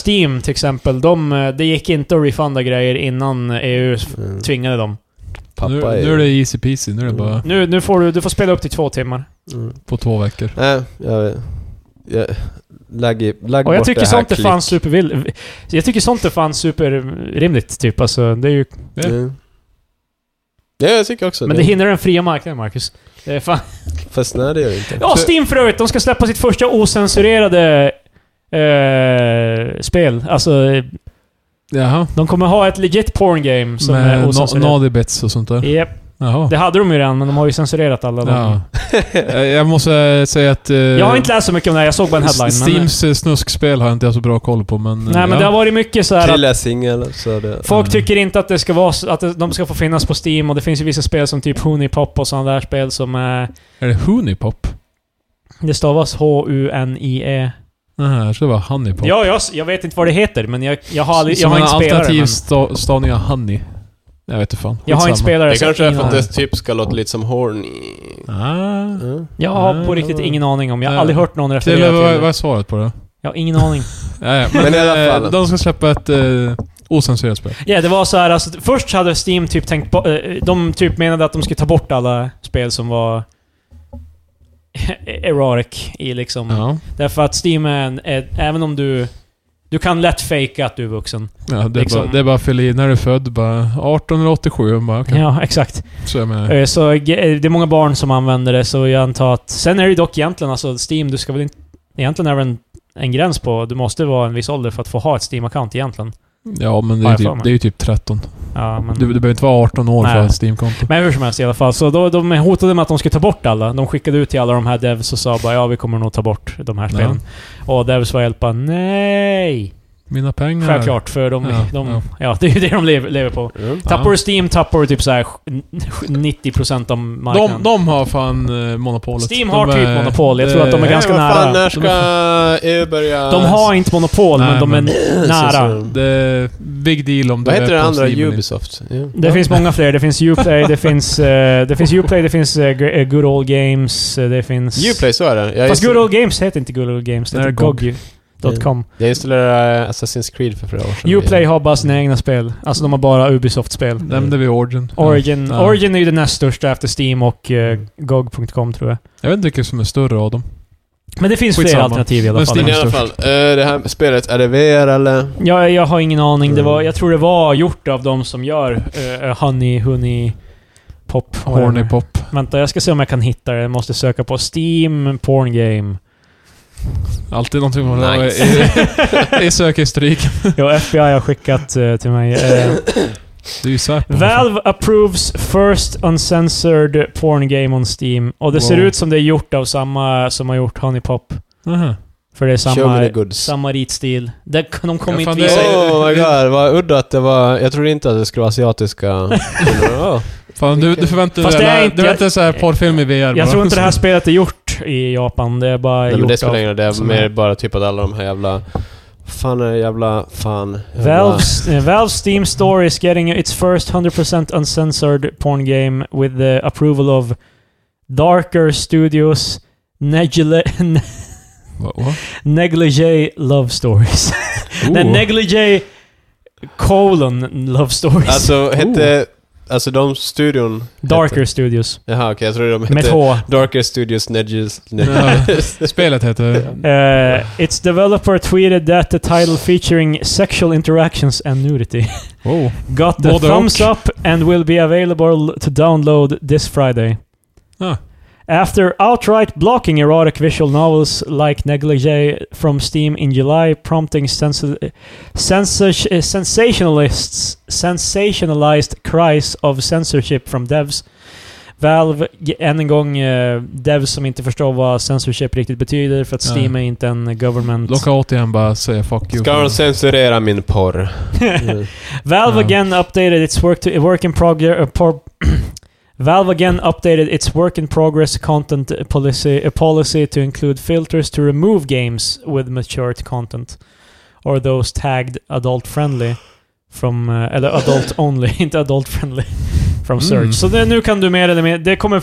typ eh, Steam till exempel, de, eh, det gick inte att refunda grejer innan EU s- Mm. tvingade dem. Pappa nu, EU. nu är det easy peasy. Nu är det Mm. bara Nu, nu får du, du får spela upp till två timmar. Mm. på två veckor. Nej, jag... jag lägg, i- lägg Och jag bort tycker det här sånt är fan klick. supervill... Jag tycker sånt är fan superrimligt, typ. Alltså, det är ju, Ja. Mm. Ja, jag tycker också men det det. hindrar den fria marknaden, Marcus. Det är fan... Fast nej, det gör det inte. Ja, Steam för övrigt, de ska släppa sitt första osensurerade eh, spel. Alltså, Jaha. de kommer ha ett legit porn game som Med är no- osensurerat. Nodibits och sånt där. Japp, Jaha. det hade de ju redan, men de har ju censurerat alla. Ja. Ja. Eh, jag måste eh, säga att... eh, Jag har inte läst så mycket om det här, jag såg bara en headline. men, Steams eh, snuskspel har jag inte så bra koll på, men... eh, nej, men ja. det har varit mycket så här att Krille är singel, så det... Folk Mm. tycker inte att det ska vara så- att det- de ska få finnas på Steam och det finns ju vissa spel som typ Honeypop och sådana där spel som eh, Är det Hunipop? det stavas H-U-N-I-E. Nej, jag trodde det var Honeypop. E. Ja, jag, s- jag vet inte vad det heter men jag, jag har, aldrig, jag Som har en inte spelare. alternativ Men sta- stavning av honey. Jag vet inte fan. jag har inte Skitsamma. spelare. Det så kanske är ingen för att aning. det typ ska låta lite som horny. Ah. Mm. Jag har på Nej, riktigt det var- ingen aning om. Jag har Nej. aldrig hört någon referera Krille, till vad, vad det. är svaret på det? Jag har ingen aning. Nej, men, Men i alla eh, fall. De ska släppa ett eh, osensurerat spel. Ja, det var så här alltså, först hade Steam typ tänkt bo- eh, De typ menade att de skulle ta bort alla spel som var (laughs) erotic i liksom... Ja. Därför att Steam är en, är, även om du... Du kan lätt fejka att du är vuxen. ja det, är Liksom- bara, det är bara att fylla i när du är född. Bara 1887. och Bara, okay. Ja, exakt. Så är jag med. Eh, Så ge- eh, det är många barn som använder det, så jag antar att... Sen är det dock egentligen, alltså Steam, du ska väl inte... Egentligen är det en, en gräns på... Du måste vara en viss ålder för att få ha ett Steam-account egentligen. Ja, men det är, har ju jag för mig. typ, det är ju typ 13. Ja, men... Du, du behöver inte vara 18 år för att Nej. ha ett Steam-konto. men hur som helst i alla fall. Så då, de hotade med att de skulle ta bort alla. De skickade ut till alla de här devs och sa bara ja, vi kommer nog ta bort de här spelen. Och devs var helt bara nej! Mina pengar. Självklart, för de... Ja, de ja. ja. det är ju det de lever, lever på. Mm. Ja. Tappar du Steam tappar du typ såhär 90% av marknaden. De, de har fan eh, monopolet. Steam har de typ är- monopol. Jag tror att de är det- Nej, ganska vad fan, nära. När ska EU börja... de har inte monopol, Nej, men de är men- Så- så- nära. Det är big deal om Vad du heter är det på andra? Steam eller inte. Ubisoft? Ja. Det finns många fler. Det finns Uplay, det finns... eh, det finns Uplay, det finns eh, G- eh, Good Old Games, eh, det finns... Uplay, så är det. Jag, Fast insta- Good Old Games heter inte Good Old Games, det Nej, heter GOG. GOG.com. jag installerade eh, Assassin's Creed för flera år sedan. Uplay har bara sina egna spel. Alltså de har bara Ubisoft-spel. Nämnde vi Origin. Ja. Origin, Ja. Origin är ju den näst största efter Steam och eh, GOG.com tror jag. Jag vet inte vilken som är större av dem. Men det finns Skitsamma. fler alternativ i alla Men fall. Steam Men i alla fall, eh, det här spelet, är det VR eller? Ja, jag har ingen aning. Det var, Mm. jag tror det var gjort av de som gör eh, Honey, Honey Pop. Horny Pop. Vänta, jag ska se om jag kan hitta det. Jag måste söka på Steam Porn Game. Alltid någonting man har Nice. (laughs) i, i, i sökhistoriken. (laughs) Jo, FBI har skickat eh, till mig. Eh, Det är ju Säpo. Valve approves first uncensored porn game on Steam. Och det ser Wow. ut som det är gjort av samma som har gjort Honey Pop. Aha. För det är Show me the samma, goods. samma ritstil. Det, de kommer Ja, fan, inte det- visa... Oh my god, vad udda att det var... Jag trodde inte att det skulle vara asiatiska... (laughs) oh. Fan, du, du förväntar Fast dig det är alla- inte- du väntar dig såhär porrfilm i VR Jag bara. tror inte det här spelet är gjort i Japan. Det är bara Nej men det gjort spelar av... ingen roll, det är som mer är- bara typ att alla de här jävla Fan är det jävla... Fan. jävla- (laughs) Valve's, eh, Valve's Steam Store is getting its first 100% uncensored porn game with the approval of Darker Studios Negile, Va, va? (laughs) Negligee Love Stories. (laughs) Nej, Oh. Negligee colon Love Stories. Alltså hette... Alltså de studion... Darker Hette, Studios. jaha okej, jag trodde de Med ett hette... H. Darker Studios Nedges... Ja. Spelet (laughs) heter... Uh, its developer tweeted that the title featuring sexual interactions and nudity Oh. got the Både och. thumbs up and will be available to download this Friday. Ah. After outright blocking erotic visual novels like Negligee from Steam in July, prompting sensa- sensas- uh, sensationalists sensationalized cries of censorship from devs. Valve, ge- än en gång, eh, devs som inte förstår vad censorship riktigt betyder för att Nej. Steam är inte en government. (laughs) Lockout igen bara säga fuck you. Ska de censurera min porr? Mm. (laughs) Valve Ja. again updated its work to work in progress. Uh, pro- (clears throat) Valve again updated its work in progress content policy uh, policy to include filters to remove games with matured content or those tagged adult friendly from uh, eller (laughs) adult only, (laughs) inte adult friendly from search. Mm. Så det, nu kan du mer eller mindre det kommer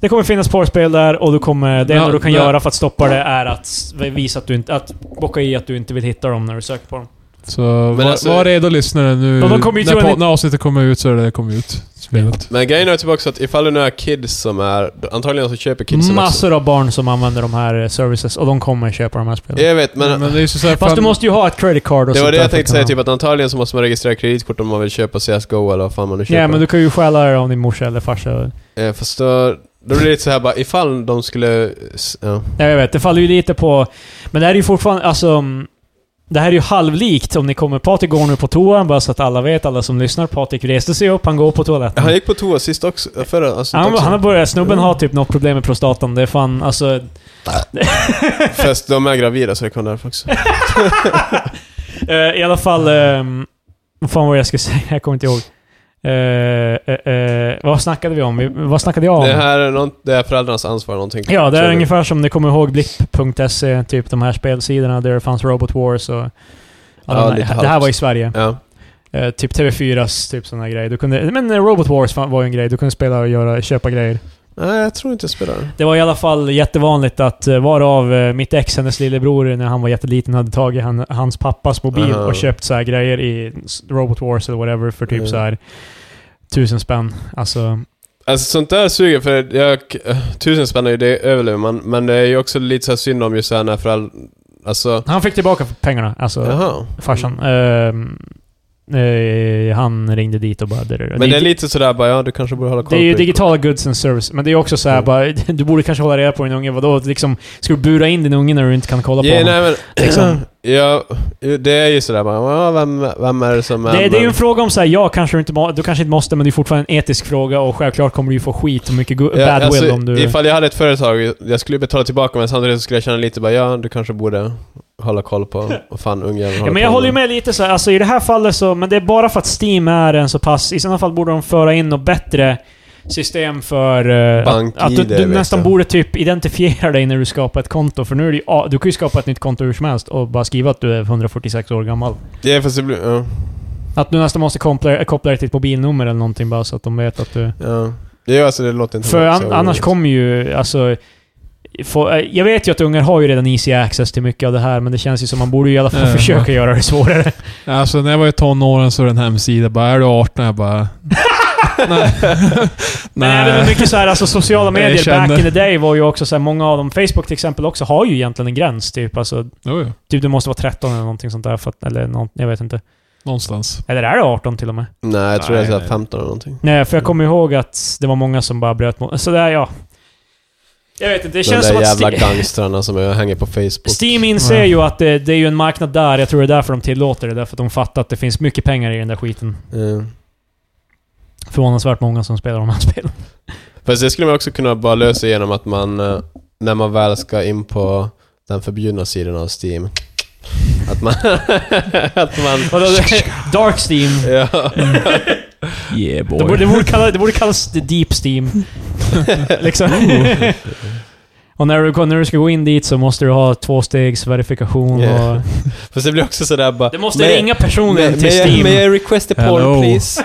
det kommer finnas porrspel där och du kommer, det enda Ja, du kan det- göra för att stoppa det är att s- visa att du inte, att bocka i att du inte vill hitta dem när du söker på dem. Så Men var, alltså- var redo lyssnare nu. Och de kommer ju när, tro på, att ni- när avsnittet kommer ut så är det kommit ut. (laughs) Spelet. Men grejen är tillbaka att ifall det nu är kids som är... Antagligen så köper kids som också... Massor av barn som använder de här eh, services och de kommer köpa de här spelen. Jag vet, Mm. men... det är ju så här, Fast fan- du måste ju ha ett credit card och det var sånt det där jag för tänkte att säga, kunna- typ att antagligen så måste man registrera kreditkort om man vill köpa CSGO eller vad fan man nu köper. Ja, men du kan ju stjäla det av din morsa eller farsa. Eh, fast då, då blir det lite så här bara, ifall de skulle... s- Ja. Ja, jag vet. Det faller ju lite på... Men det här är ju fortfarande... Alltså... mm, Det här är ju halvlikt om ni kommer... Patrik går nu på toa, bara så att alla vet, alla som lyssnar. Patrik reste sig upp, han går på toaletten. Han gick på toa sist också, förra alltså, han, också. han har börjat... Snubben har typ något problem med prostatan. Det är fan... Alltså... Fast de är gravida så det kan därför också. Eh, I alla fall... ehm, Vad fan var det jag skulle (laughs) säga? Jag kommer inte ihåg. Eh, eh, eh, vad snackade vi om? Vi, vad snackade jag om? Det här är, någon, det är föräldrarnas ansvar någonting. Ja, det tror är jag. ungefär som ni kommer ihåg blipp.se, typ de här spelsidorna där det fanns Robot Wars och... Ja, alla de här- lite det här halvt. var i Sverige. Ja. Eh, typ TV4s typ sådana grejer. Du kunde, men eh, Robot Wars fan- var ju en grej. Du kunde spela och göra, köpa grejer. Nej, jag tror inte jag spelar. Det var i alla fall jättevanligt att eh, varav eh, mitt ex, hennes lillebror, när han var jätteliten hade tagit han, hans pappas mobil Ah. och köpt så här grejer i s- Robot Wars eller whatever för typ Mm. så här tusen spänn. Alltså... Alltså sånt där suger för jag... Tusen spänn är ju det överlever man, men det är ju också lite så här synd om just så här när föräldrar... Alltså... Han fick tillbaka pengarna. Alltså... Jaha. farsan. Ehm, eh, han ringde dit och bara... Men det är lite sådär bara, ja du kanske borde hålla koll det är ju på digitala goods and service, men det är ju också så här, Mm. bara, (laughs) du borde kanske hålla reda på din unge. Vadå, liksom, ska du bura in din unge när du inte kan kolla på Ja, honom? nej, men, Liksom. (clears throat) ja, det är ju sådär bara, ja, vem, vem är det som... Det, det är ju en fråga om så här, ja, kanske du inte, må- du kanske inte måste, men det är fortfarande en etisk fråga och självklart kommer du ju få skit och mycket go- bad alltså, will om du... Ifall jag hade ett företag, jag skulle ju betala tillbaka men samtidigt så skulle jag känna lite bara, ja du kanske borde hålla koll (laughs) på vad fan ungjäveln Ja, men jag på håller ju med. med lite så här, alltså i det här fallet så, men det är bara för att Steam är en så pass, i sådana fall borde de föra in något bättre system för... eh, Bank-ID, att, att du, du vet nästan jag. borde typ identifiera dig när du skapar ett konto, för nu är det ju, ja, du kan ju skapa ett nytt konto hur som helst och bara skriva att du är 146 år gammal. Ja, fast det blir, ja, Att du nästan måste koppla, koppla dig till ett mobilnummer eller någonting bara så att de vet att du... ja. Ja, alltså det låter inte... För så an, roligt. annars kommer ju, alltså... Få, eh, jag vet ju att ungar har ju redan easy access till mycket av det här, men det känns ju som man borde ju i alla fall Ja. försöka göra det svårare. Alltså när jag var i tonåren så var det en hemsida bara är du 18? Jag bara... (laughs) Nej. Nej, (laughs) men det är mycket så här, alltså sociala Jag medier känner- back in the day var ju också så här, många av dem, Facebook till exempel också, har ju egentligen en gräns typ. Alltså, Jo, jo. typ du måste vara 13 eller någonting sånt där för att, eller någon, jag vet inte. Någonstans. Eller är det 18 till och med? Nej, jag tror det är Nej, såhär nej. 15 eller någonting. Nej, för jag kommer ihåg att det var många som bara bröt mot... Så där, ja. Jag vet inte, det känns De som där att... jävla Ste- gangstrarna som jag hänger på Facebook. Steam inser Ja. ju att det, det är ju en marknad där. Jag tror det är därför de tillåter det. Därför att de fattar att det finns mycket pengar i den där skiten. Ja. Förvånansvärt många som spelar de här spelen. Fast det skulle man också kunna bara lösa genom att man, eh, när man väl ska in på den förbjudna sidan av Steam, att man... (laughs) att man... Vadå, (laughs) Dark Steam. ja. (laughs) Yeah boy. Det borde, det, borde kalla, det borde kallas The Deep Steam. liksom. Och när du, när du ska gå in dit så måste du ha tvåstegsverifikation Yeah. och... Fast det blir också sådär bara... Du måste "May- ringa may- personen till may I- Steam. May I request a porn Hello. please?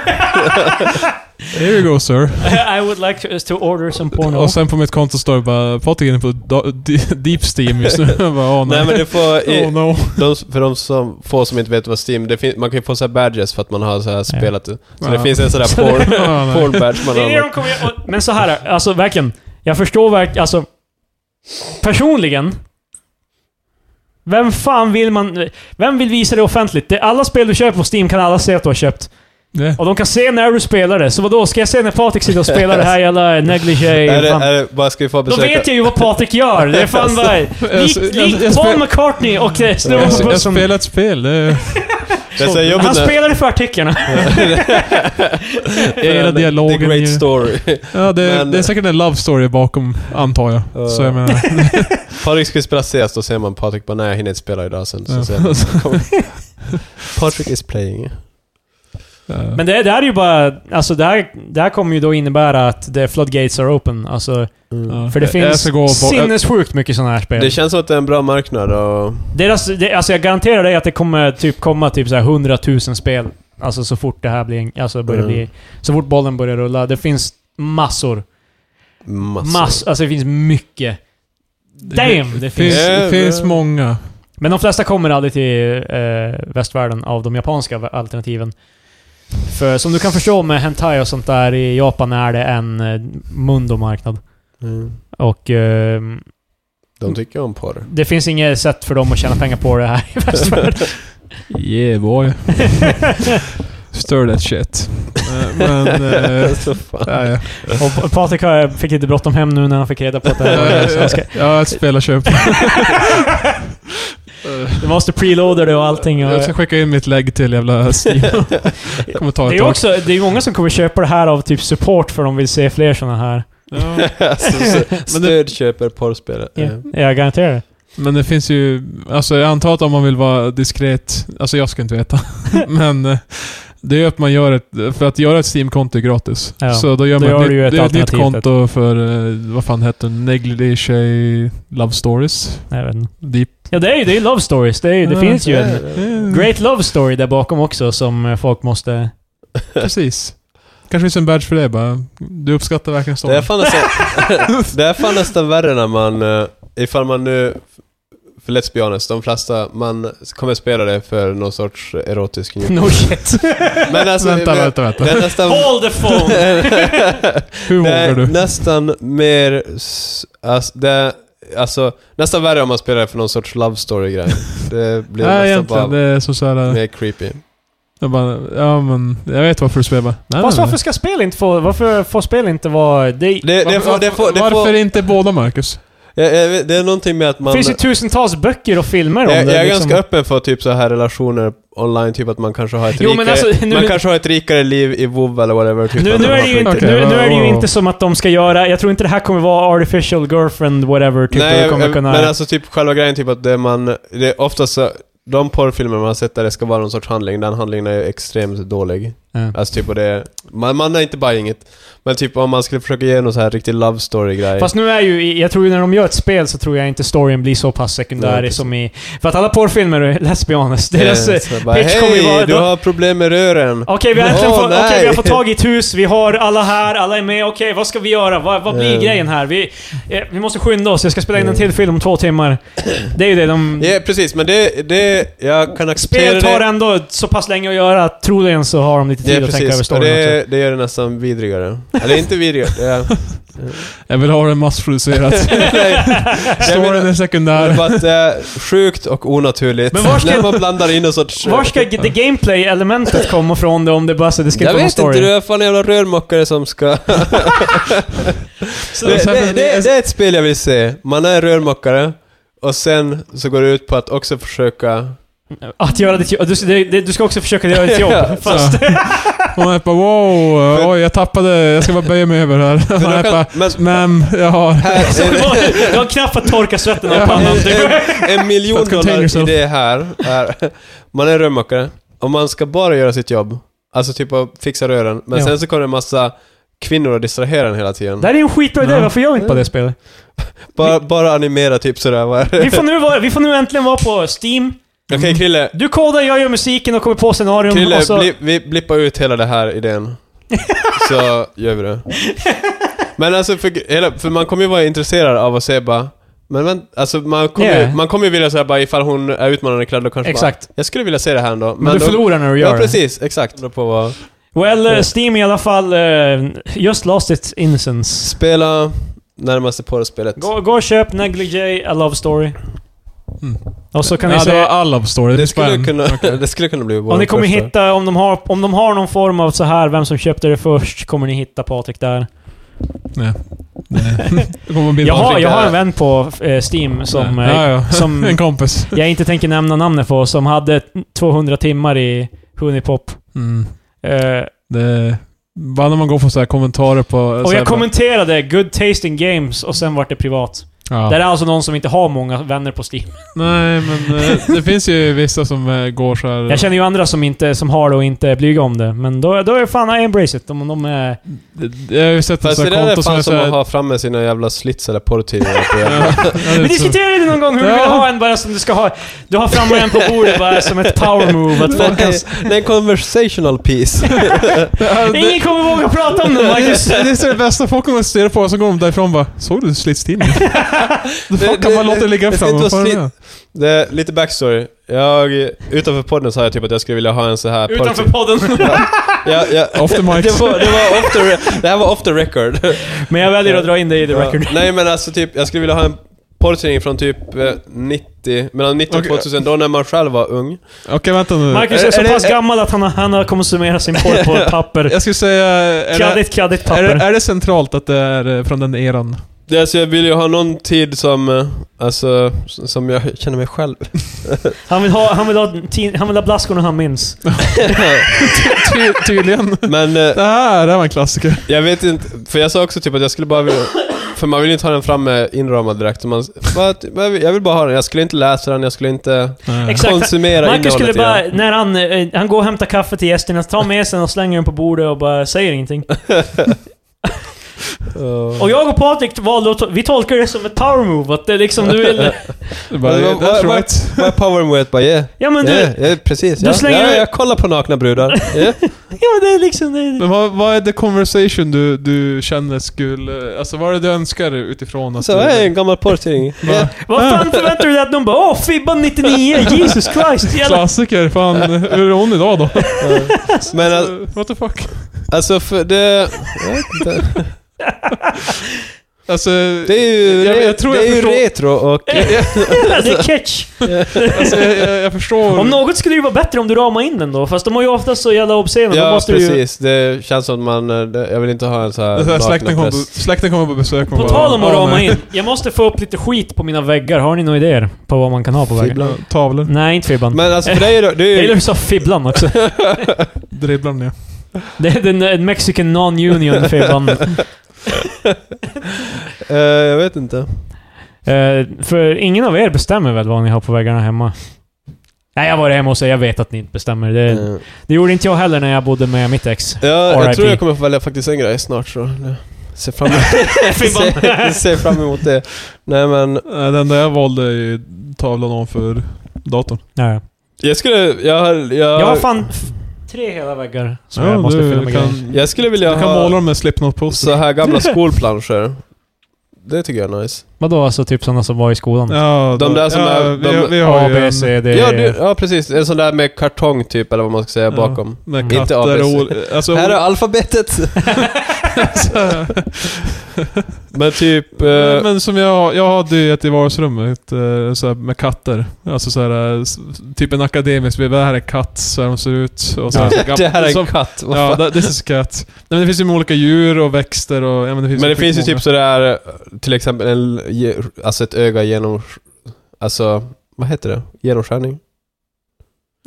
Here you go sir. (laughs) I would like to, to order some porno. Och sen på mitt konto står det bara Patrik är inne på da- di- deep steam just nu. Jag bara, oh, Nej men du får... (laughs) Oh I, no. de, för de som, få som inte vet vad Steam... Det fin, man kan ju få så här badges för att man har så här spelat... Så det (laughs) Ja. finns en sån där Så porn, Ja, nej. porn badge man Det är det har. de kommer göra. Och- Men så här, alltså verkligen. Jag förstår verkligen, alltså... Personligen. Vem fan vill man... Vem vill visa det offentligt? Det, alla spel du köper på Steam kan alla se att du har köpt. Nej. Och de kan se när du spelar det. Så vadå, ska jag se när Patrik sitter och spelar det här jävla (laughs) negligé? Är det, fan? är det, bara ska vi få Då besöka... vet jag ju vad Patrik gör. Det är fan bara... Likt Alltså, jag- lik jag Paul spel- McCartney och eh, Jag, snubben jag, på jag bussen. spelar ett spel. Det är, Det är så här jobbigt Han (laughs) när- spelar i förartiklarna. jag gillar dialogen. The great ju. story. (laughs) Ja, det, Men- det är säkert en love story bakom, antar jag. Ja. Så jag menar... Patrik ska spela CS, då ser man Patrik bara nej jag hinner inte spela idag sen. Så Ja. ser man, (laughs) Patrik is playing. eh, Men det, det här är ju bara... Alltså det här, det här kommer ju då innebära att the floodgates are open. Alltså, ja. för det Jag- jag finns ska gå och bo- sinnessjukt mycket sådana här spel. Mm. Det känns som att det är en bra marknad och... Deras, det, alltså jag garanterar dig att det kommer typ komma typ så här 100 000 spel. Alltså så fort det här blir... en- Alltså börjar Mm. bli... Så fort bollen börjar rulla. Det finns massor. Massor. Massor. Alltså det finns mycket. Damn! Det Det finns, finns... det finns många. Men de flesta kommer aldrig till eh, västvärlden av de japanska va- alternativen. För som du kan förstå med hentai och sånt där, i Japan är det en eh, mundomarknad. Mm. Och eh, De tycker om (laughs) porr. det finns inget sätt för dem att tjäna pengar på det här i (laughs) västvärlden. Yeah boy. Stir that shit. Eh, Men... eh, Så Alltså, fan. ja, ja. och Pa- Patrik har- fick lite bråttom hem nu när han fick reda på att det här var svenska. Ja, ett spelarköp. Du måste preloada det och allting. Och, Jag ska skicka in mitt lägg till jävla Steam. kommer det ta ett är tag. också, det är många som kommer köpa det här av typ support för de vill se fler såna här. Ja. (laughs) alltså, så- (laughs) Men det- stöd köper porrspelare. Ja, Eh, Jag garanterar det. Men det finns ju... Alltså jag antar att om man vill vara diskret... Alltså jag ska inte veta. (laughs) Men eh, det är ju att man gör ett... För att göra ett Steam-konto är gratis. Ja. Så då gör Då man gör ett, du ju ett nytt, det är ett nytt alternativ. typ. konto för... eh, Vad fan hette den? Negligee Love Stories. Nej, jag vet inte. Deep. Ja, det är ju det är ju love stories. Det, är, ju- det Ja, finns ju en... Eh, Great Love Story där bakom också som eh, folk måste... (laughs) Mm. (laughs) Precis. Kanske finns en badge för det bara. Du uppskattar verkligen Det är storyn. fan (laughs) nästan, det är fan nästan värre när man, eh, ifall man nu, för let's be honest, de flesta, man kommer spela det för någon sorts erotisk njutning. No shit. (laughs) Men alltså, Vänta, det- vänta, vänta. Det är nästan... Hold the phone! Hur (laughs) det vågar är du? nästan mer... s- ass- det är, alltså, nästan värre om man spelar det för någon sorts love story-grej. Det blir Nej, nästan egentligen. bara Det är som såhär... mer creepy. eh, Jag bara, ja men... Jag vet varför du spelar bara. Nej, Fast nej, varför nej. ska spel inte få... Varför får spel inte vara... Det, Det, det, får, det, får, det, Varför får, inte båda, Marcus? jag, jag vet- det är någonting med att man... finns ju tusentals böcker och filmer om Jag, det. jag är liksom. ganska öppen för typ så här relationer online, typ att man kanske har ett, Jo, men rikare, alltså, nu- man kanske har ett rikare liv i WoW eller whatever. Typ Nu, än nu, vad är man det ju får inte, i- Okej, nu, nu ja, är det ju ja. inte som att de ska göra... Jag tror inte det här kommer vara artificial girlfriend whatever. Typ Nej, Nej, kommer jag- kunna... men alltså typ själva grejen typ att det man... Det är oftast så, de porrfilmer man har sett där det ska vara någon sorts handling, den handlingen är ju extremt dålig. Ja. Alltså typ och det... Man, man är inte bara inget. Men typ om man skulle försöka ge någon så här riktig love story-grej. Fast nu är ju, jag tror ju när de gör ett spel så tror jag inte storyn blir så pass Nej, sekundär precis. som i... För att alla porrfilmer, (laughs) let's be honest, deras... eh, så bara, pitch kommer ju Hej, vara- du då- har problem med rören. Okej, vi, har äntligen Åh, fått- okej, nej. vi har fått tag i ett hus, vi har alla här, alla är med. Okej, vad ska vi göra? Vad, vad blir Mm. grejen här? Vi, eh, vi måste skynda oss, jag ska spela in en Mm. till film om två timmar. Det är ju det de... Ja, precis. Men det... det jag kan acceptera Spel tar det. ändå så pass länge att göra att troligen så har de lite tid Ja, att tänka över precis. Och storyn också. det, det gör det nästan vidrigare. Eller inte vidrigare. Ja. (laughs) Jag vill ha (laughs) det massproducerat. Storyn är Det är sekundär. bara att det är sjukt och onaturligt. Men var ska- När man blandar in en sorts... Var ska det gameplay-elementet komma från det om det bara så det ska jag inte vara någon vet story? inte, du är fan en jävla rörmokare som (laughs) ska... Så- det, det, det, det är ett spel jag vill se. Man är en rörmokare och sen så går det ut på att också försöka... Att göra ditt jobb. Du, det- det- du ska också försöka (laughs) göra ditt Ja, jobb. Fast... (laughs) Hon är bara wow, oj jag tappade, jag ska bara böja mig över (laughs) här. För Han då är kan- bara, men- ma'am, jag har... Här, Du en, har- du har knappt fått torka svetten av Ja. pannan. Du- en, en miljon But contain dollar yourself. idé här är... Man är en rörmokare och man ska bara göra sitt jobb. Alltså typ att fixa rören. Men Ja. sen så kommer det en massa kvinnor och distrahera en hela tiden. Det här är ju en skitbra idé, Ja. varför gör vi inte bara det spelet? Bara, bara animera typ sådär. vad är det? Vi får, nu vara, vi får nu äntligen vara på Steam. Okej Krille, Du kodar, jag gör musiken och kommer på scenarion Krille Mm. och så... bli, vi blippar ut hela det här idén. Så gör vi det. Men alltså, för, hela, för man kommer ju vara intresserad av att se bara... Men, men alltså man kommer Yeah. ju man kommer ju vilja säga bara ifall hon är utmanande klädd och kanske Exakt. bara, Jag skulle vilja se det här ändå. Men du då- förlorar när du gör Ja det. precis, exakt. Då På vad, Well, eh, Ja. Steam i alla fall... eh, just lost its innocence. spela närmaste porrspelet. Gå, gå och köp Negligee, A Love Story. Mm. Och så kan ni ja, det var se... all love story. Det, Det är skulle, spänn. kunna, det skulle kunna bli Och ni kommer första. hitta, om de, har, om de har någon form av så här vem som köpte det först, kommer ni hitta Patrik där. Nej. Nej. Det kommer bli Jag har, Patrik jag har där. en vän på eh, Steam som... eh, ja, ja. som- (laughs) en kompis. jag inte tänker nämna namnet på, som hade 200 timmar i Hunipop. Mm. Eh, Det, bara när man går på så här kommentarer på... så och här jag kommenterade 'Good Tasting Games' och sen vart det privat. bara- ja. Där är alltså någon som inte har många vänner på Steam. Nej, men eh, det finns ju vissa som eh, går så här... Jag känner ju andra som, inte, som har det och inte är blyga om det. Men då, då är fan I embrace it. De, de är... Jag har ju sett ett Fast så det här där är konto som är fan som så att här... ha framme sina jävla slitsade porrtidningar. (laughs) på- Vi diskuterade det någon gång hur du Ja. vill ha en bara som du ska ha. Du har framme en på bordet bara som ett power move. Att folk kan... Det är en conversational piece. Ingen kommer våga prata om (laughs) det Marcus. Det är så det bästa, folk kommer att stirra på och så går de därifrån och bara Såg du slitstidningen? (laughs) (laughs) Då kan det- man låta det ligga det ska framme. inte Vad vara fan är det? Det är lite backstory. Jag, utanför podden sa jag typ att jag skulle vilja ha en så här Utanför (laughs) porrtid- podden. ja, ja. Off the mic. Det, var, det, var off the, det här var off the record. Men jag väljer att dra in det i the Ja. record. Nej men alltså typ, jag skulle vilja ha en porrtidning från typ eh, 90, mellan 90 och Okej. 2000, då när man själv var ung. Okej, vänta nu. Marcus är Är så det- pass gammal att han, har- han har konsumerat sin porr (laughs) på ett papper. Jag skulle säga... Är det, Kladdigt, kladdigt är, papper. det, är det centralt att det är eh, från den eran? (laughs) Det, alltså, jag vill ju ha någon tid som, eh, alltså, s- som jag känner mig (laughs) själv. Han, vill ha, han, vill ha, ti- han vill ha blaskorna han minns. Ty, tydligen. men eh, Det här, det här var en klassiker. jag vet inte, för jag sa också typ att jag skulle bara vilja, för man vill ju inte ha den framme inramad direkt. Man, bara, typ, jag vill- jag vill bara ha den, jag skulle inte läsa den, jag skulle inte Exakt. konsumera Marcus skulle innehållet i bara, den. när han, eh, han går och hämtar kaffe till gästerna, tar med sig den och slänger den på bordet och bara säger ingenting. Ja. Och jag och Patrik valde att, to- vi tolkar det som ett power move, att det liksom du vill... Det är bara, Men vad- that's vad- right. Vad är power move? Bara, yeah. Ja men du, yeah, yeah, precis. du ja. slänger ja, ut- jag kollar på nakna brudar. (laughs) Yeah. ja men det är liksom... Det, Men vad, vad är the conversation du, du känner skulle... Alltså vad är det du önskar utifrån? Att Så du, är en gammal porrtidning. Yeah. vad Ah. fan förväntar du dig att de bara Åh, (laughs) Fibban 99, Jesus Christ! Jävla. Klassiker, fan. Hur är hon (laughs) idag då? Men al- What the fuck? alltså, för det... jag vet inte. Alltså, Det är ju, Jag- re- jag tror det jag är ju förstår- retro och... (laughs) det är catch! alltså jag, jag, jag Mm. förstår. Om något skulle det ju vara bättre om du ramar in den då, fast de har ju oftast så jävla obscena, då Ja, måste du ju... precis. Det känns som att man... eh, det- Jag vill inte ha en så (laughs) här Det här släkten, Äh, nakna Eh, kommer på, präst. släkten kommer på besök. och På bara, tal om att "Ja, rama nej." in, jag måste få upp lite skit på mina väggar. Har ni några idéer på vad man kan ha på väggen? Eh, Fibblan. Tavlor. Nej, inte (laughs) Fibban. Men alltså, för det är ju... Det Jag är gillar hur ju du sa Fibblan också. Dribblar ja. Det är den eh, Mexican non-union (laughs) Fibban. (laughs) eh, jag vet inte. Eh, för ingen av er bestämmer väl vad ni har på väggarna hemma? Nej, jag var hemma och så jag vet att ni inte bestämmer. Det, Mm. Eh, det gjorde inte jag heller när jag bodde med mitt ex. Ja, jag RIP. tror jag kommer få välja faktiskt en grej snart så... jag Ser fram (laughs) emot, ser, ser fram emot det. Nej men, Nej, Eh, Den där jag valde är ju tavlan ovanför datorn. Nej. jag skulle... Jag, har- jag, Jag har jag, fan f- tre hela väggar som jag måste fylla med grejer. kan, jag skulle vilja du kan ha... måla dem med Slipknot-poster. Så här gamla skolplanscher. Det tycker jag är nice. Vadå, alltså typ sådana som var i skolan? Ja, De då- där som ja, är- vi, de- vi har A, ju B, en, C, D... E. Ja, du, ja precis. En sån där med kartong typ, eller vad man ska säga, ja, bakom. Med Inte katter och... ABC. ol- Alltså, Här är alfabetet! Men typ... eh, (laughs) Eh, Men som jag, jag hade ju ett i vardagsrummet eh, så här med katter. Alltså så här, eh, s- typ en akademisk, det här är katt, så här de ser ut. Och så här, så gam- (laughs) det här är en som- katt. vad Ja, fan. that- this is cat. Nej, men det finns ju med olika djur och växter och... Ja, men det finns, men det finns ju skitmånga. typ sådär, eh, till exempel en, ge- alltså ett öga genom... Alltså, vad heter det? Genomskärning? typ-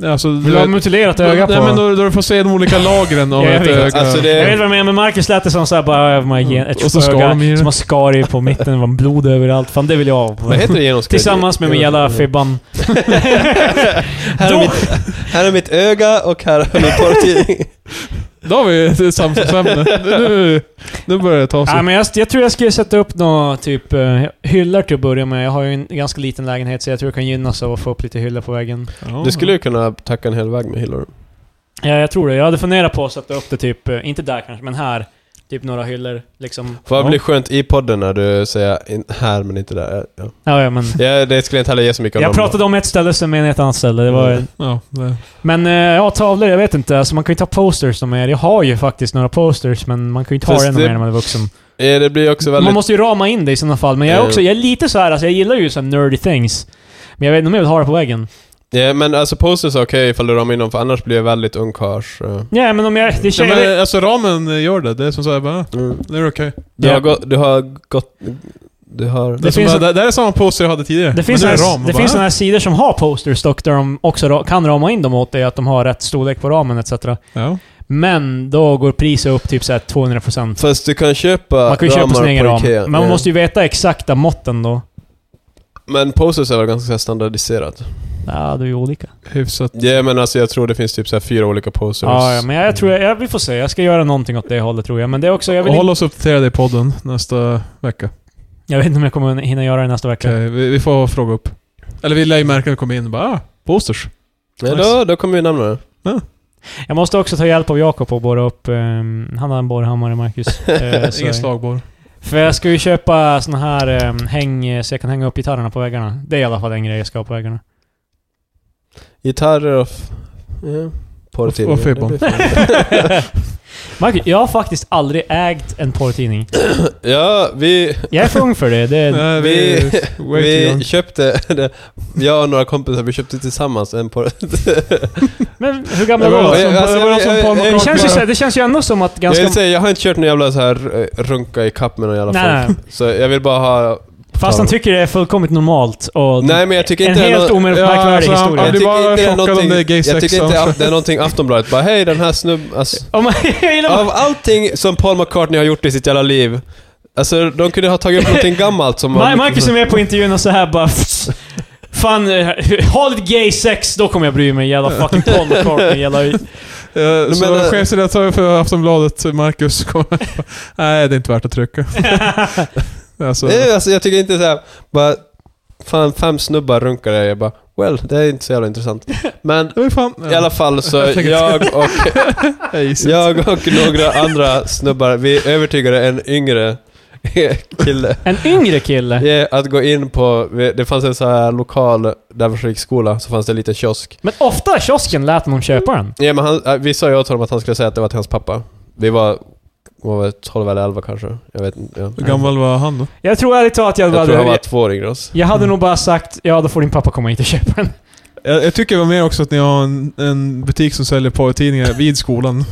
Ja, alltså, Vill du ha mutilerat öga på? Nej, men då, då du får se de olika lagren av Ja, jag ett vet. öga. Alltså Jag vet det... vad jag menar, men Marcus lät det som såhär bara... man ger Ett Och så skar de i öga det. som har skar i på mitten, det var blod överallt. Fan, det vill jag ha. på. Vad heter det genomskärning? Tillsammans med min (laughs) jävla Fibban. här, är Då- mitt, här är mitt öga och här är min porrtidning. Då har vi (laughs) ett samtalsämne. Nu, nu börjar det ta sig. Nej, men jag, jag tror jag skulle sätta upp några typ eh, hyllor till att börja med. Jag har ju en ganska liten lägenhet så jag tror jag kan gynnas av att få upp lite hyllor på väggen. Ja. Du skulle ju kunna tacka en hel väg med hyllor. Ja, jag tror det. Jag hade funderat på att sätta upp det typ, eh, inte där kanske, men här. Typ några hyllor liksom. Får det ja. bli skönt i podden när du säger in, här men inte där. Ja. Ja, ja, men. Ja, det skulle jag inte heller ge så mycket Jag pratade om ett ställe, sen menade jag ett annat ställe. Det var, Mm. Ja, det. Men eh, ja, tavlor, jag vet inte. Alltså man kan ju ta posters som är. Jag har ju faktiskt några posters, men man kan ju inte ha Fast det ännu det- mer när man är vuxen. Eh, Det blir också väldigt... Man måste ju rama in det i sådana fall, men jag är, Eh. också, jag är lite så här, alltså jag gillar ju sådana nerdy things. Men jag vet inte om jag vill ha det på väggen. Ja, men alltså posters är okej ifall du ramar in dem, för annars blir det väldigt ungkarls... eh. Nej, men om jag... Det Ja, känner, men, alltså ramen gör det. Det är som såhär bara, nu är det okej. Mm. Du, Ja. har gått, du har gått... Du har... Det, Det är som finns bara, en- det där är samma poster jag hade tidigare. Det finns, men nu är såna här, ram. det Bara, finns "Ah, såna här sidor som har posters dock, där de också ra- kan rama in dem åt dig, att de har rätt storlek på ramen etc. Ja. Men då går priset upp typ så här 200%. Fast du kan köpa Man kan ju köpa sin egen ram, Ikea. men man Ja. måste ju veta exakta måtten då. Men posters är väl ganska så här standardiserat? Ja, det är ju olika. Hyfsat. Ja men alltså jag tror det finns typ så här fyra olika posters. Ja, ja, men jag, jag tror, jag, vi får se. Jag ska göra någonting åt det hållet tror jag. Men det är också, jag Och vill, håll inte, oss uppdaterade i podden nästa vecka. jag vet inte om jag kommer hinna göra det nästa vecka. Okej, vi, vi får fråga upp. Eller vi lär ju märka när vi kommer in bara, ah, posters. Nej, då, då kommer vi närmare. Jag måste också ta hjälp av Jakob och borra upp... ehm, han har en borrhammare, Marcus. Eh, så- Ingen slagborr. För jag ska ju köpa såna här ehm, häng... Så jag kan hänga upp gitarrerna på väggarna. Det är i alla fall en grej jag ska ha på väggarna. Gitarrer och... f- Ja, porrtidningar. Och fibbon. Det blir fint. (laughs) Marcus, jag har faktiskt aldrig ägt en porrtidning. ja, vi... Jag är för ung för det. det Nej, vi- (laughs) vi... way too young. Vi köpte... (laughs) det- Jag och några kompisar, vi köpte tillsammans en porr... men hur gammal Det var var någon du? som- det var någon som Paul Det McCartney- känns, ju, så- det känns ju ändå som att Jag, ganska... vill säga, jag har inte kört någon jävla så här eh, runka i kapp med någon jävla Nej, folk. Så jag vill bara ha... Fast han tycker det är fullkomligt normalt och... Nej men jag tycker en inte det är helt nå- omärkvärdig Ja, alltså, historia. jag blir tycker bara inte det är chockad om någonting- det är gay Jag sex tycker inte också. att det är någonting Aftonbladet bara hej den här snubben... Alltså, Om (laughs) man, jag gillar av allting som Paul McCartney har gjort i sitt jävla liv. Alltså de kunde ha tagit upp någonting gammalt (laughs) som... Ma- Marcus är med på intervjun och så här bara... (laughs) Fan, eh, ha lite gay sex, då kommer jag bry mig. Jävla fucking Paul McCartney. Jävla... Eh, Du Så menar- chefsredaktör för Aftonbladet, Marcus, kommer... Nej, det är inte värt att (laughs) trycka. alltså, Nej, alltså jag tycker inte såhär, bara... Fan, fem snubbar runkar jag, jag bara... Well, det är inte så jävla (laughs) intressant. Men det är fan... i alla fall så Jag tänker- jag och, Jag gissar. jag och några andra snubbar, vi övertygade en yngre kille En yngre kille. ja, att gå in på... Det fanns en så här lokal där vi gick skola, så fanns det en liten kiosk. Men ofta i kiosken lät någon köpa den. Ja, men han, äh, vi sa ju åt honom att han skulle säga att det var till hans pappa. Vi var... Vad var det, 12 eller 11 kanske? Jag vet inte. Ja. Hur gammal var han då? Jag tror ärligt talat jag, Jag hade... tror han var Jag, två år yngre än oss. hade nog bara sagt ja, då får din pappa komma hit och köpa den. Jag, jag tycker det var mer också att ni har en, en butik som säljer porrtidningar vid (laughs) skolan.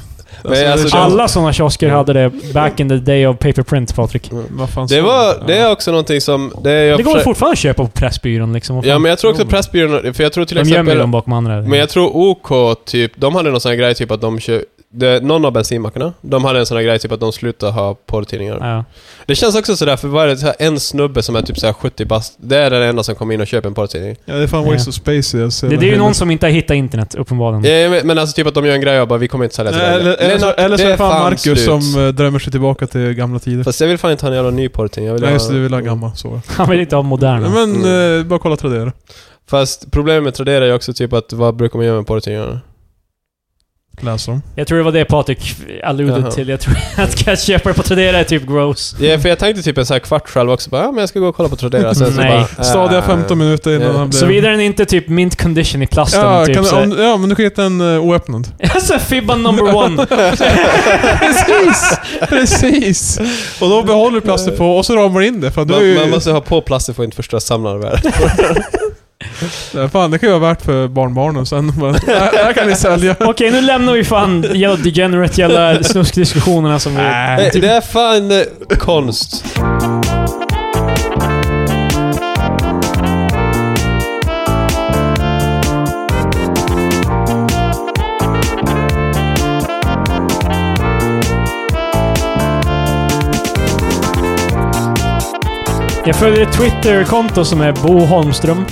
Men alltså, det känns- Alla sådana kiosker hade det back in the day of paper print, Patrik. Vad fan Det, sa var, jag? det Ja. är också någonting som... Det, jag Det går försö- väl fortfarande att köpa på Pressbyrån liksom. Ja men jag tror också Jo, men- Pressbyrån, för jag tror till de gömmer ju exempel... dem bakom andra. Men jag tror OK, typ, de hade någon sån här grej typ att de kö- det, Någon av bensinmackarna, de hade en sån här grej typ att de slutade ha porrtidningar. Ja. Det känns också sådär, för varje så här, en snubbe som är typ såhär 70 bast, det är den enda som kommer in och köper en porrtidning. Ja, det är fan Ja. waste of space. Jag ser Det, det är ju hela- någon som inte har hittat internet, uppenbarligen. Ja, men, men alltså typ att de gör en grej och bara vi kommer inte sälja till Mm. Nej, dig." Eller, eller, så, Lennart, eller så är det fan fan Marcus slut. som eh, drömmer sig tillbaka till gamla tider. Fast jag vill fan inte ha en jävla ny porrtidning, jag vill Nej, ha... just det, du vill ha gammal. Så. Han vill inte ha moderna. Men Mm. eh, bara kolla Tradera. Fast problemet med Tradera är ju också typ att vad brukar man göra med porrtidningarna? Läs dem. Jag tror det var det Patrik alluded Jaha. till. Jag tror (laughs) att jag köper på Tradera är typ gross. Ja, för jag tänkte typ en sån här kvart själv också, bara, ja men jag ska gå och kolla på Tradera. Sen så Nej. bara, äh, (laughs) Stadiga (laughs) 15 minuter innan Ja. han blev... Såvida den inte är typ mint condition i plasten. Ja, typ, kan, så. (laughs) om, ja, men du kan hitta en uh, (laughs) oöppnad. alltså Fibban number one. Precis! Precis! Och då behåller du plasten på och så ramar du in det. För du är Man, ju, man måste ha på plaster för att inte förstöra (laughs) samlarvärdet. Fan, det kan ju vara värt för barnbarnen sen. (laughs) Bara, "Här- här kan ni (laughs) sälja. Okej, nu lämnar vi fan jävla degenerate jävla snuskdiskussionerna som vi... Nej, typ- det är fan eh, konst. Jag följer ett Twitter-konto som är Bo Holmström.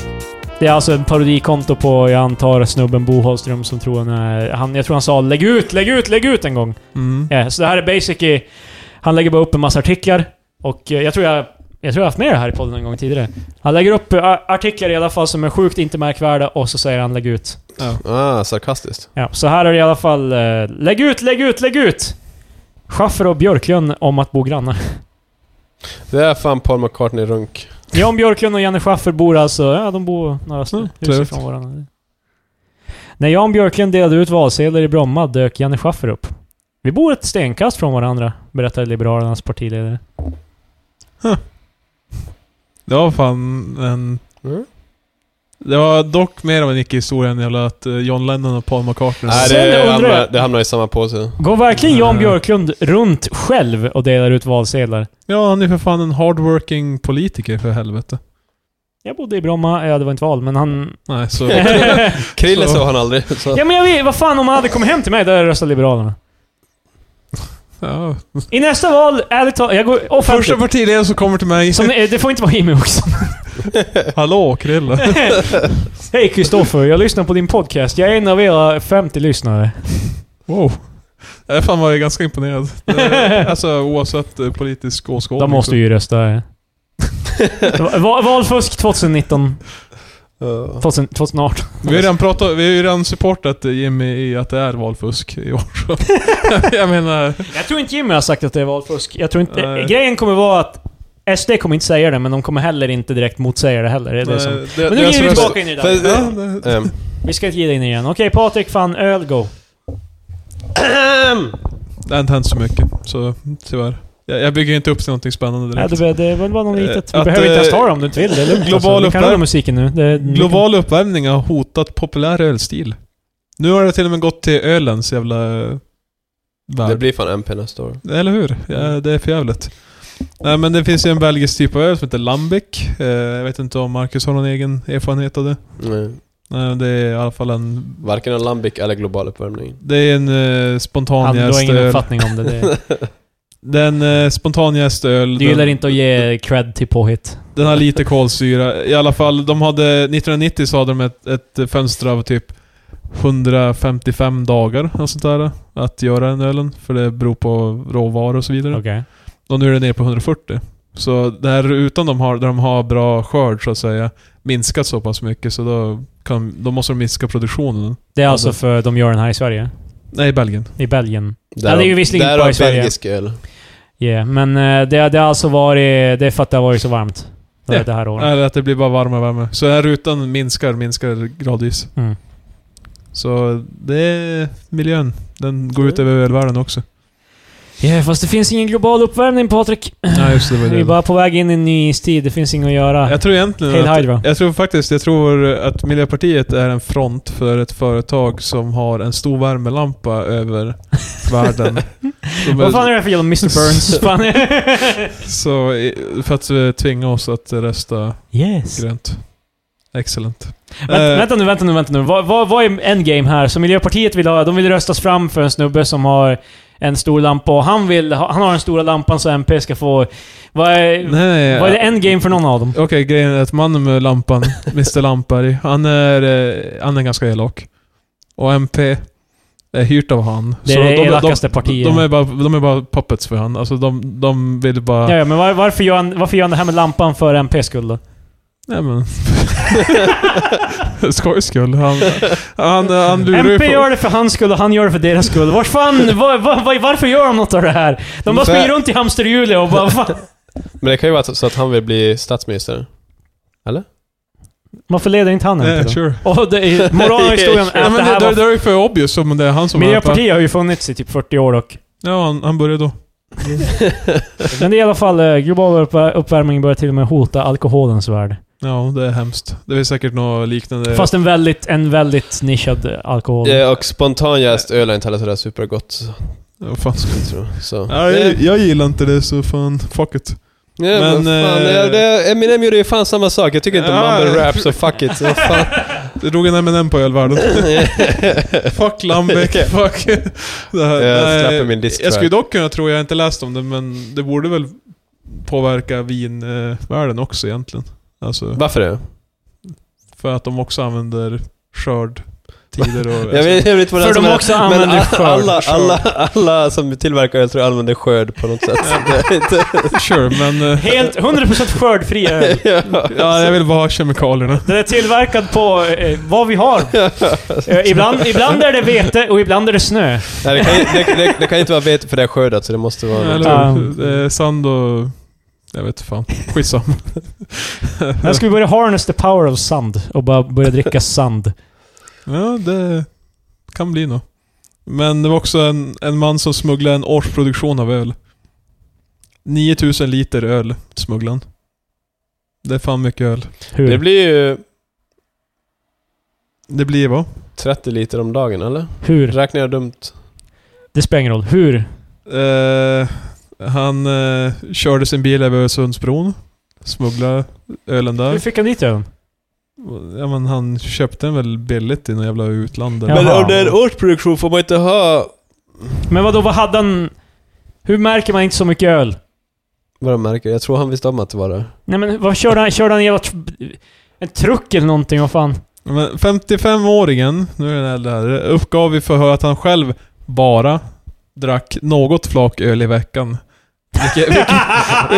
Det är alltså en parodikonto på, jag antar, snubben Bo Holström som tror han är... Han, jag tror han sa 'Lägg ut, lägg ut, lägg ut' en gång. Mm. Ja, så det här är basically... Han lägger bara upp en massa artiklar. Och eh, jag tror jag... Jag tror jag har haft med det här i podden en gång tidigare. Han lägger upp eh, artiklar i alla fall som är sjukt inte märkvärda och så säger han 'Lägg ut'. Ah, sarkastiskt. Ja, så här är det i alla fall. eh, Lägg ut, lägg ut, lägg ut! Schaffer och Björklund om att bo grannar. Det är fan Paul McCartney-runk. Jan Björklund och Janne Schaffer bor alltså... Ja, de bor några Mm, stycken hus trevligt. ifrån varandra. När Jan Björklund delade ut valsedlar i Bromma dök Janne Schaffer upp. Vi bor ett stenkast från varandra, berättade Liberalernas partiledare. Det var fan en... Mm. Det var dock mer av en icke-historia än jävla att eh, John Lennon och Paul McCartney... Nej, Sen det, undrar hamnar, jag- det hamnar i samma påse. Går verkligen Jan Mm. Björklund runt själv och delar ut valsedlar? Ja, han är för fan en hardworking politiker för helvete. Jag bodde i Bromma, ja det var inte val, men (laughs) han... Nej, så... Krille Så. sa han (laughs) aldrig. Så. ja men jag vet, vad fan om han hade kommit hem till mig, då hade jag röstat Liberalerna. ja. I nästa val, ärligt talat, jag går Första offentligt. partiledaren som kommer till mig. Som, eh, det får inte vara Jimmy Åkesson. Hallå, (laughs) Krille. Hej Kristoffer, jag lyssnar på din podcast. Jag är en av era 50 lyssnare. Wow. Jag fan var jag ganska imponerad. (laughs) Det- alltså oavsett eh, politisk åskådning. De måste ju rösta. (laughs) eh. Va- Valfusk 2019. Ja. 2000, 2018. Vi har ju redan pratat, vi har ju redan supportat eh, Jimmy i att det är valfusk i år. (laughs) så. jag menar... Jag tror inte Jimmy har sagt att det är valfusk. Jag tror inte... Nej. eh, Grejen kommer vara att SD kommer inte säga det, men de kommer heller inte direkt motsäga det heller. Det är det som... eh, det- Men nu det är ger vi som- tillbaka in i det där. För- Ja, det- Ehm. Vi ska inte ge dig in igen. Okej, Patrik, fan, öl, go. Det har inte hänt så mycket, så tyvärr. Jag, jag bygger inte upp till någonting Nej, spännande direkt. det, var- det var bara något Eh, litet. Vi att, behöver inte ens eh, ta det om du inte vill. Det är lugnt. global alltså. Vi kan uppvärm- hålla musiken nu. Det, Global uppvärmning har hotat populär ölstil. Nu har det till och med gått till ölens jävla... eh, Det Värld. blir fan MP nästa år. Eller hur? Mm. Ja, det är för jävligt. Nej men det finns ju en belgisk typ av öl som heter Lambic. Eh, Jag vet inte om Marcus har någon egen erfarenhet av det. Nej. Nej, men det är i alla fall en... Mm. Varken alambic eller global uppvärmning. Det är en eh, spontan Han, du har ingen jästöl. uppfattning om det. (laughs) det. Den eh, spontan jästöl. Du gillar Den, inte att ge cred till påhitt. den har lite kolsyra. I alla fall, de hade... 1990 så hade de ett, ett fönster av typ 155 dagar, och sånt där. Att göra den ölen. För det beror på råvaror och så vidare. Okej. Och nu är det ner på 140. Så där utan de har, där de har bra skörd så att säga, minskat så pass mycket så då, kan, då måste de minska produktionen. Det är alltså för de gör den här i Sverige. Nej, Belgien. I Belgien. Ja, det är ju visserligen därav bara i Sverige. belgisk öl. Yeah. Men eh, det, det har alltså varit... Det är för att det har varit så varmt. Det, Ja. det här året. Eller att det blir bara varmare och varmare. Så här rutan minskar, minskar gradvis. Mm. Så det är miljön. Den går ut Mm. över ölvärlden också. Yeah, fast det finns ingen global uppvärmning Patrik. Ja, just det. det var Vi det. är bara på väg in i en ny istid. Det finns inget att göra. Jag tror egentligen Hail Hydra. att, Jag tror faktiskt, jag tror att Miljöpartiet är en front för ett företag som har en stor värmelampa över (laughs) världen. De är- Vad fan är det här för jävla Mr. (laughs) Burns? fan. Så eh, för att eh, tvinga oss att eh, rösta yes. grönt. Excellent. Vänta, Eh, vänta nu, vänta nu, vänta nu. Vad, vad, vad är endgame här? Så Miljöpartiet vill ha... De vill röstas fram för en snubbe som har en stor lampa och han vill... ha- Han har den stora lampan så MP ska få... Vad är, Nej, vad är det eh, endgame för någon av dem? Okej, grejen är att mannen med lampan, Mr Lampari, han är, eh, han är ganska elak. Och MP är hyrt av han. Det är det elakaste partiet. De är, bara, de är bara puppets för han. Alltså de, de vill bara... Ja, ja, men var, varför, gör han, varför gör han det här med lampan för MPs skull då? Nej men... (laughs) För Skojs skull. Han, han, han lurar ju MP folk. gör det för hans skull och han gör det för deras skull. Vars fan, (laughs) var, var, var, varför gör de något av det här? De bara För- springer runt i hamsterhjulet och bara fan. Men det kan ju vara så att han vill bli statsminister. Varför leder inte han MP Nej, då? Eh, sure. Och det är, (laughs) moralen i historien är Ja, att det men det, här det, var... det är ju för obvious om det är han som är- Miljöpartiet har ju funnits i typ 40 år och Ja, han, han började då. Men det är i alla fall, eh, global upp- uppvärmning börjar till och med hota alkoholens värld. Ja, det är hemskt. Det är säkert något liknande. Fast en väldigt, en väldigt nischad eh, alkohol. Ja, och spontan jäst öl är inte heller sådär supergott, Ja, fan. skulle jag tro. Så. Ja, jag, jag gillar inte det så fan, fuck it. Ja, men, men, fan, eh, ja, det, Eminem gjorde ju fan samma sak. Jag tycker inte om Ja. mumble rap, så fuck it. Så fan. Det drog en M&M på (laughs) ölvärlden. (laughs) fuck Lambic, fuck... Det här. Jag Nej, släpper min disk Jag för skulle dock kunna tro, jag har inte läst om det, men det borde väl påverka vinvärlden också egentligen. Alltså, Varför det? För att de också använder skördtider och... (laughs) Jag vet, jag vet vad det är För som de är- också men använder a- skörd. alla, skörd. alla, alla som tillverkar öl tror jag använder skörd på något sätt. Det är (laughs) inte- Sure, men... eh, Helt 100% skördfri öl. Ja, jag vill bara ha kemikalierna. Den är tillverkad på eh, vad (laughs) vi har. Eh, ibland, ibland är det vete och ibland är det snö. Nej, det, kan, ju- det, det, det kan ju inte vara vete för det är skördat så det måste vara... Eller Um. eh, sand och... Jag vet fan. Skitsamma. Här ska vi börja harness the power of sand och bara börja dricka sand. Ja, det kan bli nog. Men det var också en, en man som smugglade en årsproduktion av öl. 9000 liter öl smugglade han. Det är fan mycket öl. Hur? Det blir ju Det blir vad? 30 liter om dagen eller? Hur? Räknar jag dumt? Det spelar ingen roll. Hur? Eh, han eh, körde sin bil över Öresundsbron. Smugglade ölen Hur där. fick han dit ölen? Ja, men han köpte den väl billigt i något jävla utland. eller- Men Jaha. om det är en årsproduktion får man inte ha... Men vadå, vad hade han... Hur märker man inte så mycket öl? Vad jag märker, jag tror han visste om att det var det. Nej men vad körde han? Körde han en jävla... tr- En truck eller någonting? Vad fan? Men 55-åringen, nu är den äldre här, uppgav i förhör att han själv bara drack något flak öl i veckan. Vilket, vilket,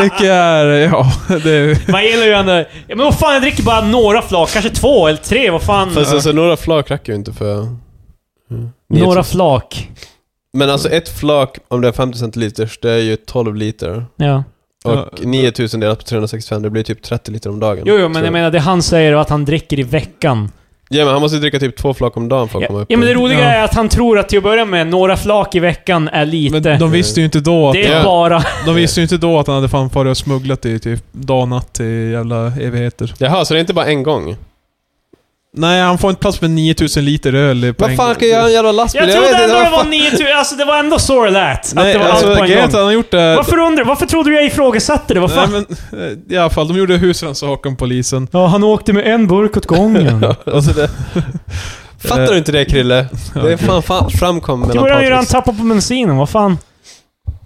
vilket är, ja, det är, Man gillar ju ändå... Ja, men vad fan, jag dricker bara några flak. Kanske två eller tre. Vad fan? Fast alltså några flak räcker ju inte för... Mm. några flak. Men alltså ett flak, om det är 50 centiliters, det är ju 12 liter. Ja. Och Ja. 9000 delat på 365, det blir typ 30 liter om dagen. Jo, jo, men tror jag menar det han säger är att han dricker i veckan. Ja men han måste ju dricka typ två flak om dagen för att komma Ja, upp ja, men i- det roliga Ja. är att han tror att till att börja med, några flak i veckan är lite. men de visste ju inte då att, det är Ja. bara... de visste ju inte då att han hade fan farit och smugglat i typ dag och natt i jävla evigheter. Jaha, så det är inte bara en gång? Nej, han får inte plats med 9000 liter öl på Vad en fan gång. ska jag göra en jävla lastbil? Jag trodde vet inte, ändå det vad var fan- 9000. Alltså det var ändå så lätt. Att Nej, det var alltså, allt på grejen är en att gång. han har gjort det... Varför undrar Varför trodde du jag ifrågasatte det? Vad Nej, fan? men, eh, I alla fall, de gjorde husrannsakan polisen. Ja, han åkte med en burk åt (laughs) gången. (laughs) Alltså, det... Fattar du inte det Krille? Det är fan, fan framkom Till mellan början gjorde han Patriks. tappa på bensinen, vad fan?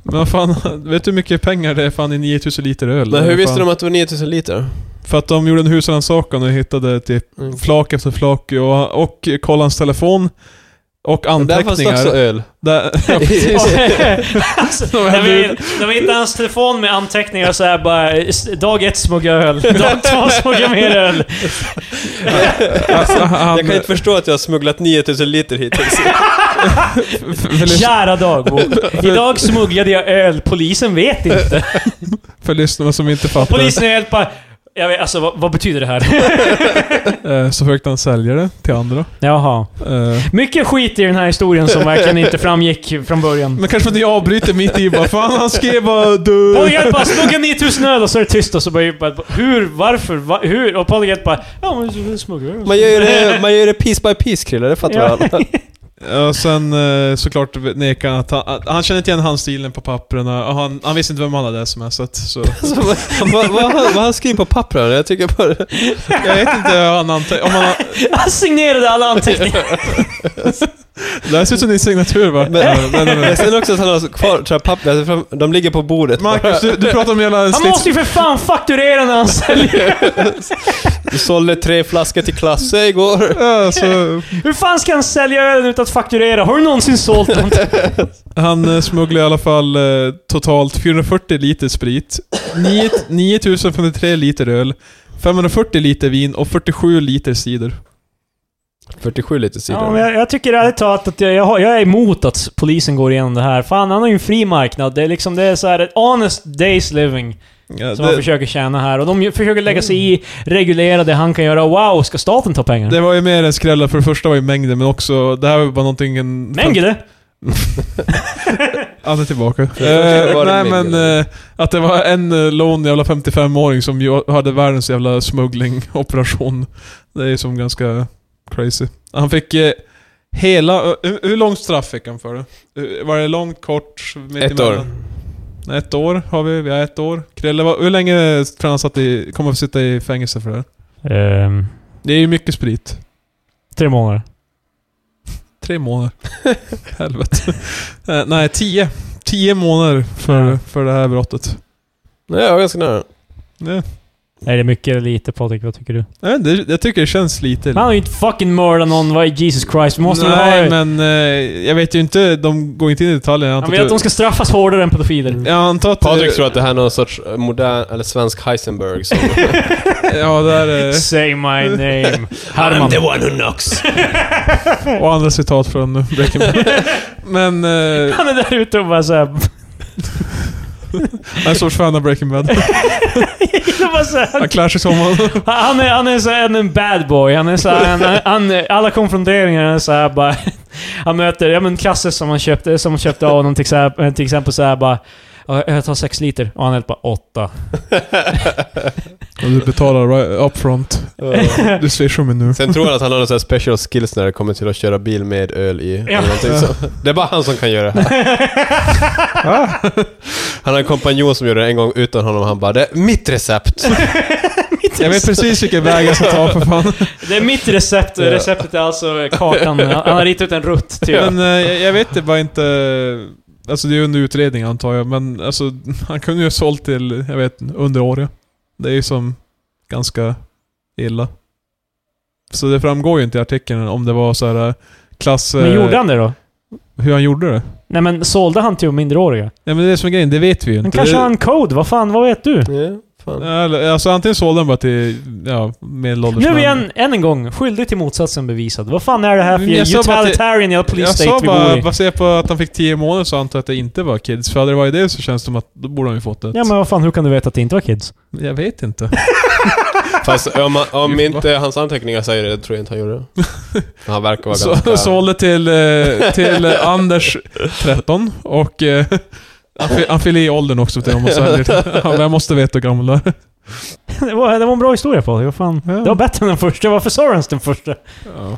Men vad fan, (laughs) vet du hur mycket pengar det är fan i 9000 liter öl? Men hur Fan. visste de att det var 9000 liter? För att de gjorde en husrannsakan och hittade typ Mm. flak efter flak och, och kollade hans telefon och Där fanns det anteckningar. också öl. (laughs) Där, (laughs) (laughs) ja, precis. (laughs) alltså, när, vi, när vi hittade hans telefon med anteckningar och så här bara s- Dag ett smugga (laughs) öl, dag två smugga mer öl. alltså, han, Jag kan inte förstå att jag har smugglat 9000 liter hittills. för, lys, Kära dagbok. (laughs) Idag smugglade jag öl, polisen vet inte. för lyssnarna som inte fattar. Polisen är helt bara... Jag vet, alltså vad, vad betyder det här? eh, Så försökte han sälja det till andra. Jaha. Eh, Mycket skit i den här historien som verkligen inte framgick från början. Men kanske för att jag avbryter mitt i bara Fan han skrev bara du. Polygate bara smugga 9000 öl och så är det tyst och så börjar bara Hur? Varför? Va, hur? Och Polygate bara Ja men smugga öl. Man gör ju det, man gör det piece by piece Krille, det fattar Ja. alla. Och sen eh, såklart nekar han att han, att han kände inte igen handstilen på pappren och han, han visste inte vem han hade smsat. Så. Alltså, vad, vad, vad, han- vad han skriver på pappren, jag tycker bara... Jag vet inte hur han ante- om han Han signerade alla anteckningar. Det här ser ut som din signatur va? Men, men, men, men sen också att han har kvar tror jag, papper, alltså, fram- de ligger på bordet. Marcus, du, du pratar om hela Han måste slits... ju för fan fakturera när han säljer. Du sålde tre flaskor till Klasse igår. Ja, så Hur fan ska han sälja ölen utan att fakturera? Har du någonsin sålt någonting? han eh, smugglade i alla fall eh, totalt 440 liter sprit, 9 9053 liter öl, 540 liter vin och 47 liter cider. 47 liter sidor. Ja, men jag, jag tycker ärligt talat att jag, jag, har- jag är emot att polisen går igenom det här. Fan, han har ju en fri marknad. Det är liksom, det är så här ett honest days living. Ja, Som han det, försöker tjäna här. Och de ju- försöker lägga sig i, reglera det han kan göra. Wow, ska staten ta pengar? det var ju mer en skrälla, för det första var ju mängden, men också det här var bara någonting... En, Mengele? Han är tillbaka. det (laughs) var Eh, det nej mängden. men, eh, att det var en eh, lån jävla 55-åring som ju hade världens jävla smugglingoperation. Det är ju som ganska crazy. Han fick eh, hela... eh, Hur, hur långt straff fick han för det? Eh, Var det långt, kort, mitt Ett emellan? år. Nej, ett år har vi. Vi har ett år. Krille, vad- hur länge tror du han satt i, kommer att sitta i fängelse för det här? Ehm, Det är ju mycket sprit. tre månader. (laughs) Tre månader. Helvete. Eh, nej, tio. Tio månader för, Ja. för det här brottet. Nej, jag var ganska nära. Ja. Är det mycket eller lite Patrik? Vad tycker du? Jag, vet inte, jag tycker det känns lite... Men han har ju inte fucking mördat någon, vad är Jesus Christ? Vi måste Nej, väl ha... men eh, jag vet ju inte. De går inte in i detaljer. Jag Han antar vill att de att- ska straffas hårdare än pedofiler. jag antar att... Patrik tror att det här är någon sorts eh, modern, eller svensk Heisenberg (laughs) som... Ja, där... eh, Say my (laughs) name. Herman. one who knocks! Och andra citat från Breaking Bad. Men... Eh, Han är där ute och bara (laughs) såhär... jag är en sorts fan av Breaking Bad. bara så här- Han klär sig som honom. Han är, han är så här en- en bad boy. Han är så här, han, han, alla konfronteringar är så här bara... (laughs) Han möter, ja men klasser som han köpte, som köpte av honom till exempel, till exempel så här bara... "Ja, Jag tar sex liter. Och han är bara (laughs) åtta. Och du betalar right up front. Du swishar mig nu. Sen tror han att han har någon sån här special skills när det kommer till att köra bil med öl i. Ja. Eller någonting så. Det är bara han som kan göra det här. Han har en kompanjon som gjorde det en gång utan honom han bara det är mitt recept. Jag vet precis vilken väg jag ska ta för fan. Det är mitt recept. Ja. Receptet är alltså kartan. Han har ritat ut en rutt, typ. Men eh, jag- jag vet det bara inte... Alltså det är under utredning antar jag, men alltså (laughs) han kunde ju ha sålt till, jag vet underåriga. Det är ju som ganska illa. Så det framgår ju inte i artikeln om det var så här eh, klass... Men eh, gjorde han det då? Hur han gjorde det? Nej men sålde han till minderåriga? Ja men det är det som är grejen, det vet vi ju inte. Men kanske det, har han code? Vad fan, vad vet du? (laughs) Ja, fan. Ja, eller- Alltså antingen sålde han bara till, ja, medelålders Nu är vi män. än, än en gång skyldig till motsatsen bevisad. Vad fan är det här för Men jag sa bara att det- utilitarian jävla police Jag state sa vi bor bara, i? baserat på att han fick 10 månader så antar jag att det inte var kids. För hade det varit det så känns det som att då borde han ju fått ett. Ja men vad fan, hur kan du veta att det inte var kids? (laughs) Jag vet inte. Fast om, om inte hans anteckningar säger det tror jag inte han (laughs) gjorde det. Han verkar vara Så, ganska... sålde till, eh, till eh, Anders 13 och eh, han fyll- han fyller i åldern också till honom. Så här, (laughs) ja, men jag måste veta hur gammal det är. Det var, det var en bra historia Patrik, vad fan. Ja. Det var bättre än den första, varför sa du ens den första?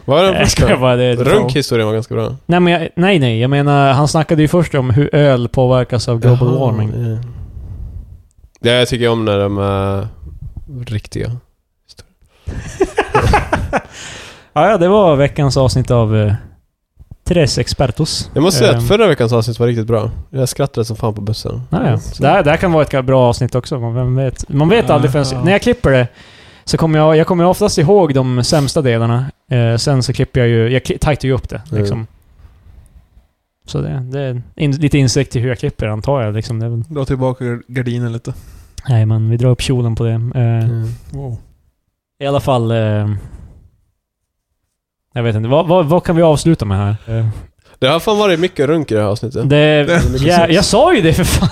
Vad är Nej, den jag skojar första? bara. Det är Runkhistorien var ganska bra. nej, men jag, nej, nej. Jag menar, han snackade ju först om hur öl påverkas av global Jaha, warming. ja. Ja, jag tycker om när de är riktiga. Ja, ja, det var veckans avsnitt av eh, Tres Expertos. Jag måste säga Ehm, att förra veckans avsnitt var riktigt bra. Jag skrattade som fan på bussen. Ja, ja. Det, här, det här kan vara ett bra avsnitt också. Man, vem vet, man vet aldrig förrän... Ja. När jag klipper det så kommer jag... Jag kommer oftast ihåg de sämsta delarna. Eh, sen så klipper jag ju... Jag kli- tajtar ju upp det Mm. liksom. Så det, det är in, lite insikt i hur jag klipper antar jag. Liksom. Det är väl, Dra tillbaka gardinen lite. nej men vi drar upp kjolen på det. Eh, Mm. Wow. I alla fall... Eh, jag vet inte. Vad, vad, vad kan vi avsluta med här? Eh, Det har fan varit mycket runk i det här avsnittet. Det, Det är mycket ja, sex. jag sa ju det för fan.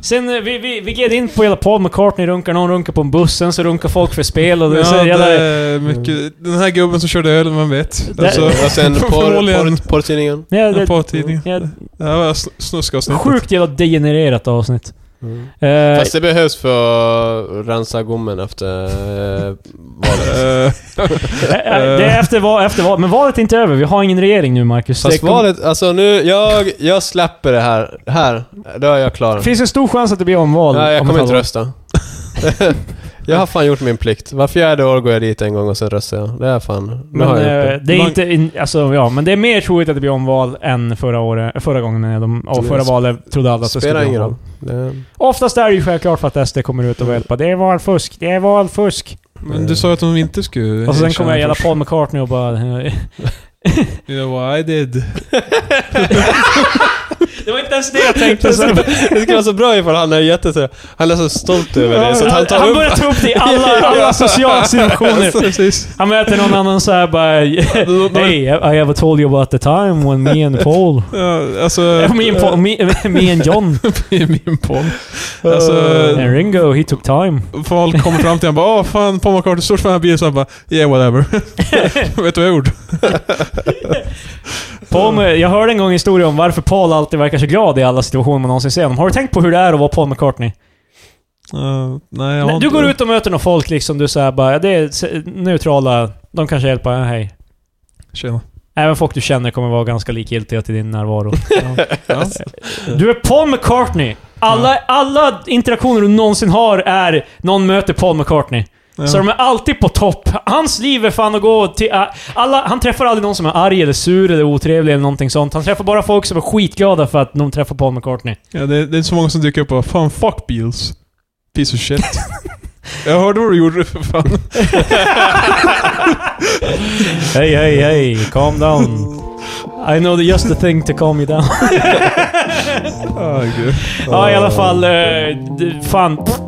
Sen eh, vi, vi, vi gled in på hela Paul McCartney runkar, någon runkar på en buss, sen så runkar folk för spel och det, så Ja, det jävla, är mycket, den här gubben som körde öl, man vet. Det- Alltså, Och (laughs) (laughs) sen porr- förmodligen porr- porrtidningen. ja, en det, porrtidning. ja, Det här var sn- snuskavsnittet. Sjukt jävla degenererat avsnitt. Mm. Eh, Fast det behövs för att rensa gommen efter eh, valet. Eh, eh, eh, det är efter, val, efter val, men valet är inte över. Vi har ingen regering nu, Marcus. Fast Det kom- valet, alltså nu, jag, jag släpper det här. Här, då är jag klar. Det finns en stor chans att det blir omval. Nej, jag om kommer ett inte halvår. rösta. (laughs) jag har fan gjort min plikt. Var fjärde år går jag dit en gång och sen röstar jag. Det är fan... Nu Men har jag eh, gjort det är Man- inte... In, alltså, ja, men det är mer troligt att det blir omval än förra, året, förra gången. När de, och Det förra sp- valet trodde alla det. att det Spelar skulle bli ingen omval. roll. Det... Oftast är det ju självklart för att SD kommer ut och hjälpa. Det är valfusk, det är valfusk. Men du sa ju att de inte skulle Och så sen erkänna kommer jag gälla först. Paul McCartney och bara... eh. You know what I did? (laughs) det var inte ens det jag (laughs) (laughs) Det skulle, det skulle vara så bra ifall han är jätte... så- Han är så stolt över det så att han tar upp... börjar ta upp det i (laughs) alla, alla sociala situationer. (laughs) Precis. Han möter någon annan såhär bara... Hey, I have told you about the time when me and (laughs) Paul... Ja, alltså... Eh, me, and Paul me, me and John I (laughs) min podd. Alltså- and Ringo, he took time. Folk kommer fram till honom och bara Åh fan, Paul McCartney, stort fan av bilen. Så han bara Yeah whatever. (laughs) Vet du vad jag gjorde? Paul, jag hörde en gång en historia om varför Paul alltid verkar så glad i alla situationer man någonsin ser honom. Har du tänkt på hur det är att vara Paul McCartney? Eh, nej, jag har Nej, du inte- går ut och möter några folk liksom, du säger bara, ja, det är se- neutrala, de kanske hjälper, ja, hej. (laughs) Tjena. Även folk du känner kommer vara ganska likgiltiga till din (laughs) närvaro. Ja. Ja. Du är Paul McCartney! Alla, alla interaktioner du någonsin har är någon möter Paul McCartney. Ja. Så de är alltid på topp. Hans liv är fan att gå till... äh, Alla, han träffar aldrig någon som är arg eller sur eller otrevlig eller någonting sånt. Han träffar bara folk som är skitglada för att de träffar Paul McCartney. (laughs) Ja, det, det är inte så många som dyker upp och bara Fan fuck Beatles. Piece of shit. Jag hörde vad du gjorde för fan. Hey, hey, hey, calm down. I know the just the thing to calm you down. Ah, gud. ja, i alla fall. eh, d- fan, pff,